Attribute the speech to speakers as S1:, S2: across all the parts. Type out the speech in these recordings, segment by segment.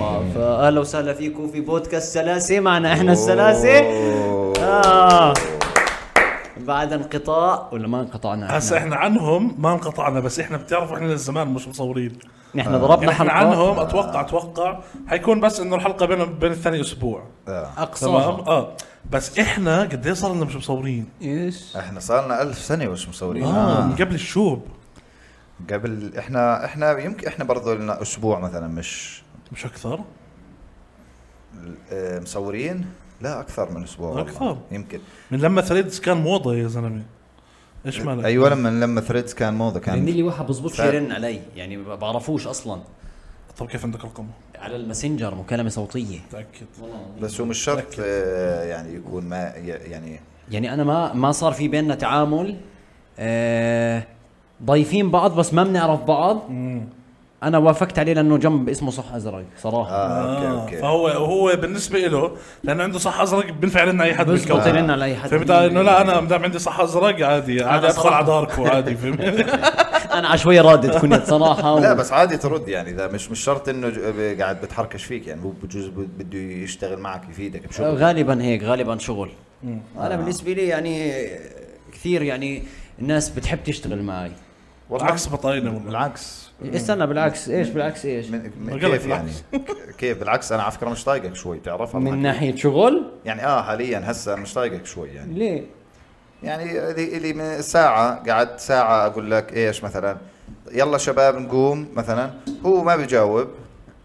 S1: واهلا وسهلا فيكم في بودكاست سلاسه معنا احنا السلاسه آه. بعد انقطاع ولا ما انقطعنا
S2: هسا
S1: احنا
S2: احنا عنهم ما انقطعنا بس احنا بتعرفوا احنا زمان مش مصورين
S1: نحن آه. ضربنا
S2: يعني احنا
S1: حلقه
S2: عنهم اتوقع اتوقع حيكون بس انه الحلقه بين بين الثاني اسبوع
S3: آه،
S2: تمام
S1: اقصاها
S2: اه بس احنا قد ايه صار لنا مش مصورين
S1: ايش
S3: احنا صارنا ألف سنة وش مصورين
S1: نعم.
S2: اه
S3: آه.
S2: من قبل الشوب
S3: قبل احنا احنا يمكن احنا برضو لنا اسبوع مثلا مش
S2: مش اكثر
S3: آه، مصورين لا اكثر من اسبوع والله.
S2: أكثر.
S3: يمكن
S2: من لما ثريدز كان موضه يا زلمه ايش
S1: أيوه.
S2: مالك
S3: ايوه لما لما ثريدز كان موضه
S1: لان
S2: يعني
S3: كان
S1: لي يعني واحد بزبطش
S3: فعلا.
S1: يرن علي يعني ما بعرفوش اصلا
S2: طب كيف عندك رقمه
S1: على الماسنجر مكالمه صوتيه
S2: متاكد
S3: بس هو مش شرط آه، يعني يكون ما ي- يعني
S1: يعني انا ما ما صار في بيننا تعامل آه ضايفين بعض بس ما بنعرف بعض انا وافقت عليه لانه جنب اسمه صح ازرق صراحه آه.
S3: اه
S2: آه،
S3: اوكي اوكي
S2: فهو هو بالنسبه له لانه عنده صح ازرق بينفع لنا اي حد
S1: بزبط
S2: بالكوكب
S1: لنا لأي حد.
S2: فهمت انه لا انا مدام عندي صح ازرق عادي عادي ادخل
S1: صراحة.
S2: على داركو عادي فهمت
S1: انا عشوائي رادد كنت صراحه
S3: لا بس عادي ترد يعني اذا مش مش شرط انه ج- ب- قاعد بتحركش فيك يعني هو بجوز ب- بده يشتغل معك يفيدك
S2: آه،
S3: بشغل
S1: غالبا هيك غالبا شغل
S3: آه.
S1: انا بالنسبه لي يعني كثير يعني الناس بتحب تشتغل معي
S2: عكس بطاينه والله
S3: بالعكس
S1: استنى بالعكس ايش بالعكس ايش
S3: من من
S2: قلت
S3: كيف يعني
S2: بالعكس.
S3: كيف بالعكس انا على فكره مش طايقك شوي بتعرفها
S1: من
S3: معك.
S1: ناحيه شغل
S3: يعني اه حاليا هسه مش طايقك شوي يعني
S1: ليه
S3: يعني الي الي من ساعه قعدت ساعه اقول لك ايش مثلا يلا شباب نقوم مثلا هو ما بيجاوب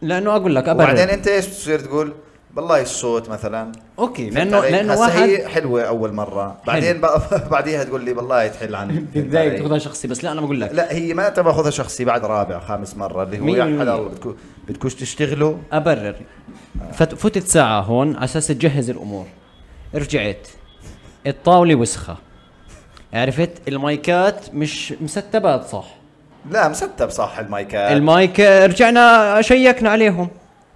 S1: لانه اقول لك ابرر
S3: وبعدين انت ايش بتصير تقول والله الصوت مثلا
S1: اوكي
S3: فهمت
S1: لانه
S3: علي؟
S1: لانه
S3: هسا
S1: واحد إيه،
S3: هي حلوه اول مره بعدين بقى بعديها تقول لي والله تحل عني فهمت
S1: بتضايق
S3: علي؟
S1: تاخذها شخصي بس لا انا بقول لك
S3: لا هي ما تاخذها شخصي بعد رابع خامس مره اللي هو
S1: مية
S3: يا حلال
S1: بالمية.
S3: الله بدكو بدكوش تشتغلوا
S1: ابرر فت- فتت ساعه هون على اساس تجهز الامور رجعت الطاوله وسخه عرفت المايكات مش مستبات صح
S3: لا مستب صح المايكات
S1: المايك رجعنا شيكنا عليهم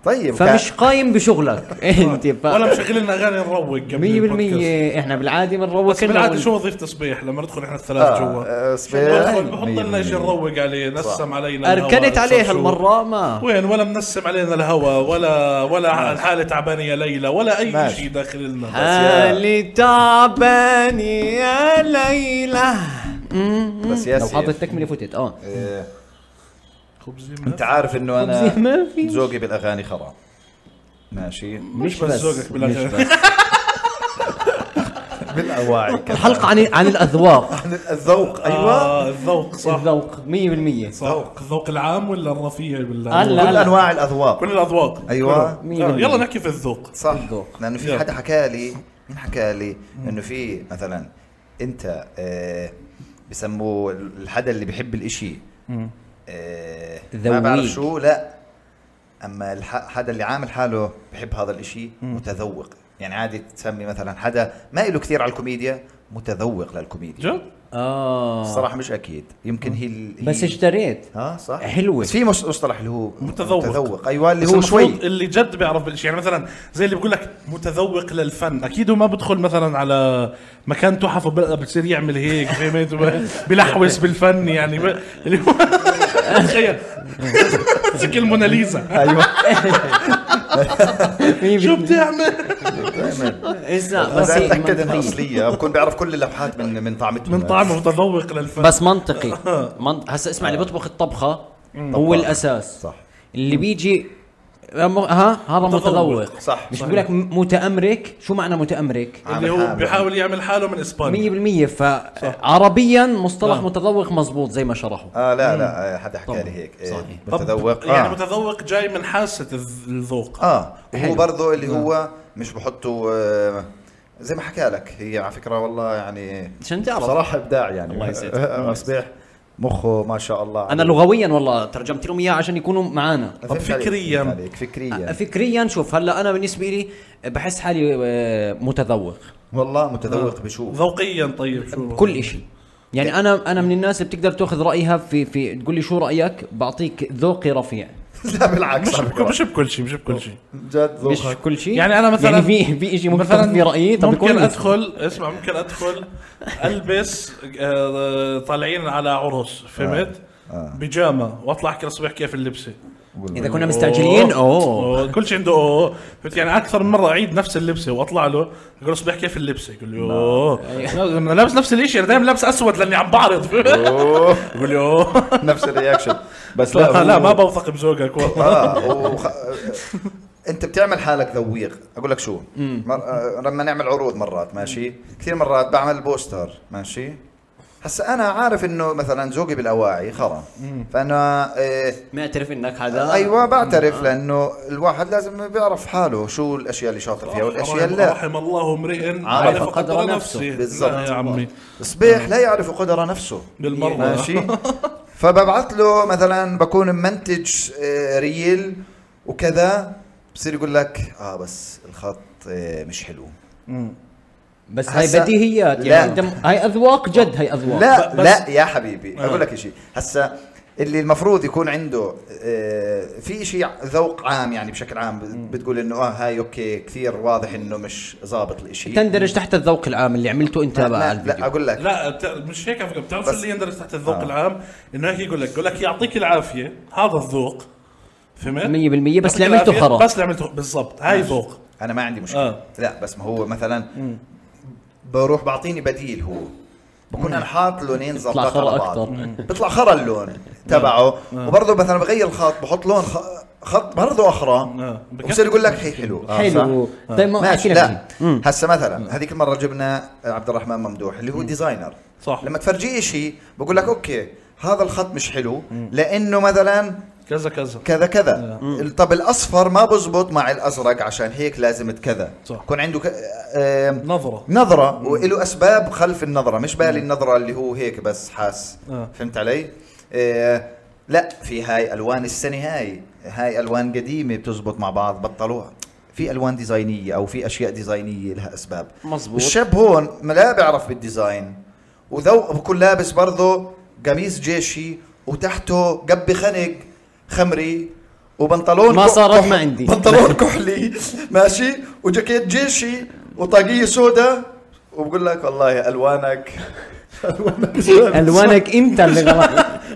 S3: طيب كان-
S1: فمش قايم بشغلك إيه، انت ف...
S2: ولا مشغلين اغاني نروق قبل
S1: 100% احنا بالعادي بنروق
S2: بس
S1: كلنا
S2: بالعاده
S1: وال-
S2: شو وظيفه تصبيح لما ندخل احنا الثلاث
S3: آه، آه،
S2: جوا
S3: صبيح.
S2: ندخل بحط لنا شيء
S3: 100%.
S2: نروق عليه نسم علينا الهوا،
S1: اركنت عليها
S2: نسم شو.
S1: المره ما
S2: وين ولا منسم علينا الهواء ولا ولا الحاله تعبانه يا ليلى ولا اي
S3: ماشي.
S2: شيء داخل لنا
S1: حالي تعبان يا ليلى م- م.
S3: بس يا
S1: لو
S3: سيف.
S1: حاطط تكمله فتت اه
S3: إيه،
S2: خبزي
S3: انت عارف انه
S1: خبزي ما
S3: انا
S1: في.
S3: ذوقي بالاغاني خراب ماشي
S1: مش
S2: بس
S1: بس
S2: ذوقك
S1: مش
S2: بالأغاني.
S1: بس
S3: بالاواعي كذا.
S1: الحلقة عن عن الأذواق
S3: الذوق
S1: آه.
S3: ايوه
S2: ايوه الذوق صح
S1: الذوق 100%
S2: صح الذوق العام ولا الرفيع ولا
S1: هلا.
S3: كل انواع الاذواق
S2: كل الاذواق
S3: أيوة.
S2: كلهم.
S1: مية
S2: آه،
S1: بالمية.
S2: يلا نحكي في الذوق
S3: صح
S1: الذوق.
S3: لانه في
S2: يلا.
S3: حدا حكى لي مين حكى لي انه في مثلا انت آه بسموه الحدا اللي بيحب الاشي آه ما
S1: ذويق.
S3: بعرف شو لا اما الح- حدا اللي عامل حاله بحب هذا الاشي متذوق يعني عادي تسمي مثلا حدا ما له كثير على الكوميديا متذوق للكوميديا
S2: جد
S1: اه
S3: الصراحه مش اكيد يمكن هي ال-
S1: آه. بس
S3: هي-
S1: اشتريت
S3: ها صح
S1: حلوة.
S3: بس في مص- مصطلح اللي هو
S2: متذوق.
S3: متذوق ايوه اللي
S2: بس
S3: هو
S2: المفروض
S3: شوي
S2: اللي جد بيعرف بالشيء يعني مثلا زي اللي بيقول لك متذوق للفن اكيد هو ما بدخل مثلا على مكان تحفه وب- بصير يعمل هيك فهمت وب- بلحوس بالفن يعني ب- اللي هو تخيل مسك الموناليزا
S3: ايوه
S2: شو بتعمل
S1: اسمع
S3: بس
S1: بس إيه، هي
S3: اتاكد انها
S1: منطقية.
S3: اصليه بكون بعرف كل اللوحات من من طعمتهم
S2: من طعمه متذوق للفن
S1: بس منطقي من... هسا اسمع اللي بيطبخ الطبخة هو الأساس
S3: آه. صح.
S1: اللي بيجي م- ها هذا متذوق
S3: صح. آه،
S1: مش
S3: صح.
S1: بقول لك م- متأمرك شو معنى متأمرك؟
S3: عامل
S2: اللي هو
S3: حاله.
S2: بيحاول يعمل حاله من اسبانيا
S1: 100% فعربيا مصطلح متذوق مزبوط زي ما شرحوا
S3: اه لا لا آه، حدا حكى
S1: طبعاً.
S3: لي هيك
S1: صحيح.
S3: إيه،
S2: طب
S3: متذوق
S2: يعني
S3: آه.
S2: متذوق جاي من حاسه الذ- الذوق
S3: اه
S1: حلو.
S3: وهو برضه اللي هو مش بحطه آه، زي ما حكى لك هي على فكره والله يعني
S1: عشان تعرف.
S3: صراحه ابداع يعني
S1: الله يسعدك.
S3: اصبح مخه ما شاء الله
S1: أنا لغويا والله ترجمت لهم إياه عشان يكونوا معانا
S3: فهمت
S2: طب
S3: عليك،
S2: فكرياً.
S3: فهمت عليك، فكريا
S1: فكريا شوف هلا انا بالنسبه لي بحس حالي آه، متذوق
S3: والله متذوق بشو
S2: ذوقيا طيب شو
S1: بكل شيء يعني انا انا من الناس اللي بتقدر تاخذ رايها في في تقول لي شو رايك بعطيك ذوقي رفيع
S3: لا بالعكس
S2: مش
S3: على
S2: بك-
S3: فكرة.
S2: مش بكل شيء مش بكل شيء
S3: جد
S1: مش
S3: ذوقك
S1: كل شيء
S2: يعني أنا مثلاً-
S1: يعني في في شيء ممكن تاخذ فيه رايي طب
S2: ممكن
S1: كويس.
S2: ادخل اسمع ممكن ادخل البس
S3: آه.
S2: آه، طالعين على عرس فهمت؟ بيجامه واطلع احكي الصبح كيف اللبسه
S1: اذا كنا مستعجلين اوه
S2: أوه، كل شيء عنده اوه فهمت يعني اكثر من مره اعيد نفس اللبسه واطلع له يقول اصبح كيف اللبسه يقول لي
S3: نعم.
S2: اوه انا لابس نفس الشيء انا دائما لابس اسود لاني عم بعرض
S3: أوه،
S2: يقول لي اوه
S3: نفس الرياكشن بس
S2: لا
S3: لا
S2: لا
S3: هو-
S2: ما بوثق بذوقك والله
S3: اه وخ... انت بتعمل حالك ذويق اقول لك شو مر... آه، لما نعمل عروض مرات ماشي كثير مرات بعمل بوستر ماشي هسا انا عارف انه مثلا ذوقي بالاواعي خرا فانا آه،
S1: معترف انك حدا
S3: ايوه بعترف لانه الواحد لازم بيعرف حاله شو الاشياء اللي شاطر فيها والاشياء
S2: رحم-
S3: اللي لا
S2: رحم الله امرئ عرف
S3: عرف
S2: قدر نفسه
S3: بالضبط.
S2: لا يا عمي
S3: صبيح لا يعرف قدر نفسه
S2: بالمرة.
S3: ماشي فببعث له مثلا بكون منتج آه، ريل وكذا بصير يقول لك اه بس الخط آه، مش حلو
S1: بس هاي
S3: هسا-
S1: بديهيات
S3: لا.
S1: يعني انت م- هاي اذواق جد هاي اذواق
S3: لا
S2: بس-
S3: لا يا حبيبي
S2: آه.
S3: اقول لك شيء هسا اللي المفروض يكون عنده آه، في شيء ذوق عام يعني بشكل عام بت- بتقول انه اه هاي اوكي كثير واضح انه مش ظابط الاشي
S1: تندرج تحت الذوق العام اللي عملته انت بقى
S3: لا,
S1: على الفيديو
S3: لا اقول لك
S2: لا بت- مش هيك على فكره بتعرف شو
S3: بس-
S2: اللي يندرج تحت الذوق
S3: آه.
S2: العام انه هيك يقول لك يقول لك يعطيك العافيه هذا الذوق فهمت
S1: 100% بس اللي
S2: يعطيك
S1: عملته
S2: العافية،
S1: خرا
S2: بس اللي عملته بالضبط هاي ذوق
S3: انا ما عندي مشكله
S2: آه.
S3: آه. لا بس ما هو مثلا بروح بعطيني بديل هو بكون انا حاط لونين
S1: بيطلع
S3: زبطات
S1: خرا
S3: على بعض
S1: أكتر.
S3: بيطلع خرا اللون تبعه وبرضه مثلا بغير الخط بحط لون خ- خط برضه اخرى
S2: آه.
S3: وبصير يقول لك هي حلو آه،
S1: حلو
S3: صح؟
S1: طيب ما
S3: ماشي
S1: حكينا
S3: لا
S1: لا
S3: هسه مثلا هذيك المره جبنا عبد الرحمن ممدوح اللي هو ديزاينر
S2: صح.
S3: لما تفرجيه شيء بقول لك اوكي هذا الخط مش حلو لانه مثلا
S2: كذا كذا
S3: كذا كذا
S2: نعم.
S3: طب الاصفر ما بزبط مع الازرق عشان هيك لازم كذا
S2: صح.
S3: يكون عنده ك... آم،
S2: نظره
S3: نظره وله اسباب خلف النظره مش بالي النظره اللي هو هيك بس حاس
S2: آه.
S3: فهمت علي آه، لا في هاي الوان السنه هاي هاي الوان قديمه بتزبط مع بعض بطلوها في الوان ديزاينيه او في اشياء ديزاينيه لها اسباب
S1: مزبوط.
S3: الشاب هون ما لا بيعرف بالديزاين وذوق بكون لابس برضه قميص جيشي وتحته قبي خنق خمري وبنطلون
S1: ما
S3: كح-
S1: صارت
S3: كح-
S1: ما عندي.
S3: بنطلون كحلي ماشي وجاكيت جيشي وطاقيه سودا وبقول لك والله الوانك
S1: الوانك انت اللي غلط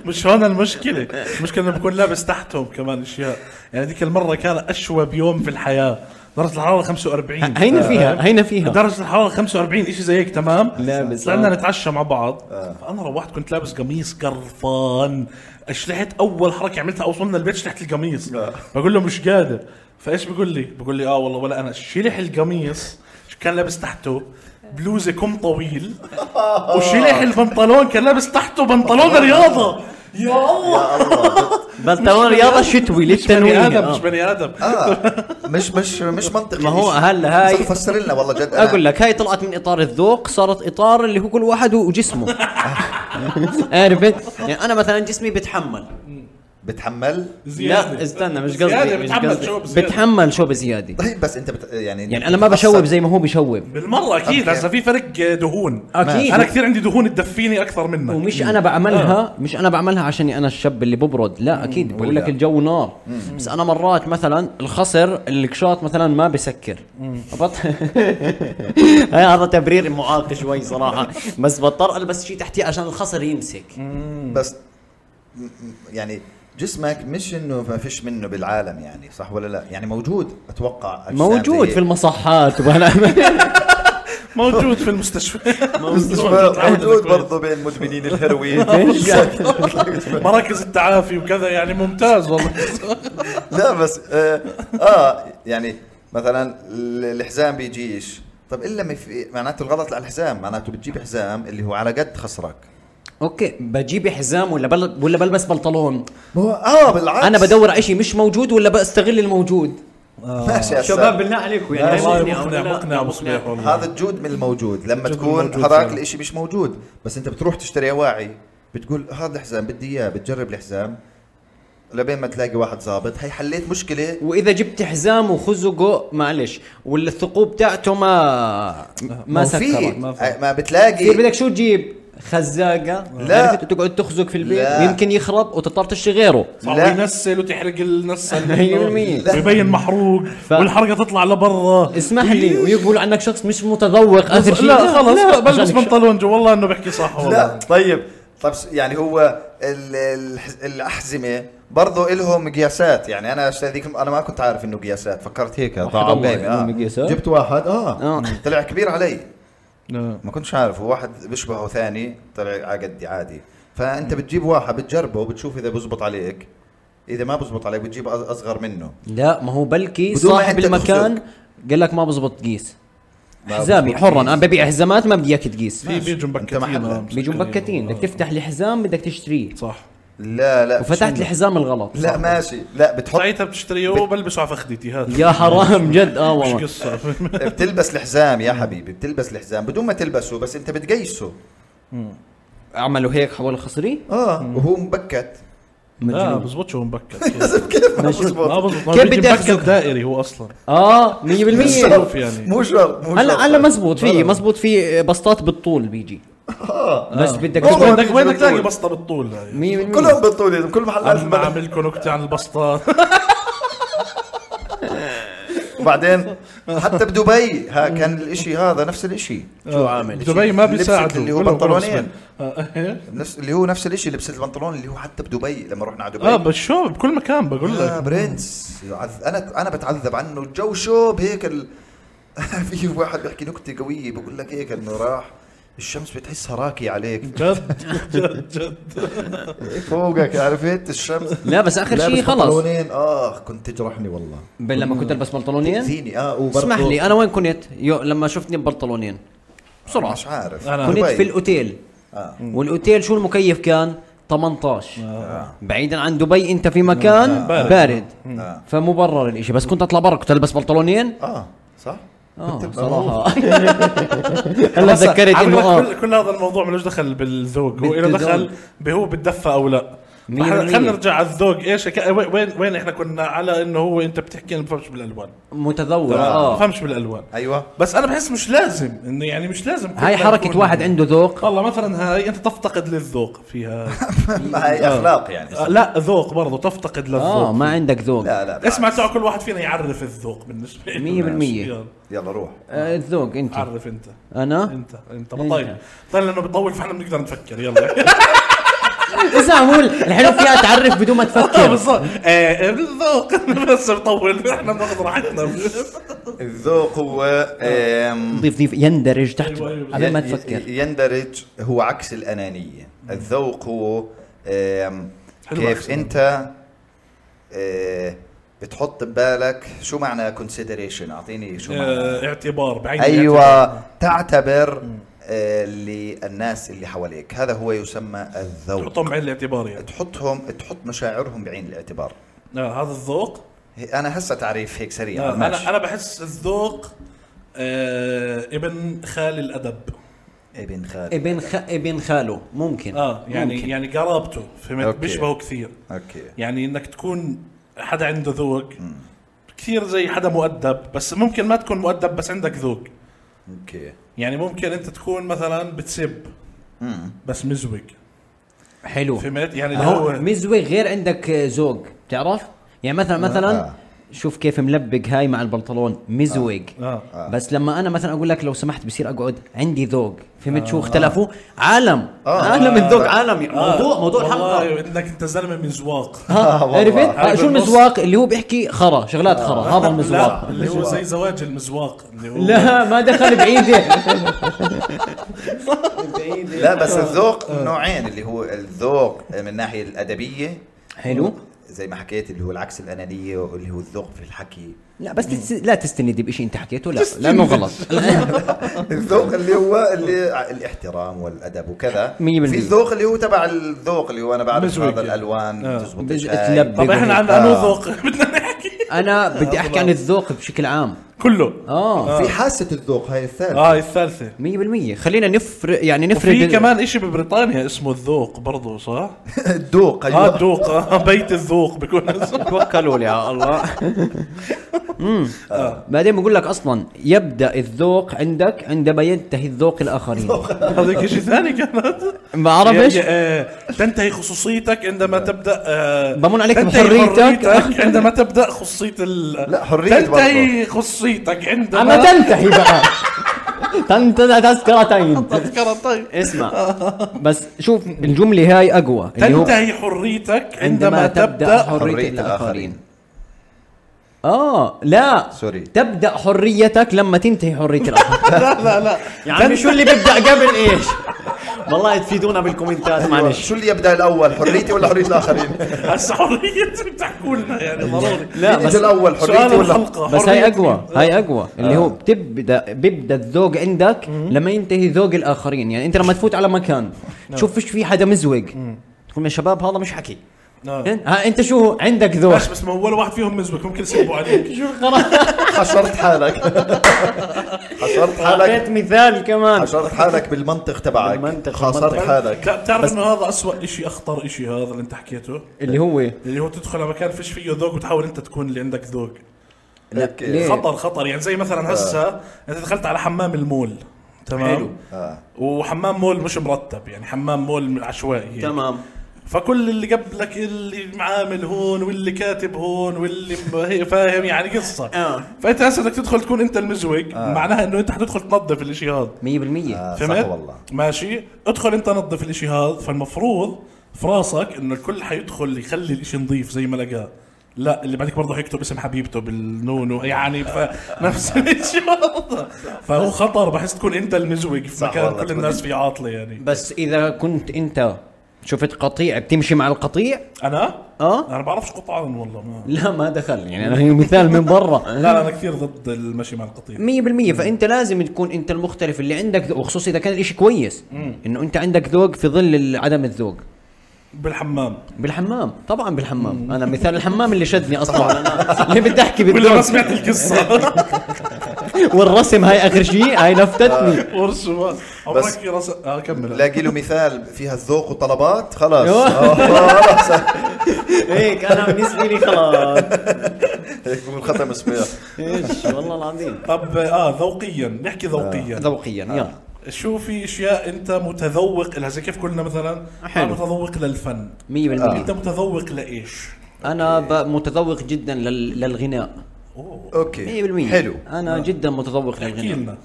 S2: مش هون المشكله المشكله انه بكون لابس تحتهم كمان اشياء يعني ذيك المره كان اشوب يوم في الحياه درجه الحراره 45
S1: هينا فيها هينا فيها
S2: درجة الحرارة 45 شيء زي هيك تمام
S1: لابس،
S2: طلعنا
S1: آه.
S2: نتعشى مع بعض فأنا روحت كنت لابس قميص قرفان شلحت أول حركة عملتها وصلنا البيت شلحت القميص بقول له مش قادر فإيش بقول لي بقول لي آه والله ولا أنا شلح القميص كان لابس تحته بلوزة كم طويل وشلح البنطلون كان لابس تحته بنطلون رياضة يا الله
S1: بنطلون رياضه شتوي
S2: مش بني
S1: للتنويه
S2: آدم
S1: آه.
S2: مش بني آدم
S3: اه مش مش مش منطقي
S1: ما هو
S3: الإشي.
S1: هلا هاي-
S3: صح، فسر لنا والله جد أنا.
S1: اقول لك هاي طلعت من اطار الذوق صارت اطار اللي هو كل واحد وجسمه عرفت يعني انا مثلا جسمي بتحمل
S3: بتحمل
S1: لا استنى مش قصدي
S2: زيادة،
S1: مش
S2: بتحمل شو
S1: قصدي
S2: بزيادة.
S1: بتحمل شو بزياده
S3: طيب بس انت بت... يعني
S1: يعني انا ما بشوب زي ما هو بشوب
S2: بالمره اكيد
S3: أوكي.
S2: هسا في فرق دهون
S1: أكيد.
S2: انا كثير عندي دهون تدفيني اكثر منك
S1: ومش انا بعملها مش انا بعملها عشان انا الشاب اللي ببرد لا اكيد بقول لك الجو نار بس انا مرات مثلا الخصر الكشاط مثلا ما بسكر بط- هاي هذا تبرير معاق شوي صراحه بس بضطر البس شيء تحتيه عشان الخصر يمسك
S3: بس م- م- يعني جسمك مش انه ما فيش منه بالعالم يعني صح ولا لا يعني موجود اتوقع أجسام
S1: موجود
S3: زي-
S1: في المصحات وأنا
S2: موجود في المستشفى
S3: موجود برضه بين مدمنين الهيروين
S2: مراكز التعافي وكذا يعني ممتاز والله
S3: لا بس آه, اه يعني مثلا ال- الحزام بيجيش طب الا ما في معناته الغلط على الحزام معناته بتجيب حزام اللي هو على قد خصرك
S1: اوكي بجيب حزام ولا بل ولا بلبس بنطلون
S3: اه بالعكس
S1: انا بدور على شيء مش موجود ولا بستغل الموجود
S3: ماشي يا
S1: شباب
S3: سلام.
S1: بالله عليكم يعني
S2: والله
S1: هاي مقنعة أو
S2: مقنع
S1: لا؟
S2: مقنع ابو صبيح والله
S3: هذا الجود من الموجود لما
S2: الجود
S3: تكون
S2: الموجود
S3: هذاك
S2: فعلا.
S3: الاشي مش موجود بس انت بتروح تشتري واعي بتقول هذا الحزام بدي اياه بتجرب الحزام لبين ما تلاقي واحد ظابط هي حليت مشكله
S1: واذا جبت حزام وخزقه معلش ولا الثقوب تاعته ما ما
S3: في
S1: سكرت
S3: ما, ما بتلاقي
S1: كثير بدك شو تجيب خزاقه
S3: لا.
S1: عرفت وتقعد تخزق في البيت
S3: لا.
S1: يمكن يخرب وتضطر تشتري غيره
S2: صار
S3: لا.
S2: ينسل وتحرق النسل
S1: 100%.
S3: لا.
S2: ويبين محروق
S1: أيوة، ف-
S2: والحرقه تطلع لبرا طيب.
S1: اسمح لي ويقولوا عنك شخص مش متذوق اخر شيء
S2: لا خلص بلبس
S1: عشان-
S2: بنطلون جو والله انه بحكي صح
S3: لا
S2: والله
S3: طيب طب س- يعني هو ال- ال- الاحزمه برضه إلهم مقياسات يعني انا اشتري ذيك انا ما كنت عارف انه قياسات فكرت هيك
S1: واحد
S3: طعم
S1: الله
S3: بيبي
S1: إلهم
S3: اه
S1: مقياسات؟
S4: جبت واحد اه
S1: اه
S3: آه. طلع كبير علي
S2: آه.
S3: ما كنتش عارف هو واحد بيشبهه ثاني طلع على قدي عادي فانت بتجيب واحد بتجربه وبتشوف اذا بزبط عليك اذا ما بزبط عليك بتجيب أص- اصغر منه
S1: لا ما هو بلكي
S3: بدون ما
S1: صاحب
S3: أنت
S1: المكان
S3: تخزق.
S1: قال لك ما بزبط تقيس
S3: ما
S1: حزامي
S3: بزبط
S1: حرا
S3: تقيس.
S1: انا ببيع حزامات ما بدي اياك تقيس
S2: في بيجوا
S3: أنت
S2: مبكتين
S3: محلك.
S2: آه،
S1: بيجوا مبكتين بدك تفتح لي حزام بدك تشتريه
S2: صح
S3: لا لا
S1: وفتحت
S3: شنو؟
S1: الحزام الغلط
S3: لا ماشي لا بتحط
S2: ساعتها بتشتريه وبلبسه على فخدتي هذا
S1: يا حرام جد اه
S2: مش
S1: والله
S2: قصه
S3: بتلبس الحزام يا حبيبي بتلبس الحزام بدون ما تلبسه بس انت بتقيسه
S1: عملوا هيك حول خصري
S3: اه وهو مبكت
S2: لا
S1: مجنون.
S2: بزبطش هو مبكت
S3: كيف ما
S1: ماشي.
S3: بزبط
S2: ما بزبط
S1: كيف
S2: كيف
S1: بدي
S2: بدي
S1: أخزق؟
S2: مبكت دائري هو اصلا
S1: اه 100%
S2: بالصرف يعني
S3: مو شرط مو شرط
S1: هلا هلا مزبوط في مزبوط في بسطات بالطول بيجي بس بدك
S3: والله
S1: تكون-
S2: بدك وين بدك تلاقي
S3: بالطول.
S2: بسطه بالطول هاي
S1: 100%
S3: كلهم بالطول يا زلمة، كل محلات
S2: اما
S3: البلد
S2: عامل لكم نكته عن البسطات
S3: وبعدين حتى بدبي ها كان الاشي هذا نفس الاشي
S2: شو
S1: عامل؟
S2: آه، دبي ما
S3: لبسك
S2: بيساعدوا
S3: اللي هو
S2: كلهم- كلهم
S3: بنطلونين.
S2: آه.
S3: نفس اللي هو نفس الاشي لبس البنطلون اللي هو حتى بدبي لما رحنا على دبي
S2: اه بس شو بكل مكان بقول
S3: يا
S2: لك
S3: برنس يعذ- انا انا بتعذب عنه الجو شوب هيك ال... في واحد بيحكي نكته قويه بقول لك هيك انه راح الشمس بتحسها راكي عليك
S2: جد جد جد
S3: فوقك عرفت الشمس
S1: لا بس اخر
S3: لابس
S1: شيء خلص
S3: بنطلونين اه كنت تجرحني والله
S1: بل- لما كنت البس بنطلونين
S3: تأذيني اه وبرضه
S1: اسمح لي آه، انا وين كنت يو لما شفتني ببنطلونين بسرعه
S3: مش عارف
S2: أنا
S1: كنت
S3: دبي.
S1: في الاوتيل
S3: آه.
S1: والاوتيل شو المكيف كان 18 بعيدا عن دبي انت في مكان
S2: بارد.
S1: بارد
S3: آه.
S1: فمبرر الاشي بس كنت اطلع برا كنت البس بنطلونين
S3: اه صح
S1: اه
S3: كنت-
S1: صراحه هلا
S2: هسا
S1: تذكرت
S2: عم
S1: انه
S2: بقول لك
S1: اه
S2: كل, كل هذا الموضوع ملوش دخل بالذوق هو له
S1: بالذوق.
S2: دخل بهو بتدفى او لا
S1: مية
S2: فإحنا-
S1: بالمية.
S2: خلينا نرجع على الذوق ايش ك- وين- وين وين احنا كنا على انه هو انت بتحكي انا ما بفهمش بالالوان
S1: متذوق
S2: ما
S1: اه
S2: بفهمش بالالوان
S3: ايوه
S2: بس انا بحس مش لازم انه يعني مش لازم كل
S1: هاي
S2: ما
S1: حركه
S2: يكون-
S1: واحد عنده ذوق
S2: والله مثلا هاي انت تفتقد للذوق فيها
S3: ما هي اخلاق يعني
S2: آه، لا ذوق برضه تفتقد للذوق
S1: اه ما عندك ذوق
S3: لا لا
S2: اسمع تعال كل واحد فينا يعرف الذوق بالنسبه له
S1: مية بالمية.
S2: يلا،
S3: يلا روح
S1: آه، الذوق انت
S2: عرف انت
S1: انا
S2: انت انت بطيء طيب لانه بطول فاحنا بنقدر نفكر يلا
S1: اسمع هو الحلو فيها تعرف بدون ما
S2: اه
S1: تفكر
S2: بالظبط ايه الذوق بس بطول احنا بناخذ راحتنا
S3: الذوق هو آم،
S1: ضيف ضيف يندرج تحت
S2: أيوة، أيوة.
S1: قبل ما
S3: ي-
S1: تفكر
S3: ي- يندرج هو عكس الأنانية الذوق هو آم،
S2: حلو عكس
S3: كيف
S2: الأنانية.
S3: أنت آه، بتحط ببالك شو معنى consideration أعطيني شو معنى
S2: آه، اعتبار بعين
S3: أيوة تعتبر آه، اللي الناس اللي حواليك هذا هو يسمى الذوق
S2: حطهم بعين الاعتبار يعني
S3: تحطهم تحط مشاعرهم بعين الاعتبار
S2: آه، هذا الذوق
S3: هي- أنا هسه تعريف هيك سريع
S2: آه، انا
S3: ماشي
S2: انا بحس الذوق آه، ابن خال الادب
S3: ابن خالد
S1: ابن خ... ابن خاله ممكن
S2: اه يعني
S1: ممكن.
S2: يعني قرابته فهمت
S3: أوكي.
S2: بيشبهه كثير
S3: أوكي
S2: يعني انك تكون حدا عنده ذوق كثير زي حدا مؤدب بس ممكن ما تكون مؤدب بس عندك ذوق
S3: أوكي
S2: يعني ممكن انت تكون مثلا بتسب
S3: مم.
S2: بس مزوج
S1: حلو
S2: فهمت يعني اللي
S1: هو
S2: هو
S1: مزوي غير عندك ذوق تعرف يعني مثلا مثلا
S3: آه.
S1: شوف كيف ملبق هاي مع البنطلون مزوج
S2: آه.
S1: بس لما انا مثلا اقول لك لو سمحت بصير اقعد عندي ذوق فهمت شو اختلفوا عالم عالم الذوق عالم يعني موضوع موضوع
S2: آه، والله
S1: حلقه
S2: انك انت زلمه مزواق
S1: ها،
S3: والله.
S1: عرفت
S2: هاي
S1: آه، شو
S2: بالنص. آه.
S1: المزواق اللي هو بيحكي خرا شغلات خرا هذا
S2: لا
S1: المزواق
S2: اللي هو زي زواج المزواق اللي هو
S1: لا ما دخل بعيده
S3: لا
S1: آه.
S3: بس الذوق نوعين اللي هو الذوق من الناحيه الادبيه
S1: حلو
S3: زي ما حكيت اللي هو العكس الانانيه واللي هو الذوق في الحكي
S1: لا بس تس... لا تستندي بشيء انت حكيته لا لانه غلط آه.
S3: الذوق اللي هو اللي ع- الاحترام والادب وكذا
S1: مية
S3: في
S1: بالمية.
S3: الذوق اللي هو تبع الذوق اللي هو انا بعرف
S2: مزوج
S3: هذا
S2: يعني. آه.
S3: الالوان تزبط
S1: بز-
S3: الشاي.
S1: تلبق.
S2: طب احنا عندنا
S3: آه.
S2: انو ذوق بدنا نحكي
S1: انا بدي احكي عن الذوق بشكل عام
S2: كله
S1: اه
S3: في حاسه الذوق هاي
S1: آه.
S3: الثالثه
S2: اه الثالثه
S1: 100% خلينا نفرق يعني نفرد
S2: وفي
S1: ال-
S2: كمان اشي ببريطانيا اسمه الذوق برضو صح؟
S3: الذوق
S2: اه
S3: ايوه
S2: الذوق آه، بيت الذوق بيكون اسمه
S1: توكلوا لي على الله امم بعدين بقول لك اصلا يبدا الذوق عندك عندما ينتهي الذوق الاخرين
S2: هذيك شيء ثاني كانت
S1: ما بعرفش
S2: يا- آه، تنتهي خصوصيتك عندما تبدا آه،
S1: بمن عليك
S2: تنتهي
S1: بحريتك.
S2: عندما تبدا خصوصيه ال
S3: لا، حرية
S2: تنتهي خصيتك عندما
S1: اما تنتهي بقى تنتزع تذكرتين
S2: تذكرة طيب
S1: اسمع بس شوف الجمله هاي اقوى اللي هو
S2: تنتهي حريتك عندما تبدا
S3: حرية الآخرين.
S1: اه لا
S3: سوري.
S1: تبدا حريتك لما تنتهي حريه الاخر
S2: لا لا لا
S1: يا عمي شو اللي ببدا قبل ايش والله تفيدونا بالكومنتات معلش
S3: شو اللي يبدا الاول حريتي ولا حريه الاخرين؟
S2: هسه حرية بتحكوا لنا يعني ضروري
S1: لا
S3: مين
S1: بس
S3: اجى الاول
S2: سؤال
S3: حريتي ولا
S2: الحلقة
S1: بس
S2: حرية
S1: هاي اقوى
S2: مين؟
S1: هاي اقوى اللي هو بتبدا بيبدا الذوق عندك لما ينتهي ذوق الاخرين يعني انت لما تفوت على مكان تشوف فيش في حدا مزوق تقول يا شباب هذا مش حكي إيه؟
S2: آه.
S1: ها انت شو عندك ذوق
S2: بس بس ما هو ولا واحد فيهم مزبك ممكن يسبوا عليك
S1: شو القرار
S3: حشرت حالك حشرت حالك
S1: حطيت مثال كمان
S3: حشرت حالك بالمنطق تبعك
S1: بالمنطق،
S3: خاصرت
S1: بالمنطق.
S3: حالك
S2: لا بتعرف انه هذا اسوء شيء اخطر شيء هذا اللي انت حكيته
S1: اللي هو إيه؟
S2: اللي هو تدخل على مكان فيش فيه ذوق وتحاول انت تكون اللي عندك ذوق
S1: لا
S3: أوكي.
S1: ليه
S2: خطر خطر يعني زي مثلا هسه انت دخلت على حمام المول تمام
S1: آه. حلو.
S3: آه.
S2: وحمام مول مش مرتب يعني حمام مول عشوائي
S1: تمام
S2: فكل اللي قبلك اللي معامل هون واللي كاتب هون واللي ب- هي فاهم يعني قصه
S1: آه.
S2: فانت هسه بدك تدخل تكون انت المزوج معناها انه انت حتدخل تنظف الاشي هذا
S1: 100%
S3: آه، صح
S2: فهمت؟
S3: والله
S2: ماشي ادخل انت نظف الاشي هذا فالمفروض في راسك انه الكل حيدخل يخلي الاشي نظيف زي ما لقاه لا اللي بعدك برضه حيكتب اسم حبيبته بالنونو يعني فنفس الشيء برضه فهو خطر بحس تكون انت المزوج في
S3: صح
S2: مكان
S3: والله،
S2: كل
S3: تكون
S2: الناس فيه عاطله يعني
S1: بس اذا كنت انت شفت قطيع بتمشي مع القطيع
S2: انا؟
S1: اه
S2: انا بعرفش قطعان والله ما
S1: لا ما دخل يعني انا هي مثال من برا
S2: لا لا انا كثير ضد المشي مع القطيع
S1: 100% فانت لازم تكون انت المختلف اللي عندك ذوق، وخصوصا اذا كان الاشي كويس انه انت عندك ذوق في ظل ال- عدم الذوق
S2: بالحمام
S1: بالحمام طبعا بالحمام انا مثال الحمام اللي شدني اصلا أنا ليه بدي احكي
S2: ولا ما
S1: بالذوق
S2: سمعت القصه
S1: والرسم هاي اخر شيء هاي
S2: آه.
S1: لفتتني
S2: ورشه عمرك
S3: بس-
S2: في راس اه كمل
S3: لاقي له مثال فيها الذوق وطلبات خلاص
S1: أيوة.
S3: آه، خلاص
S1: هيك انا بالنسبه لي خلاص
S3: هيك بالختم اسمها
S1: ايش والله العظيم
S2: طب اه ذوقيا نحكي ذوقيا
S3: آه.
S1: ذوقيا
S2: آه.
S1: يلا
S2: شو في اشياء انت متذوق لها زي كيف قلنا مثلا
S1: حلو. آه.
S2: انا متذوق للفن
S1: 100%
S2: انت متذوق لايش؟
S1: انا ب- متذوق جدا لل- للغناء
S2: اوه
S3: اوكي
S1: 100%
S3: حلو
S1: انا جدا متذوق
S2: إيه. آه. احكي
S1: للغناء
S2: لنا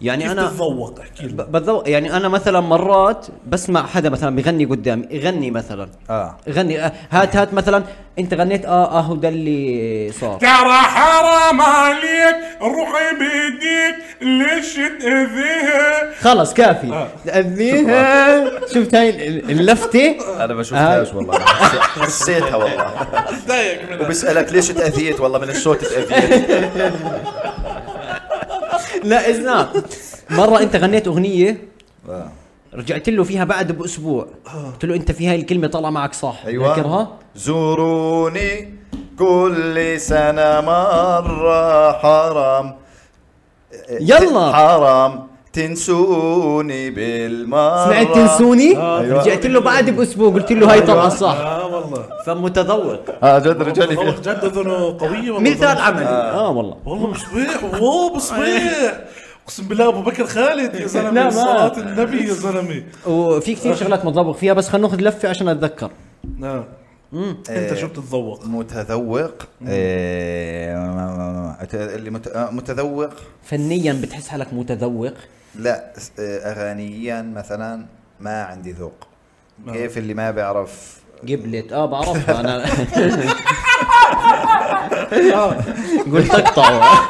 S1: يعني
S2: كيف
S1: انا
S2: تتذوق احكي لنا
S1: ب- بتذوق يعني انا مثلا مرات بسمع حدا مثلا بغني قدامي يغني مثلا
S3: اه
S1: غني آه، هات هات مثلا انت غنيت اه اهو ده اللي صار
S2: ترى حرام عليك روحي بيديك ليش تاذيها
S1: خلص كافي
S2: آه.
S1: اذيها شفت هاي ال- اللفته
S3: انا ما
S1: آه.
S3: شفتهاش والله أنا حس- حسيتها والله
S2: ضايق منها
S3: وبسالك ليش تاذيت والله من الصوت تاذيت
S1: لا اسمع مره انت غنيت اغنيه
S3: آه،
S1: رجعت له فيها بعد باسبوع قلت له انت في هاي الكلمه طلع معك صح
S3: ايوه
S1: فاكرها
S3: زوروني كل سنه مره حرام
S1: يلا.
S3: حرام تنسوني بالمره
S1: سمعت تنسوني
S2: آه،
S3: أيوة.
S1: رجعت له بعد باسبوع قلت له هاي طلع آه، صح
S2: اه والله
S1: فمتذوق
S3: اه جد رجالي
S2: والله
S3: فيها.
S2: جد اذنه قويه والله
S1: مثال
S2: أذنه-
S1: عملي اه والله
S2: والله بصبيح واو بصبيح اقسم بالله ابو بكر خالد يا
S1: لا، ما.
S2: زلمه صلاه النبي يا زلمه
S1: وفي كثير شغلات متذوق فيها بس خلينا ناخذ لفه عشان اتذكر
S2: نعم انت
S1: آه.
S2: شو بتتذوق؟
S3: متذوق إيه، أت- اللي مت- آه، متذوق
S1: فنيا بتحس حالك متذوق
S3: لا س- آه، اغانيا مثلا ما عندي ذوق
S2: آه.
S3: كيف اللي ما بيعرف
S1: قبلت اه بعرفها انا آه. قلت اقطعه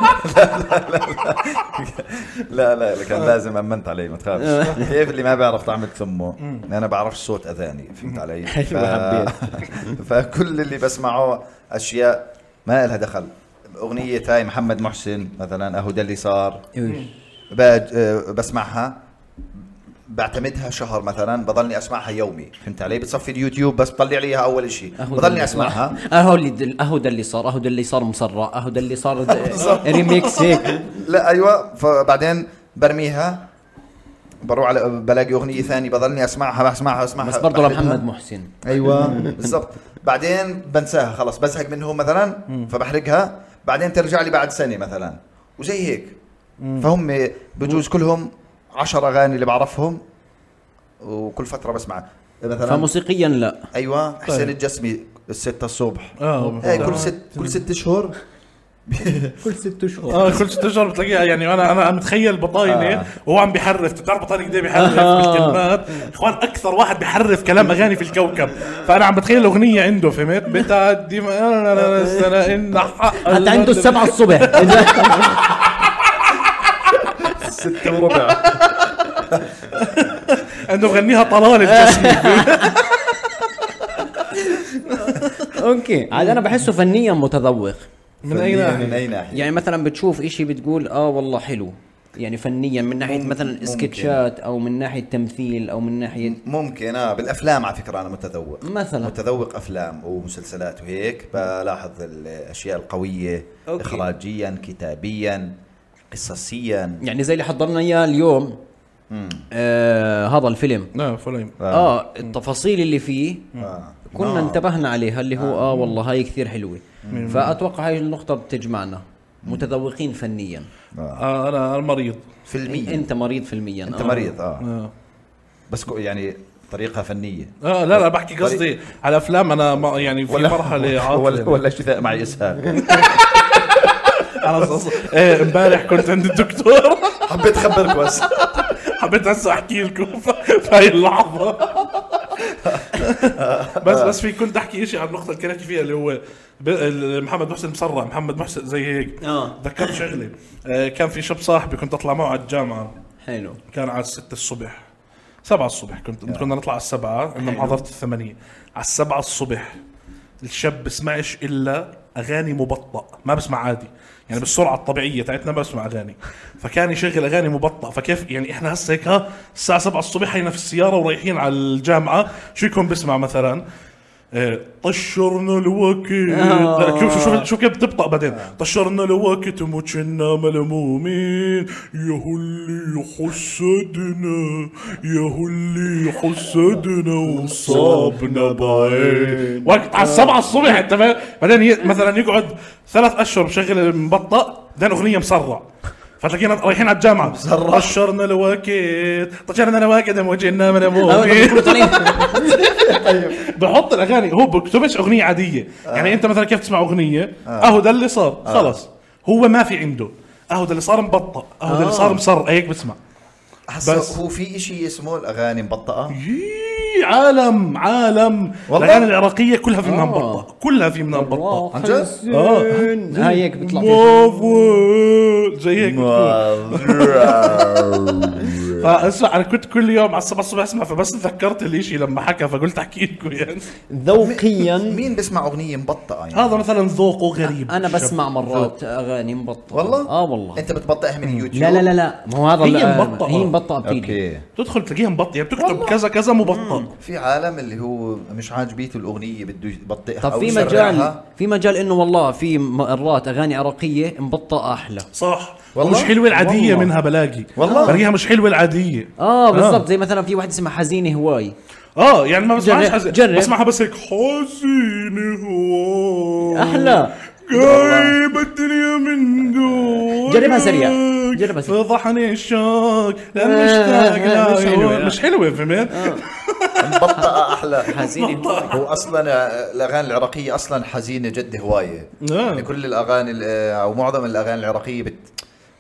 S3: لا لا لا،
S1: آه.
S3: كان لازم امنت عليه ما تخافش كيف اللي ما بيعرف طعم ثمه انا بعرف صوت اذاني فهمت علي ف...
S1: حلو، حبيت.
S3: فكل اللي بسمعه اشياء ما لها دخل اغنيه هاي محمد محسن مثلا اهو ده اللي صار باج- آه، بسمعها بعتمدها شهر مثلا بضلني اسمعها يومي فهمت علي بتصفي اليوتيوب بس بطلع لي اياها اول شيء بضلني اسمعها
S1: اهو اللي دل... اهو ده اللي صار اهو ده اللي صار مسرع اهو ده اللي صار د- ريميكس هيك
S3: لا ايوه فبعدين برميها بروح على بلاقي اغنيه ثانيه بضلني اسمعها بسمعها اسمعها
S1: بس برضه
S3: بحبها.
S1: لمحمد محسن
S3: ايوه بالضبط بعدين بنساها خلص بزهق منهم مثلا فبحرقها بعدين ترجع لي بعد سنه مثلا وزي هيك فهم بجوز كلهم عشر اغاني اللي بعرفهم وكل فتره بسمع مثلا
S1: فموسيقيا لا
S3: ايوه حسين
S2: طيب.
S1: آه،
S3: الجسمي الستة الصبح إيه،
S2: اه
S3: ايه كل ست كل ست اشهر
S1: كل ست اشهر
S2: اه كل ست اشهر بتلاقيها يعني انا انا متخيل بطاينه
S3: آه.
S2: وهو عم بحرف بتعرف بطاينه قد ايه بحرف
S1: آه.
S2: بالكلمات اخوان اكثر واحد بحرف كلام اغاني في الكوكب فانا عم بتخيل الاغنيه عنده فهمت بتعدي ما- لا- لا- لا- لا- ان حق-
S1: حتى عنده السبعة الصبح
S3: ستة وربع
S2: عنده غنيها طلال الجسم
S1: اوكي عاد انا بحسه فنيا متذوق
S2: من اي
S3: من
S2: ناحيه
S3: اي ناحية
S1: يعني مثلا بتشوف اشي بتقول اه والله حلو يعني فنيا من ناحيه مثلا سكتشات او من ناحيه تمثيل او من ناحيه
S3: ممكن اه بالافلام على فكرة انا متذوق
S1: مثلا
S3: متذوق افلام ومسلسلات وهيك بلاحظ الاشياء القوية
S1: أوكي.
S3: اخراجيا كتابيا قصصيا
S1: يعني زي اللي حضرنا اياه اليوم آه هذا الفيلم
S2: لا فلان
S1: اه التفاصيل اللي فيه
S3: آه.
S1: كنا
S3: نار.
S1: انتبهنا عليها اللي
S3: نعم.
S1: هو اه والله هاي كثير حلوه فاتوقع هاي النقطه بتجمعنا متذوقين فنيا
S3: آه.
S2: آه انا أنا مريض
S3: فيلميا
S1: انت مريض فيلميا
S3: انت
S1: آه.
S3: مريض اه
S2: آه.
S3: بس كو- يعني طريقة فنية
S2: اه لا لا بحكي قصدي على افلام انا ما يعني في مرحله
S3: ولا
S2: عاطله
S3: ولا شتاء معي اسهال
S2: انا ص- إيه، امبارح كنت عند الدكتور
S3: حبيت اخبرك بس
S2: حبيت هسه احكي لكم ف- في هاي اللحظه بس بس في كنت احكي شيء عن النقطه اللي كنت فيها اللي هو ب- ال- محمد محسن مسرع محمد محسن زي هيك
S1: آه.
S2: تذكرت شغله آه، كان في شاب صاحبي كنت اطلع معه على الجامعه
S1: حلو
S2: كان على 6 الصبح 7 الصبح كنت كنا نطلع على السبعة عندنا محاضرة الثمانية على السبعة الصبح الشاب بسمعش إلا أغاني مبطأ ما بسمع عادي يعني بالسرعة الطبيعية تاعتنا ما بسمع أغاني فكان يشغل أغاني مبطأ فكيف يعني إحنا هسه هيك ها، الساعة 7 الصبح هينا في السيارة ورايحين على الجامعة شو يكون بسمع مثلا إيه، طشرنا الوقت لا، شوف شوف- شوف شوف كيف بتبطأ بعدين طشرنا الوقت ومتشنا ملمومين يا هو اللي حسدنا يا هو اللي حسدنا وصابنا بعين وقت على السبعة الصبح انت فاهم بعدين ي- مثلا يقعد ثلاث اشهر مشغل المبطأ بعدين اغنية مسرع فتلاقينا رايحين على الجامعة طشرنا الوقت طشرنا الوقت ومتشنا ملمومين
S1: آه،
S2: بحط الاغاني هو بكتبش اغنيه عاديه يعني انت مثلا كيف تسمع اغنيه اهو ده اللي صار خلص هو ما في عنده اهو ده اللي صار مبطأ اهو ده اللي صار مصر هيك بسمع بس.
S3: هسا هو في إشي اسمه الاغاني مبطئة
S2: يي، عالم عالم
S3: والله؟
S2: الاغاني العراقيه كلها في منها
S1: آه.
S2: مبطأ كلها في منها مبطأ
S3: عن جد؟
S1: آه.
S2: آه.
S1: هاي هيك بيطلع فيها.
S2: برافو زي هيك بتكون. فاسمع انا آه، كنت كل يوم على السبعة الصبح اسمع فبس تذكرت الاشي لما حكى فقلت احكي لكم يعني
S1: ذوقيا
S3: مين بسمع اغنية مبطئة يعني؟
S2: هذا مثلا ذوقه غريب
S1: انا بسمع مرات اغاني مبطئه
S3: والله؟ إيه،
S1: اه والله
S3: انت بتبطئها من يوتيوب؟
S1: لا لا لا لا ما هو هذا
S2: هي
S1: ال-
S2: مبطأة.
S1: هي مبطئه بتيجي
S3: اوكي
S2: تدخل تلاقيها مبطئه يعني بتكتب كذا كذا مبطأ
S3: في عالم اللي هو مش عاجبيته الاغنية بده يبطئها
S1: طب
S3: أو
S1: في
S3: يسرعها.
S1: مجال في مجال انه والله في مرات اغاني عراقيه مبطئه احلى
S2: صح
S3: والله؟
S2: والله مش حلوه العاديه
S1: والله.
S2: منها بلاقي
S3: والله؟
S2: بلاقيها مش حلوه العاديه
S3: آه.
S1: اه بالضبط زي مثلا في واحده اسمها حزينه هواي
S2: اه يعني ما بسمعهاش
S1: جرب-
S2: حزين
S1: جرب.
S2: بسمعها بس هيك حزين هو
S1: احلى
S2: جايب الدنيا من دون
S1: جربها سريع. جربها سريع.
S2: فضحني الشوق لا
S1: آه،
S2: مشتاق لا
S1: مش حلوة، آه، لا.
S2: مش حلوه فهمت؟
S3: مبطئة احلى
S1: حزينه هواي
S3: هو اصلا الاغاني العراقية اصلا حزينة جد هواية
S2: آه.
S3: يعني كل الاغاني ال- او معظم الاغاني العراقية بت...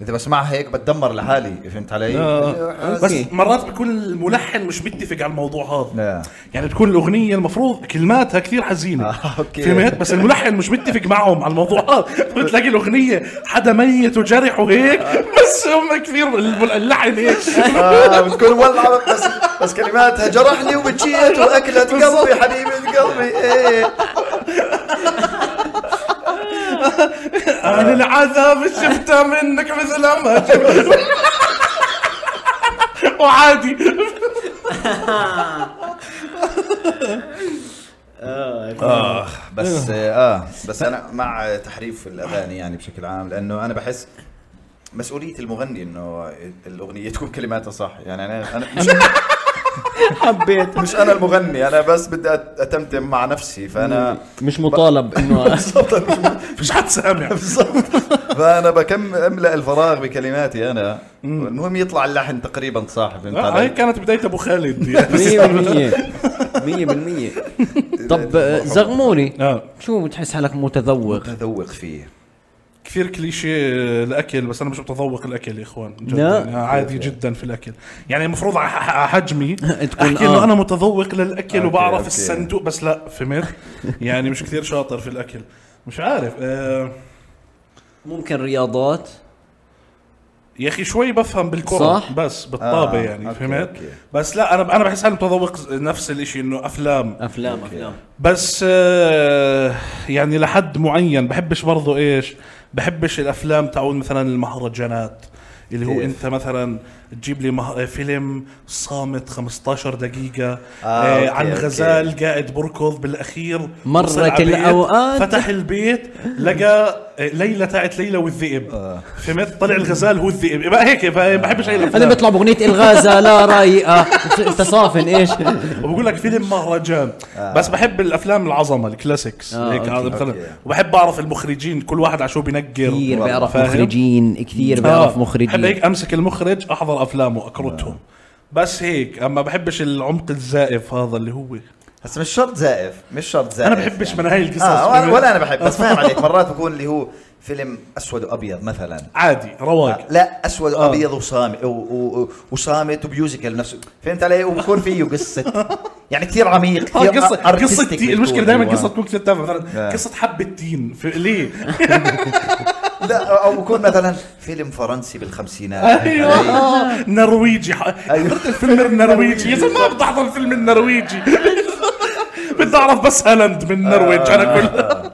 S3: اذا بسمعها هيك بتدمر لحالي فهمت علي؟
S2: آه. بس
S1: أوكي.
S2: مرات بيكون الملحن مش متفق على الموضوع هذا
S3: لا.
S2: يعني تكون الاغنيه المفروض كلماتها كثير حزينه
S3: آه، أوكي.
S2: فهمت بس الملحن مش متفق معهم على الموضوع هذا بتلاقي الاغنيه حدا ميت وجرح وهيك بس هم كثير الم- اللحن هيك
S3: آه بتكون والله بس بس كلماتها جرحني وبجيت واكلت قلبي حبيبه قلبي ايه آه.
S2: انا العذاب شفته منك مثل ما شفت. وعادي
S3: اخ بس
S2: إيه.
S3: اه بس انا مع تحريف الاغاني يعني بشكل عام لانه انا بحس مسؤولية المغني انه الاغنية تكون كلماتها صح يعني انا انا مش,
S1: حبيت
S3: مش انا المغني انا بس بدي أت- اتمتم مع نفسي فانا
S1: مش مطالب انه
S3: بالضبط أنا مش-
S2: مش حد سامع
S3: بالضبط فانا بكم املا الفراغ بكلماتي انا المهم يطلع اللحن تقريبا صح فهمت
S2: آه، هاي
S3: علي؟
S2: كانت بدايه ابو خالد يعني.
S1: 100% 100% طب آه، زغموني
S2: آه.
S1: شو بتحس حالك متذوق
S3: متذوق فيه
S2: كثير كليشيه الاكل بس انا مش متذوق الاكل يا اخوان جد
S1: لا.
S2: يعني أنا عادي جدا في الاكل يعني المفروض على ح- على حجمي
S1: تكون
S2: احكي انه
S1: آه.
S2: انا متذوق للاكل
S3: أوكي،
S2: وبعرف
S3: أوكي.
S2: الصندوق بس لا فهمت يعني مش كثير شاطر في الاكل مش عارف آه
S1: ممكن رياضات
S2: يا اخي شوي بفهم بالكره
S1: صح؟
S2: بس بالطابه
S3: آه،
S2: يعني
S3: أوكي،
S2: فهمت
S3: أوكي.
S2: بس لا انا انا بحس حالي متذوق نفس الاشي انه افلام
S1: افلام افلام
S2: بس آه، يعني لحد معين بحبش برضو ايش بحبش الافلام تعود مثلا المهرجانات اللي هو
S3: كيف؟
S2: انت مثلا تجيب لي مه... فيلم صامت 15 دقيقة آه
S3: أوكي،
S2: آه عن
S3: أوكي.
S2: غزال قاعد بركض بالاخير
S1: مرت
S2: وصل عبيت،
S1: الأوقات.
S2: فتح البيت لقى آه، ليلى تاعت ليلى والذئب
S3: آه.
S2: فهمت طلع الغزال هو الذئب بقى هيك ب- بحبش هاي
S1: انا
S2: الافلام
S1: بيطلع باغنيه الغازه لا رايقه انت صافن ايش
S2: وبقول لك فيلم مهرجان آه. بس بحب الافلام العظمه الكلاسيكس
S1: آه،
S2: آه هيك
S1: أوكي،
S2: هذا مثلا
S3: أوكي.
S2: وبحب اعرف المخرجين كل واحد على شو بنقر
S1: كثير
S3: والله
S1: بيعرف
S2: فاهم. آه.
S1: مخرجين كثير بيعرف
S2: بحب
S1: مخرجين
S2: هيك امسك المخرج احضر افلامه اكرتهم
S1: آه.
S2: بس هيك اما بحبش العمق الزائف هذا اللي هو
S3: هسا مش شرط زائف مش شرط زائف
S2: انا بحبش من هاي القصص
S3: آه ولا,
S2: فهمت؟
S3: ولا انا بحب بس فاهم عليك مرات بكون اللي هو فيلم اسود وابيض مثلا
S2: عادي رواق
S1: آه.
S3: لا اسود
S2: آه.
S3: وابيض وصامت وصامت وميوزيكال نفسه فهمت علي وبكون فيه قصه يعني كثير عميق
S2: آه،
S3: كثير
S2: قصة
S3: artistic
S2: قصة تين. المشكلة
S3: بتكون.
S2: دائما
S3: أيوة.
S2: قصة ممكن تتفق مثلا
S3: آه.
S2: قصة حبة تين في- ليه؟
S3: لا او بكون مثلا فيلم فرنسي بالخمسينات
S2: ايوه نرويجي ح-
S3: أيوة.
S2: حضرت الفيلم النرويجي يا زلمه ما بدي احضر الفيلم النرويجي بدي اعرف بس هالاند من النرويج انا
S3: آه.
S2: كل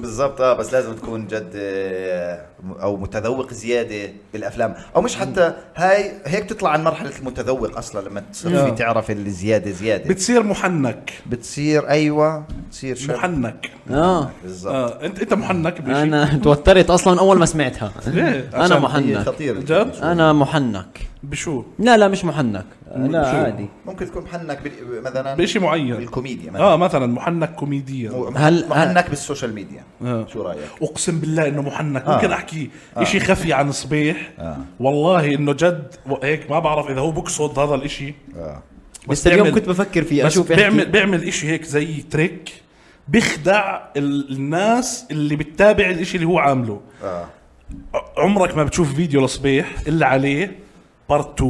S3: بالضبط اه بس لازم تكون جد آه، او متذوق زياده بالافلام او مش حتى هاي هيك تطلع عن مرحله المتذوق اصلا لما تصير
S2: آه.
S3: في تعرف الزياده زياده
S2: بتصير محنك
S3: بتصير ايوه بتصير شر
S2: محنك
S1: اه
S3: بالضبط
S2: اه انت انت محنك بشيء
S1: انا توترت اصلا اول ما سمعتها
S2: ليه؟
S1: انا
S2: عشان
S3: هي
S1: محنك
S3: خطيره
S2: آه. جد؟
S1: انا محنك
S2: بشو؟
S1: لا لا مش محنك لا
S2: شو؟
S1: عادي
S3: ممكن تكون محنك بال- مثلا
S2: بشيء معين
S3: بالكوميديا مثلا
S2: اه مثلا محنك كوميديا
S1: هل-
S3: هل محنك بالسوشيال ميديا
S2: آه.
S3: شو رايك؟
S2: اقسم بالله انه محنك
S3: آه.
S2: ممكن احكي اشي خفي عن صبيح والله انه جد هيك ما بعرف اذا هو بقصد هذا الاشي
S3: آه.
S1: بس اليوم
S2: بيعمل-
S1: كنت بفكر فيه
S2: بس
S1: اشوف
S2: بيعمل
S1: يحكي.
S2: بيعمل اشي هيك زي تريك بيخدع ال- الناس اللي بتتابع الاشي اللي هو عامله
S3: آه.
S2: ع- عمرك ما بتشوف فيديو لصبيح الا عليه آه، بارت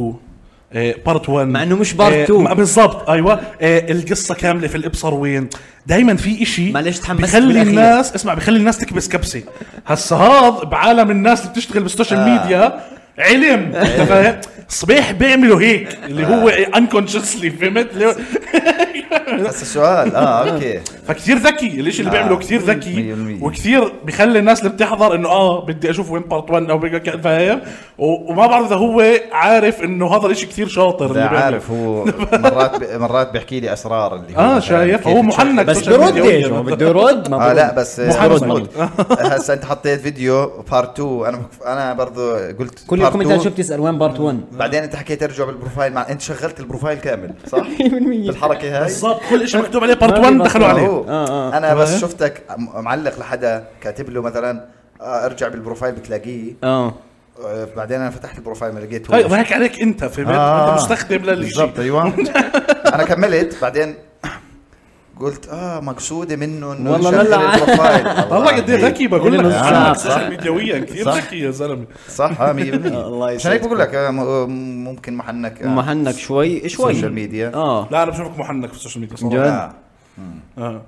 S2: 2 بارت 1
S1: مع إنه مش part two.
S2: آه، بالضبط ايوه آه، القصه كامله في الابصر وين دائما في إشي
S1: معلش تحمست
S2: بخلي
S1: بالأخير.
S2: الناس اسمع بخلي الناس تكبس كبسه هسا هذا بعالم الناس اللي بتشتغل بالسوشيال
S3: آه.
S2: ميديا علم انت فاهم صبيح بيعملوا هيك اللي هو
S1: آه.
S2: انكونشسلي فهمت اللي هو-
S3: هسا السؤال اه اوكي
S2: فكتير ذكي الاشي اللي
S3: آه.
S2: بيعمله كتير
S3: مية
S2: ذكي
S3: بالمية.
S2: وكتير بخلي الناس اللي بتحضر انه اه بدي اشوف وين بارت 1 او بيجا كده، فاهم و- وما بعرف اذا هو عارف انه هذا الاشي كتير شاطر
S3: لا
S2: اللي بيعمله.
S3: عارف هو مرات ب... مرات بيحكي لي اسرار اللي هو
S2: اه
S3: مثلاً
S2: شايف
S3: كيف
S2: هو
S3: تشوف-
S2: محنك
S1: بس
S2: سوشيال
S1: برد يعني.
S2: ميديا.
S1: يا جماعة، بده يرد ما
S3: اه
S1: برد.
S3: لا بس
S2: مو
S3: آه،
S2: حرام
S3: برد-
S2: صمد.
S3: هسا انت حطيت فيديو بارت 2 انا انا برضو قلت
S1: كل
S3: part
S1: الكومنتات
S3: two.
S1: شفت تسال وين بارت 1
S3: بعدين انت حكيت ارجع بالبروفايل مع انت شغلت البروفايل كامل صح؟
S1: 100%
S3: بالحركه هاي
S2: بالضبط كل اشي مكتوب عليه بارت
S1: ما في
S2: 1
S1: بارت
S2: دخلوا
S1: one.
S2: عليه
S3: هو.
S1: آه، آه.
S3: انا
S2: تمام.
S3: بس شفتك م- معلق لحدا كاتب له مثلا آه، ارجع بالبروفايل بتلاقيه
S1: اه
S3: آه، بعدين انا فتحت البروفايل ما لقيته
S2: هاي ضحك عليك انت فهمت
S1: آه.
S2: انت مستخدم للشيء
S3: بالضبط ايوه انا كملت بعدين قلت اه مقصوده منه انه
S1: والله
S3: يشغل
S1: ملع.
S3: البروفايل
S2: والله
S1: إيه
S2: قد ايه ذكي بقول لك
S1: آه، إنه
S2: محنك
S1: صح.
S2: سوشيال ميديويا كثير
S3: صح.
S2: ذكي يا زلمه
S3: صح اه 100%
S1: الله
S3: عشان هيك بقول لك آه، م- ممكن محنك آه،
S1: محنك شوي شوي
S3: سوشيال ميديا.
S1: اه
S2: لا انا بشوفك محنك في السوشيال ميديا
S1: جد؟
S2: صراحه
S3: آه.
S2: آه.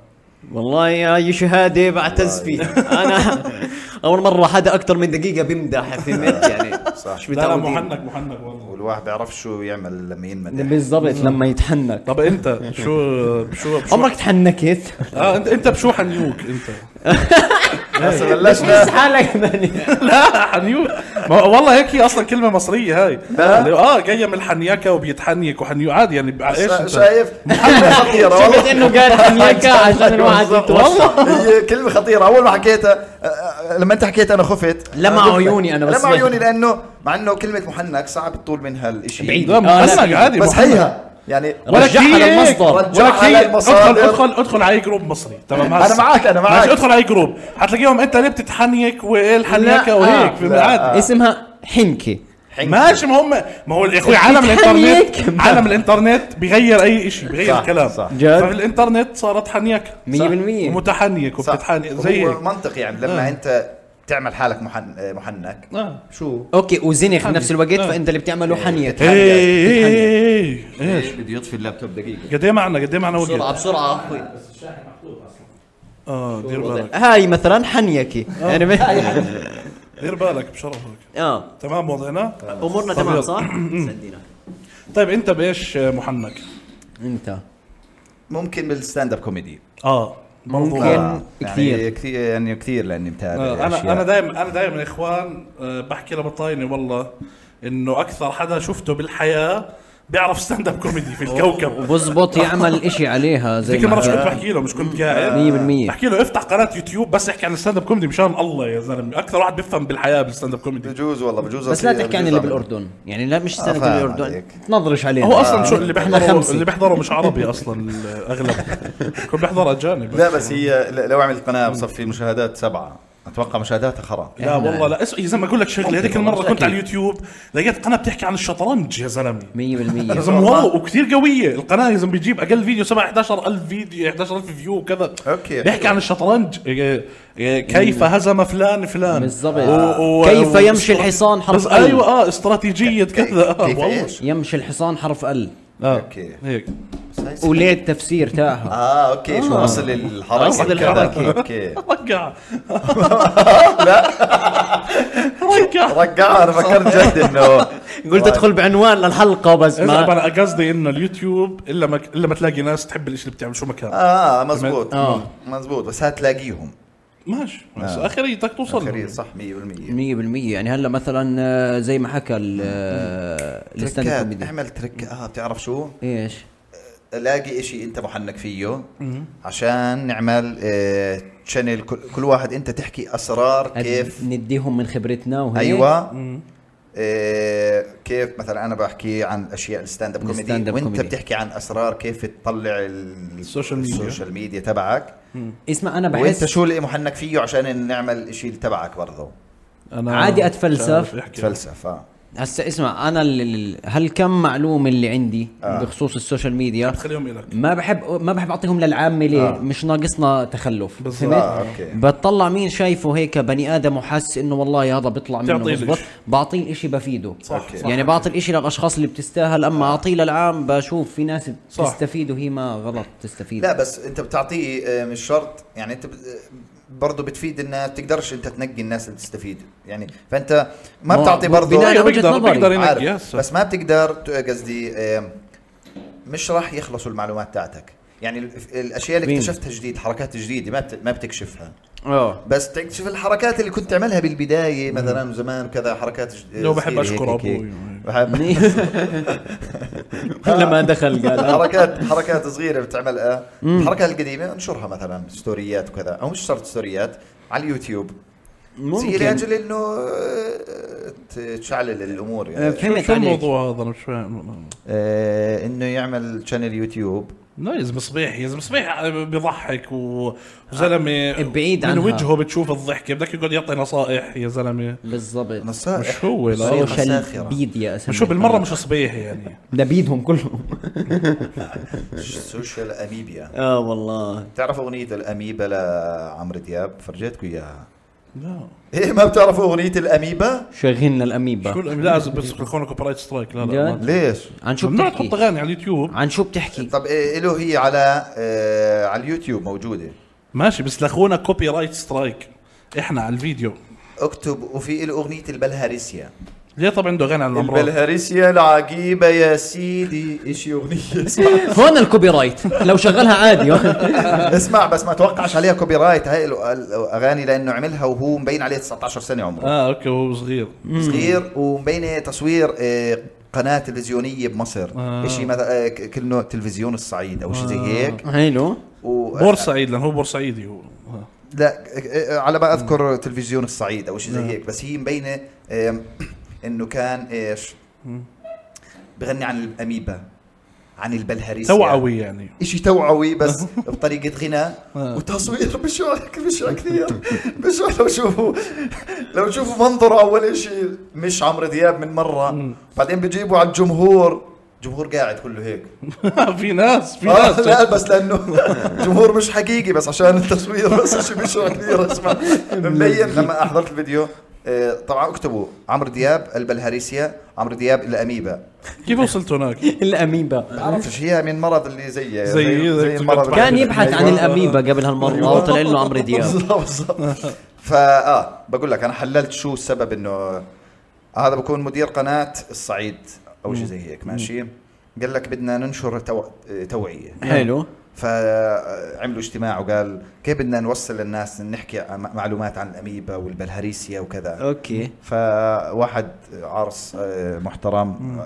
S1: والله آه، هاي شهاده بعتز فيها انا اول مره حدا اكثر من دقيقه بمدح فهمت يعني
S3: صح.
S1: مش
S2: لا لا
S1: متعودين.
S2: محنك محنك والله
S3: والواحد بيعرف شو يعمل لما
S1: إيه.
S3: ينمدح
S1: بالضبط لما يتحنك
S2: طب انت شو بشو بشو
S1: عمرك تحنكت؟
S2: اه انت انت بشو حنيوك انت
S3: هسه
S1: بس
S3: بلشنا
S1: حالك ماني
S2: لا حنيوك ما هو- والله هيك هي اصلا كلمه مصريه هاي اه جايه من الحنيكه وبيتحنيك وحنيو عادي يعني بع- ايش
S3: شا-
S2: انت؟
S3: شايف محنك خطيره
S1: شفت
S3: والله
S1: انه قال حنيكة عشان الواحد
S3: بالضبط.
S1: يتوصل
S3: هي كلمة خطيرة أول ما حكيتها آه، آه، لما أنت حكيت أنا خفت
S1: لمع
S3: قلت لك.
S1: عيوني أنا بس
S3: لمع
S1: سمعت.
S3: عيوني لأنه مع أنه كلمة محنك صعب الطول منها الإشي
S1: بعيد.
S2: لا
S1: آه، لا،
S2: محنك عادي
S3: بس
S2: محنك.
S3: حيها يعني
S2: ولا
S1: رجعها
S2: كيك،
S1: للمصدر.
S2: ولا
S3: رجعها
S2: كيك. ادخل
S3: للمصادر.
S2: ادخل ادخل على أي جروب مصري تمام
S3: أنا
S2: هسا.
S3: معك، أنا معك.
S2: ماشي ادخل على أي جروب حتلاقيهم انت ليه بتتحنيك وايه الحنيكه
S1: لا،
S2: وهيك
S1: آه،
S2: في
S3: لا،
S2: عادي
S1: اسمها حنكة
S2: ماشي ما هم ما هو يا اخوي عالم الانترنت
S1: حنيك.
S2: عالم الانترنت بيغير اي شيء بيغير
S3: صح،
S2: الكلام
S3: صح.
S1: جد.
S2: ففي الانترنت صارت حنيك
S1: 100%
S2: ومتحنيك
S3: صح.
S2: وبتتحنيك
S3: هو
S2: زي هيك
S3: منطقي يعني لما أنت تعمل حالك محن... آه، محنك
S2: آه.
S3: شو
S1: اوكي وزنخ بنفس الوقت
S2: آه.
S1: فانت اللي بتعمله حنيه
S2: إيه، إيه، إيه، إيه.
S4: ليش بده يطفي اللابتوب دقيقه
S2: قد ايه معنا قد ايه معنا
S1: بسرعه
S2: وقت
S1: بسرعه أخوي.
S2: اه دير بالك
S1: هاي مثلا حنيكي
S2: آه.
S1: يعني ب-
S2: دير بالك بشرفك
S1: اه
S2: تمام وضعنا
S1: امورنا
S2: طب
S1: تمام
S2: يلا.
S1: صح؟ صدقنا
S2: طيب انت بايش محنك
S1: انت
S3: ممكن بالستاند اب كوميدي
S2: اه
S1: ممكن.
S2: برضو
S1: كان
S3: يعني
S1: كثير.
S3: كثير يعني كثير لاني متابع
S2: آه، انا
S3: أشياء.
S2: انا دائما انا دائما يا اخوان آه، بحكي لبطايني والله انه اكثر حدا شفته بالحياه بيعرف ستاند اب كوميدي في الكوكب
S1: وبزبط يعمل اشي عليها زي
S2: ذيك
S1: ما
S2: المره شو كنت
S1: حكيت.
S2: بحكي له مش كنت قاعد
S1: 100%
S2: بحكي له افتح قناه يوتيوب بس احكي عن الستاند اب كوميدي مشان الله يا زلمه اكثر واحد بيفهم بالحياه بالستاند اب كوميدي
S3: بجوز والله بجوز
S1: بس لا
S3: أصير-
S1: تحكي عن
S3: بجوز
S1: اللي
S3: أعمل.
S1: بالاردن يعني لا مش سنه
S3: فاهم
S1: بالاردن
S3: عليك.
S1: تنظرش علينا
S2: هو اصلا شو اللي
S1: إحنا
S2: بيحضره
S1: يعني خمسة.
S2: اللي بيحضره مش عربي اصلا الاغلب كل بيحضر اجانب
S3: لا بس هي ل- لو عملت قناه بصفي مشاهدات سبعه اتوقع مشاهداتها خرا
S2: لا والله لا اسمع يا زلمه اقول لك شغله هذيك المره
S1: يعني والله،
S2: كنت على
S1: أكيد.
S2: اليوتيوب لقيت قناه بتحكي عن الشطرنج يا زلمه يا
S1: 100%
S2: زلمه واو وكثير قويه القناه يا زلمه بيجيب اقل فيديو سبع 11000 فيديو 11000 فيو وكذا
S3: أوكي.
S2: بيحكي عن الشطرنج إيه، إيه، كيف هزم فلان فلان
S1: بالضبط.
S2: و- و-
S1: كيف
S2: و-
S1: يمشي
S2: استرا-
S1: الحصان حرف
S2: بس
S1: أل.
S2: ايوه اه استراتيجيه كذا آه،
S3: كيف
S2: والله.
S3: ايش؟
S1: يمشي الحصان حرف ال
S2: آه،
S3: أوكي.
S2: هيك
S1: وليه التفسير تاعها
S3: اه اوكي شو اصل الحركه
S1: أصل
S3: كذا.
S1: آه. الحركة.
S3: اوكي
S2: رجع رجع
S3: رجع انا فكرت جد انه طيب.
S1: قلت ادخل بعنوان للحلقه بس
S2: اسمع،
S1: ما
S2: انا قصدي انه اليوتيوب الا ما الا ما تلاقي ناس تحب الشيء اللي بتعمل شو ما كان
S3: اه مزبوط
S1: آه.
S3: مزبوط بس هتلاقيهم
S2: ماشي بس اخريتك توصل
S3: خير
S2: له.
S3: صح 100%
S1: 100% يعني هلا مثلا آه، زي ما حكى ال- آه، الستاند اب
S3: تركات
S1: كوميدي.
S3: اعمل ترك اه بتعرف شو
S1: ايش؟
S3: الاقي اشي انت محنك فيه عشان نعمل آه تشانل كل كل واحد انت تحكي اسرار كيف
S1: هاد نديهم من خبرتنا وهيك
S3: ايوه إيه كيف مثلا انا بحكي عن اشياء الستاند اب
S1: الستاند
S3: كوميدي
S1: أب
S3: وانت
S1: كوميدي.
S3: بتحكي عن اسرار كيف تطلع ال-
S2: السوشيال ميديا.
S3: السوشيال ميديا تبعك
S1: اسمع انا
S3: وانت
S1: بحس
S3: شو اللي محنك فيه عشان نعمل الشيء اللي تبعك برضه
S2: انا
S1: عادي
S2: مش عارف
S1: أتفلسف.
S2: أحكي.
S3: تفلسف اه
S1: هسا اسمع انا ال- ال- هالكم معلومه اللي عندي
S3: آه.
S1: بخصوص السوشيال ميديا
S2: خليهم إلك
S1: ما بحب ما بحب اعطيهم للعامه ليه؟ آه. مش ناقصنا تخلف
S2: بالظبط.
S1: فهمت؟
S3: آه، أوكي.
S1: بتطلع مين شايفه هيك بني ادم وحس انه والله هذا بيطلع منه
S2: تعطيه
S1: مزبط
S2: الإشي.
S1: بعطيه الاشي بفيده
S2: صح، أوكي. صح. آه.
S1: يعني بعطي الاشي للاشخاص اللي بتستاهل اما اعطيه للعام بشوف في ناس
S2: صح.
S1: بتستفيد وهي ما غلط تستفيد
S3: لا بس انت بتعطيه آه، مش شرط يعني انت برضه بتفيد الناس بتقدرش انت تنقي الناس اللي تستفيد يعني فانت ما
S1: ما-
S3: بتعطي برضه
S1: بناء على وجهة
S2: بيقدر
S1: نظري.
S2: بيقدر ينقي
S3: عارف
S2: هسه.
S3: بس ما بتقدر ت- قصدي آم، مش راح يخلصوا المعلومات تاعتك يعني ال- الاشياء اللي
S1: مين؟
S3: اكتشفتها جديد حركات جديده ما بت- ما بتكشفها
S2: آه.
S1: اه
S3: بس تكتشف الحركات اللي كنت تعملها بالبدايه مثلا زمان كذا حركات جد-
S2: لو بحب
S3: صغيرة
S2: أشكر
S3: هيك- هيك.
S2: أبوي.
S3: بحب
S1: لما دخل قال
S3: حركات حركات صغيره بتعملها الحركات القديمه انشرها مثلا ستوريات وكذا او مش شرط ستوريات على اليوتيوب زي
S1: ممكن
S3: لاجل انه آه، ت- تشعلل الامور
S1: آه،
S3: يعني
S1: في- فهمت
S2: شو
S1: عليك.
S2: الموضوع هذا انا مش فاهم
S3: آه، انه يعمل شانل يوتيوب
S2: لا يا زلمه صبيح يا زلمه صبيح بيضحك و- وزلمه
S1: آه، بعيد
S2: من
S1: عنها.
S2: وجهه بتشوف الضحكه بدك يقعد يعطي نصائح يا زلمه
S1: بالضبط
S3: نصائح
S2: مش هو لا
S3: صحيح.
S1: سوشيال
S3: ساخرة.
S1: ميديا
S2: مش هو بالمره مش صبيح يعني
S1: نبيدهم كلهم
S3: سوشيال اميبيا
S2: آه،
S1: اه والله
S3: بتعرف اغنيه الاميبا لعمرو دياب فرجيتكم اياها
S2: لا
S3: ايه ما بتعرفوا اغنيه الاميبا
S1: شاغلنا
S2: شو
S1: الاميبا
S2: الأم- لا بس يكون كوبرايت سترايك لا لا
S1: جد؟
S2: ما-
S3: ليش
S1: عن شو
S2: ممنوع تحط
S1: بتحكي
S2: اغاني على اليوتيوب
S1: عن شو بتحكي
S3: طب إيه له هي على آه على اليوتيوب موجوده
S2: ماشي بس لاخونا كوبي رايت سترايك احنا على الفيديو
S3: اكتب وفي له اغنيه البلهارسيا
S2: ليه طبعا عنده اغاني
S3: إيه
S2: على الامراض
S3: البلهارسيا العجيبه يا سيدي ايش اغنيه
S1: هون الكوبي رايت لو شغلها عادي
S3: اسمع بس ما توقعش عليها كوبي رايت هاي له اغاني لانه عملها وهو مبين عليه 19 سنه عمره
S2: اه اوكي وهو صغير
S3: صغير ومبين تصوير آه، قناه تلفزيونيه بمصر
S2: آه.
S3: آه. شيء مثلا آه، ك- كأنه تلفزيون الصعيد او شيء زي هيك
S1: حلو
S3: و...
S2: بورسعيد لانه هو بورسعيدي هو آه.
S3: لا آه، على ما اذكر تلفزيون الصعيد او شيء زي هيك بس هي مبينه آم، انه كان ايش بغني عن الاميبا عن البلهارسيا
S2: توعوي يعني
S3: شيء توعوي بس بطريقه غناء وتصوير بشع بشع كثير بشع لو شوفوا لو شوفوا منظره اول شيء مش عمرو دياب من مره بعدين بجيبوا على الجمهور جمهور قاعد كله هيك
S2: في ناس في
S3: آه
S2: ناس
S3: لا بس لانه جمهور مش حقيقي بس عشان التصوير بس شيء مش كثير اسمع مبين لما حضرت الفيديو آه، طبعا اكتبوا عمرو دياب البلهارسيا عمرو دياب الاميبا
S2: كيف وصلت هناك؟
S1: الاميبا
S3: بعرفش هي من مرض اللي زي
S2: زي- زي-
S1: كان يبحث عن
S3: أيوة.
S1: الاميبا قبل هالمره وطلع له عمرو دياب
S3: بالظبط بالظبط فا اه بقول لك انا حللت شو السبب انه هذا بكون مدير قناه الصعيد او شيء زي هيك ماشي قال لك بدنا ننشر تو... توعيه
S1: حلو
S3: فعملوا اجتماع وقال كيف بدنا نوصل للناس نحكي عن- معلومات عن الاميبا والبلهارسيا وكذا
S1: اوكي
S3: فواحد عرس آه، محترم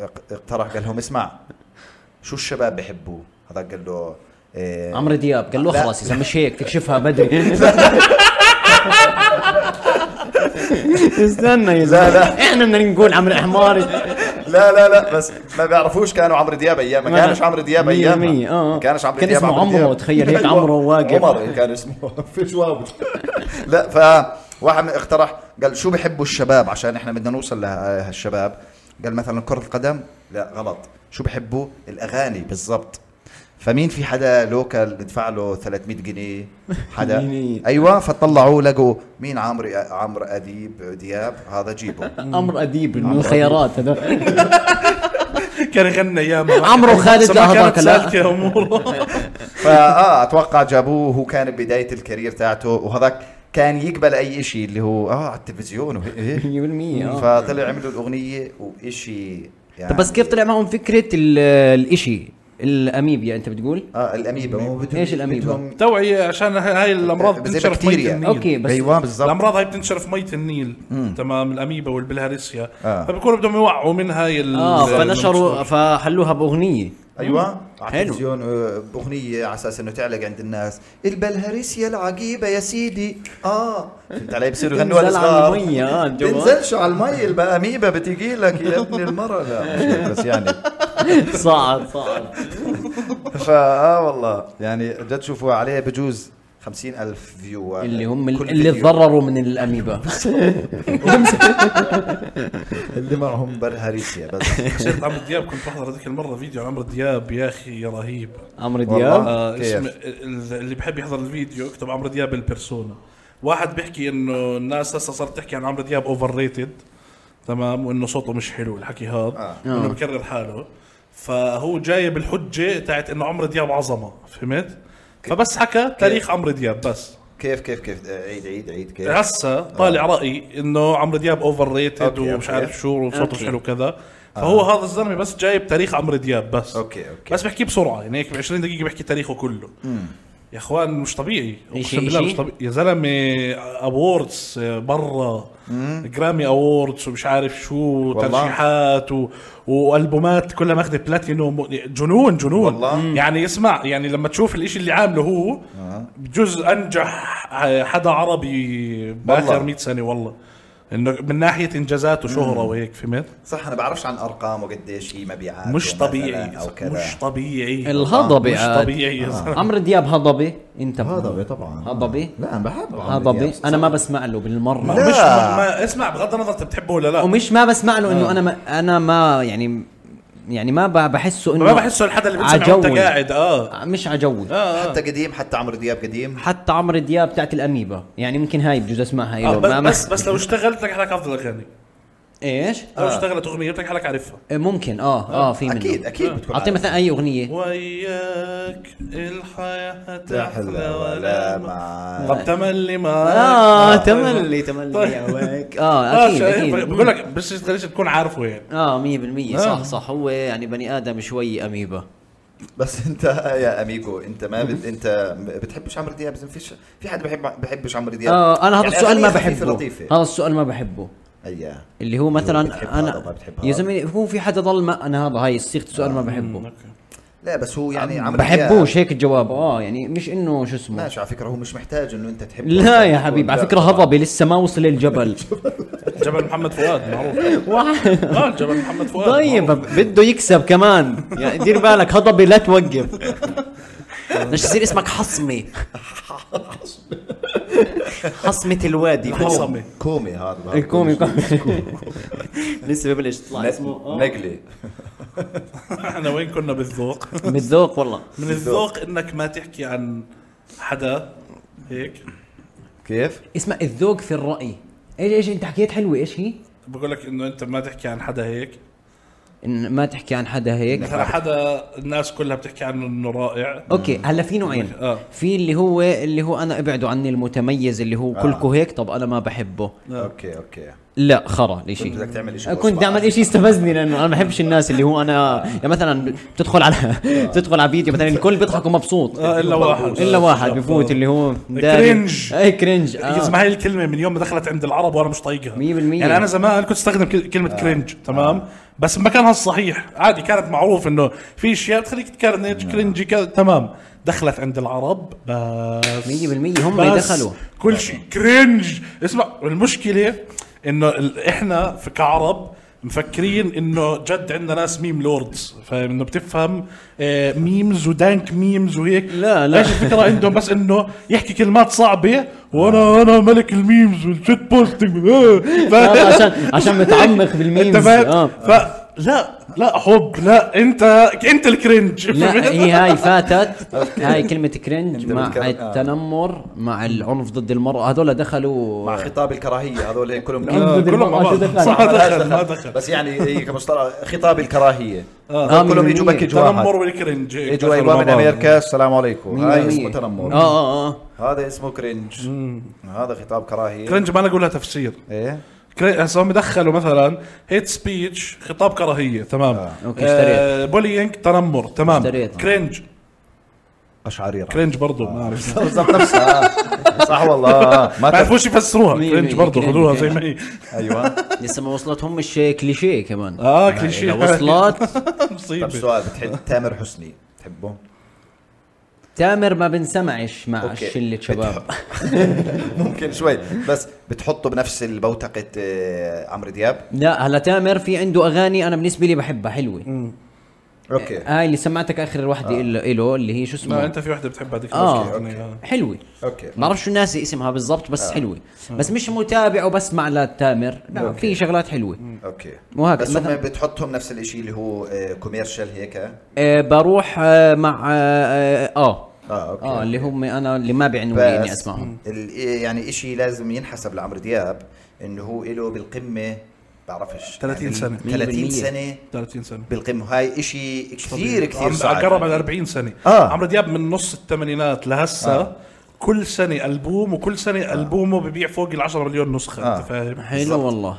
S3: آه، اقترح قال لهم اسمع شو الشباب بحبوا هذا قال له آه،
S1: عمرو دياب قال له
S3: لا.
S1: خلاص اذا مش هيك تكشفها بدري استنى يا
S3: لا،
S1: زلمه
S3: لا.
S1: احنا بدنا نقول عمرو حماري
S3: لا لا لا بس ما بيعرفوش كانوا عمرو دياب ايام ما كانش عمرو دياب
S1: مية
S3: ايام
S1: مية، آه.
S3: ما كانش عمرو
S1: كان
S3: دياب
S1: اسمه عمرو،
S3: دياب.
S1: تخيل هيك
S3: أيوة،
S1: عمرو واقف.
S3: عمر كان اسمه فيش واو لا ف واحد من اقترح قال شو بحبوا الشباب عشان احنا بدنا نوصل لهالشباب قال مثلا كرة القدم لا غلط شو بحبوا الاغاني بالضبط فمين في حدا لوكال بدفع له 300 جنيه حدا
S1: جنيه.
S3: ايوه فطلعوا لقوا مين عمرو عمرو اديب دياب هذا جيبه
S1: عمرو اديب من الخيارات هذا
S2: كان يغني ايام
S1: عمرو خالد لا هذاك
S2: هذاك
S1: لا
S2: سالكه اموره
S3: فاه اتوقع جابوه هو كان بدايه الكارير تاعته وهذاك كان يقبل اي شيء اللي هو اه على التلفزيون وهيك- هيك
S1: 100% آه.
S3: فطلع عملوا الاغنيه وشيء يعني
S1: طب بس كيف طلع معهم فكره ال- الاشي الاميبيا انت بتقول
S3: اه الاميبا ما هو بدهم-
S1: إيش الأميبا؟
S3: بدهم-
S2: توعيه عشان هاي الامراض
S3: زي
S2: بتنشر في ميه
S3: بكتيريا.
S2: النيل
S1: اوكي بس
S3: ايوه بالضبط
S2: الامراض هاي بتنشر في ميه النيل تمام الاميبا والبلهارسيا
S3: آه.
S2: فبكونوا بدهم يوعوا من هاي ال-
S1: اه
S2: ال-
S1: فنشروا فحلوها باغنيه
S3: ايوه على
S1: حلو.
S3: التلفزيون آه، باغنيه على اساس انه تعلق عند الناس البلهارسيا العجيبه يا سيدي اه فهمت علي بصيروا يغنوها
S1: تنزل على
S3: الصغار
S1: الميه اه الجو
S3: تنزلش على المي الاميبا بتجي لك يا ابن المره لا مش هيك بس يعني
S1: صعد صعد
S3: فا اه والله يعني جد شوفوا عليه بجوز خمسين ألف فيو
S1: اللي هم ال-
S3: كل
S1: اللي
S3: فيديو.
S1: تضرروا من الاميبا
S3: اللي معهم برهريسيا بس
S2: سيرة عمرو دياب كنت بحضر هذيك المره فيديو عن عمرو دياب يا اخي يا رهيب
S1: عمرو
S3: والله.
S1: دياب
S2: آه
S3: كيف؟
S2: اسم ال- اللي بحب يحضر الفيديو اكتب عمرو دياب البيرسونا واحد بيحكي انه الناس هسه صارت تحكي عن عمرو دياب اوفر ريتد تمام وانه صوته مش حلو الحكي هذا آه. انه بكرر حاله فهو جايب الحجه تاعت انه عمرو دياب عظمه فهمت فبس حكى تاريخ عمرو دياب بس
S3: كيف كيف كيف آه، عيد عيد عيد كيف
S2: هسه طالع رايي انه عمرو دياب اوفر ريتد
S3: آه. أوكي،
S2: ومش
S3: أوكي. آه.
S2: عارف شو وصوته مش
S1: أوكي.
S2: حلو كذا فهو هذا الزلمه بس جايب تاريخ عمرو دياب بس
S3: أوكي، أوكي.
S2: بس بحكي بسرعه يعني هيك ب 20 دقيقه بحكي تاريخه كله يا اخوان مش طبيعي
S1: إشي-
S2: اقسم بالله
S1: إشي؟
S2: مش طبيعي يا زلمه اووردز آه، برا جرامي اووردز ومش عارف شو ترشيحات و... والبومات كلها ماخذه بلاتينوم جنون جنون
S3: والله.
S2: يعني اسمع يعني لما تشوف الاشي اللي عامله هو
S3: آه.
S2: بجوز انجح حدا عربي باخر
S3: والله.
S2: 100 سنه والله انه من ناحيه انجازات وشهره وهيك فهمت
S3: صح انا بعرفش عن ارقامه قديش هي مبيعات
S2: مش
S3: مثلاً
S2: طبيعي
S3: او كذا آه.
S2: مش طبيعي
S1: الهضبه
S2: مش
S1: عاد.
S2: طبيعي يا زلمه
S1: عمرو دياب هضبه انت
S3: طبعا
S1: هضبي؟
S3: لا انا بحب
S1: هضبي انا ما بسمع له بالمره
S2: مش
S3: لا.
S2: ما اسمع بغض النظر انت بتحبه ولا لا
S1: ومش ما بسمع له
S2: آه.
S1: انه انا ما انا ما يعني يعني ما ب- بحسه انه
S2: ما بحسه الحدا اللي بتسمعه وانت
S1: عجوز.
S2: قاعد اه
S1: مش عجوز
S3: حتى قديم حتى عمرو دياب قديم
S1: حتى عمرو دياب تاعت الاميبا يعني ممكن هاي بجوز اسمعها
S2: آه،
S1: إله
S2: بس
S1: أيوة، ما ما-
S2: بس, بس لو اشتغلت لك حالك افضل اغاني
S1: ايش
S2: لو
S3: آه.
S2: اشتغلت اغنيه لك حالك عارفها
S1: إيه، آه، ممكن اه اه في منه
S3: اكيد اكيد بتكون
S1: اعطيه مثلا اي اغنيه
S2: وياك الحياه
S3: لا
S1: طيب.
S3: حلا ولا مع
S2: طب تملي معاك
S1: اه تملي
S3: طيب.
S1: تملي يا ويك اه اكيد
S2: شايف؟
S1: اكيد
S2: آه، بقول لك بس تخليش تكون عارفه يعني
S1: اه 100%
S2: آه.
S1: صح صح هو يعني بني ادم شوي اميبا
S3: بس انت يا اميجو انت ما بت... انت بتحبش عمرو دياب ما فيش في حد بحب بحبش عمرو دياب
S1: اه انا هذا
S3: يعني
S1: السؤال ما
S3: أغانيه خفيفة
S1: بحبه آه.
S3: لطيفه
S1: هذا السؤال ما بحبه
S3: ايوه
S1: اللي هو
S3: بتحب
S1: مثلا
S3: هذا، ما
S1: انا
S3: بتحب
S1: يا
S3: هذا.
S1: زلمه هو في حدا ضل ما انا هذا هاي صيغه السؤال ما بحبه
S2: أوكي.
S3: لا بس هو يعني عمرو دياب
S1: بحبوش هيك الجواب اه يعني مش انه شو اسمه
S3: ماشي على فكره هو مش محتاج انه انت تحبه
S1: لا يا حبيبي على فكره هضبي لسه ما وصل الجبل
S2: جبل محمد فؤاد معروف
S1: واحد-
S2: اه جبل محمد فؤاد
S1: طيب
S2: معروف.
S1: بده يكسب كمان يعني دير بالك هضبي لا توقف مش يصير اسمك حصمي
S4: حصمة الوادي
S2: حصمة.
S3: كومي هذا
S1: الكومي
S4: لسه ببلش تطلع اسمه آه.
S3: نقلي
S2: احنا وين كنا بالذوق؟
S1: بالذوق والله
S2: من الذوق انك ما تحكي عن حدا هيك
S3: كيف؟
S1: اسمع الذوق في الرأي ايش ايش انت حكيت حلوة ايش هي؟
S2: بقول لك انه انت ما تحكي عن حدا هيك
S1: ان ما تحكي عن حدا هيك
S2: مثلا حدا الناس كلها بتحكي عنه انه رائع
S1: اوكي هلا في نوعين
S2: آه.
S1: في اللي هو اللي هو انا ابعدوا عني المتميز اللي هو كلكم هيك طب انا ما بحبه
S3: اوكي اوكي
S1: لا خرا لشيء
S3: بدك تعمل إشي
S1: كنت
S3: غصب
S1: بدي اعمل شيء استفزني لانه انا ما بحبش الناس اللي هو انا يعني مثلا بتدخل على بتدخل على فيديو مثلا الكل بيضحك ومبسوط
S2: آه الا واحد
S1: الا واحد بفوت اللي هو داري-
S2: كرنج.
S1: اي كرنج
S2: يا
S1: آه.
S2: زلمه هاي الكلمه من يوم ما دخلت عند العرب وانا مش طايقها
S1: مية بالمية.
S2: يعني انا زمان كنت استخدم كل- كلمه آه. كرنج تمام آه. بس مكانها الصحيح عادي كانت معروف انه في اشياء بتخليك تكرنج
S1: نعم.
S2: كرنجي كذا تمام دخلت عند العرب بس
S1: مية بالمية، هم
S2: بس
S1: دخلوا.
S2: كل شيء كرنج اسمع المشكله انه ال- احنا في كعرب مفكرين انه جد عندنا ناس ميم لوردز فاهم انه بتفهم آه، ميمز ودانك ميمز وهيك
S1: لا، لا.
S2: ايش الفكره عندهم بس انه يحكي كلمات صعبه وانا انا ملك الميمز والشيت بوستنج آه، ف-
S1: آه، عشان عشان متعمق بالميمز
S2: انت فاهم
S1: آه.
S2: ف- لا لا حب لا انت انت الكرنج
S1: لا هي هاي فاتت هاي كلمة كرنج
S3: أنت
S1: مع
S3: بتكر- آه.
S1: التنمر مع العنف ضد المرأة هذول دخلوا
S3: مع خطاب الكراهيه هذول هيك كلهم
S1: آه، ضد
S2: كلهم مع
S1: المرأة شو
S2: بعض.
S1: دخل؟
S2: صح.
S3: ما
S2: ما دخل،
S3: دخل
S2: ما دخل.
S3: بس يعني هي كمصطلح خطاب الكراهيه
S1: آه، مية
S3: كلهم
S1: بالمية.
S3: يجوا باكج
S2: تنمر
S3: واحد
S2: والكرنج هيك
S3: يجوا
S2: دخلوا مع
S3: ايوه من
S2: بعض.
S3: امريكا السلام عليكم
S1: مية
S3: هاي
S1: مية.
S3: اسمه
S1: اه
S3: تنمر
S1: اه اه
S3: هذا اسمه كرنج هذا خطاب كراهيه
S2: كرنج ما لقوا لها تفسير
S3: ايه
S2: كري- هسا هم دخلوا مثلا هيت سبيتش خطاب كراهيه تمام
S3: آه.
S1: أوكي، اشتريت.
S2: آه، بولينج تنمر تمام
S1: اشتريت.
S2: كرنج
S3: قشعريره
S2: كرنج برضه ما اعرف
S3: بالضبط نفسها صح والله ما
S2: ما
S3: تعرف
S2: يعرفوش يفسروها
S1: مية
S2: كرنج
S1: مية،
S2: برضه
S1: كرنج،
S2: خذوها زي
S1: كرنج.
S2: ما هي
S3: ايوه
S1: لسه ما وصلتهم مش كليشيه كمان
S3: آه،
S2: اه
S1: يعني إذا
S2: كليشيه
S1: وصلت
S3: طب
S2: مصيبه
S3: سؤال بتحب تامر حسني بتحبه؟
S1: تامر ما بنسمعش مع
S3: أوكي.
S1: شلة شباب
S3: ممكن شوي بس بتحطه بنفس البوتقة آه، عمرو دياب
S1: لا هلا تامر في عنده اغاني انا بالنسبه لي بحبها حلوه
S2: آه،
S3: اوكي
S1: هاي اللي سمعتك اخر
S3: آه.
S1: وحده إله إله اللي هي شو
S2: ما
S1: اسمها
S2: انت في وحده بتحبها هذيك
S1: اه
S2: المشكلة. آه.
S1: حلوه
S3: اوكي
S1: بعرف شو ناسي اسمها بالضبط بس حلوه بس مش متابع وبسمع لتامر لا
S3: أوكي.
S1: في شغلات حلوه
S3: اوكي
S1: وهكذا.
S3: بس هم
S1: مثلاً-
S3: بتحطهم نفس الاشي اللي هو كوميرشال هيك اه
S1: آه بروح آه مع اه اه,
S3: اوكي
S1: آه اللي هم انا اللي ما بيعنوا لي اني
S3: بس
S1: اسمعهم
S3: ال- يعني اشي لازم ينحسب لعمرو دياب انه هو له بالقمه بعرفش يعني
S2: 30 سنة.
S3: 30
S1: 100%.
S3: سنه
S2: 30 سنه
S3: بالقمه هاي اشي كثير
S2: طبيعي.
S3: كثير
S2: عم-
S3: صعب
S2: قرب على 40 سنه
S3: آه.
S2: عمرو دياب من نص الثمانينات لهسه
S3: آه.
S2: كل سنه البوم وكل سنه البومه ببيع فوق ال 10 مليون نسخه
S3: آه.
S2: انت فاهم
S1: حلو والله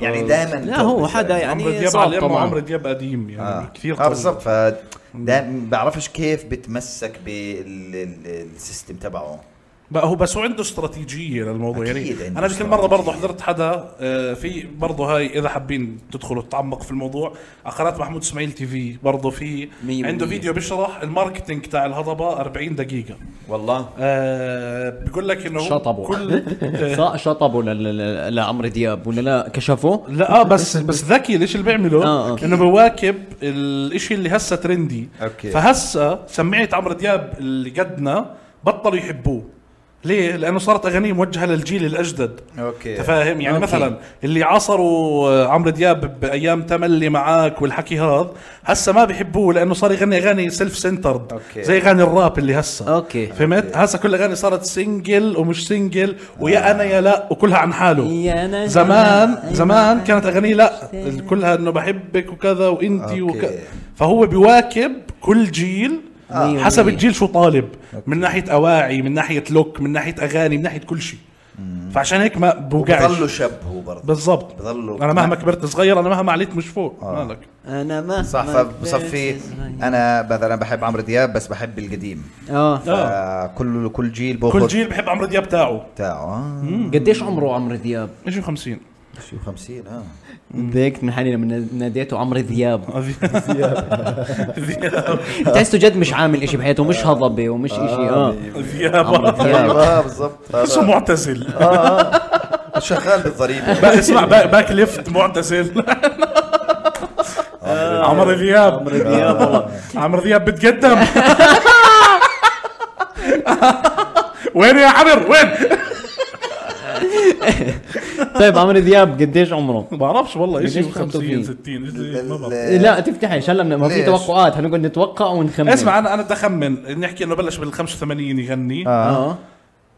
S3: يعني دائما
S1: لا هو حدا
S2: عمرو
S1: يعني
S2: دياب على
S1: صعب
S2: اليمن وعمرو
S1: طبعا
S2: دياب قديم يعني
S3: آه.
S2: كثير
S3: اه
S2: قوي.
S3: بالضبط ف دايم- بعرفش كيف بتمسك بالسيستم تبعه
S2: بقى هو بس هو عنده استراتيجيه للموضوع يعني
S3: أكيد عنده
S2: انا ذيك المره برضه
S3: استراتيجية.
S2: حضرت حدا آه، في برضه هاي اذا حابين تدخلوا تتعمق في الموضوع على قناه محمود اسماعيل تي في برضه في
S1: مية
S2: عنده
S1: بالمية.
S2: فيديو بيشرح الماركتينج تاع الهضبه 40 دقيقه
S3: والله
S2: آه بيقول لك انه
S1: شطبوا.
S2: كل
S1: ص- شطبوا ل- ل- ل- لعمرو دياب ولا لا كشفوه
S2: لا اه بس بس ذكي ليش اللي بيعمله
S1: آه، آه.
S2: انه بواكب الاشي اللي هسه ترندي
S3: أوكي.
S2: فهسه سمعت عمرو دياب اللي قدنا بطلوا يحبوه ليه؟ لانه صارت اغانيه موجهه للجيل الاجدد
S3: اوكي
S2: تفاهم يعني
S1: أوكي.
S2: مثلا اللي عصروا آه، عمرو دياب بايام تملي معاك والحكي هذا هسه ما بيحبوه لانه صار يغني اغاني سيلف سنترد
S3: أوكي.
S2: زي اغاني الراب اللي هسه
S1: أوكي. آه.
S2: فهمت هسه كل اغاني صارت سنجل ومش سنجل ويا انا يا لا وكلها عن حاله
S1: يا أنا يا
S2: زمان
S1: لا. أيوة.
S2: زمان كانت اغانيه لا كلها انه بحبك وكذا وانتي وكذا
S3: أوكي.
S2: فهو بيواكب كل جيل
S1: آه.
S2: حسب
S1: مية.
S2: الجيل شو طالب من ناحيه اواعي من ناحيه لوك من ناحيه اغاني من ناحيه كل شيء فعشان هيك ما بوقعش
S3: بضلوا شاب هو برضه
S2: بالضبط
S3: بضلوا
S2: انا مهما كبرت صغير انا مهما عليت مش فوق
S3: آه.
S2: مالك
S1: انا ما يعني.
S3: صح فبصفي انا مثلا بحب عمرو دياب بس بحب القديم
S1: اه
S2: آه.
S3: فكل كل جيل باخذ
S2: كل جيل بحب عمرو دياب تاعه
S3: تاعه
S1: قديش عمره عمرو دياب؟
S2: ايش 50
S3: شو 50 اه
S1: تضايقت من حالي لما ناديته عمرو دياب بتحسه جد مش عامل إشي بحياته مش هضبه ومش إشي اه آه. عمرو
S2: دياب
S1: دياب
S3: ايوه بالضبط
S2: اسمه
S3: هذا.
S2: معتزل
S3: شغال بالضريبه
S2: بقى اسمع بقى باك ليفت معتزل عمرو دياب عمرو دياب والله عمرو دياب بتقدم وين يا عمر وين
S1: طيب عمرو دياب قديش عمره؟
S2: بعرفش والله ايش
S1: قديش
S2: 50
S1: فيه؟
S2: 60 إيه، ما بعرف.
S1: لا تفتحش هلا من- ما في
S3: إيه. ليش؟
S1: توقعات حنقعد نتوقع ونخمن
S2: اسمع انا انا بدي اخمن نحكي انه بلش بال 85 يغني
S1: اه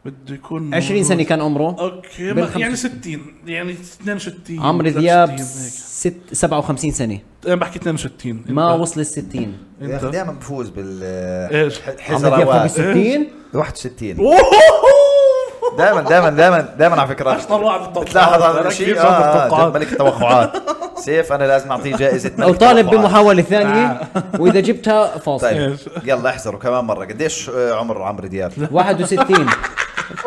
S2: بده يكون
S1: 20 سنه كان عمره
S2: اوكي ما-
S1: بالخمس-
S2: يعني 60 يعني 62
S1: عمرو
S2: 63
S1: دياب
S2: هيك.
S1: ست 57 سنه
S2: انا بحكي 62
S1: ما
S2: أنت-
S1: وصل ال 60
S3: يا أخي
S2: انت
S3: دائما بفوز بال
S2: إيش؟
S1: عمرو دياب فوق ال
S3: حزروات
S1: 60
S3: 61
S2: أوه!
S3: دائما دائما دائما دائما على فكره
S2: أشطر واحد بالتوقعات.
S3: بتلاحظ هذا
S2: أنا
S3: الشيء
S2: كيف
S3: آه،
S2: شاطر
S3: آه
S2: بالتوقعات.
S3: ملك التوقعات سيف انا لازم اعطيه جائزه ملك
S1: او طالب
S3: التوقعات.
S1: بمحاوله ثانيه واذا جبتها فاصل
S3: طيب يلا احزروا كمان مره قديش آه، عمر عمرو دياب
S1: 61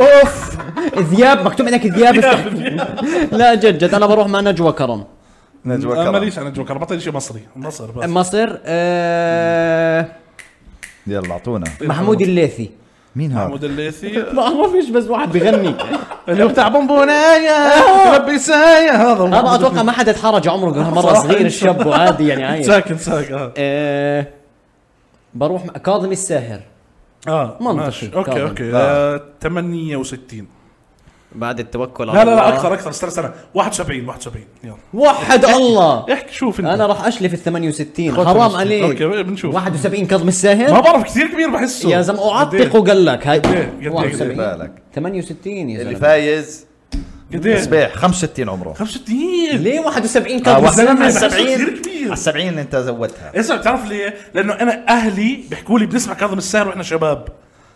S1: اوف ذياب مكتوب عندك ذياب لا جد جد انا بروح مع نجوى كرم
S3: نجوى
S2: أنا
S3: كرم
S2: ماليش انا جوكر بطل شيء مصري مصر بس
S1: مصر آه،
S3: يلا اعطونا
S1: محمود الليثي
S3: مين هذا؟
S2: محمود الليثي
S1: ما اعرفش بس واحد بغني
S2: اللي هو بتاع بونبونايه ربي سايا هذا
S1: انا اتوقع ما حدا تحرج عمره مره
S2: صراحة
S1: صغير
S2: إن شاء
S1: الشاب وعادي يعني عايش
S2: ساكن ساكن اه
S1: آه، بروح مع كاظم الساهر
S2: اه
S1: منطقي.
S2: ماشي اوكي
S1: كاظم.
S2: اوكي
S3: آه.
S2: آه، 68
S1: بعد التوكل
S2: لا لا لا اكثر اكثر استنى استنى 71 71 يلا
S1: وحد الله
S2: احكي شوف انت
S1: انا راح اشلف ال 68
S2: خلاص
S1: آه. حرام
S2: خلاص.
S1: عليك
S2: اوكي بنشوف
S1: 71 كاظم
S2: ما
S1: الساهر
S2: بعرف كثير كبير بحسه
S1: يا زلمه اعتقه قال لك هاي
S2: قديه؟ قديه؟
S3: خلي
S1: 71
S3: بالك
S1: 68 يا
S3: اللي
S1: زلمه
S3: فايز
S2: قد ايه
S3: صبيح 65 عمره
S2: 65
S1: ليه 71
S3: آه،
S1: كاظم
S3: واحد
S1: الساهر
S2: زلمة
S1: على
S2: بحسه
S1: 70
S2: كثير كبير
S3: على 70 انت زودتها
S2: اسمع بتعرف ليه؟ لانه انا اهلي بيحكوا لي بنسمع كاظم الساهر واحنا شباب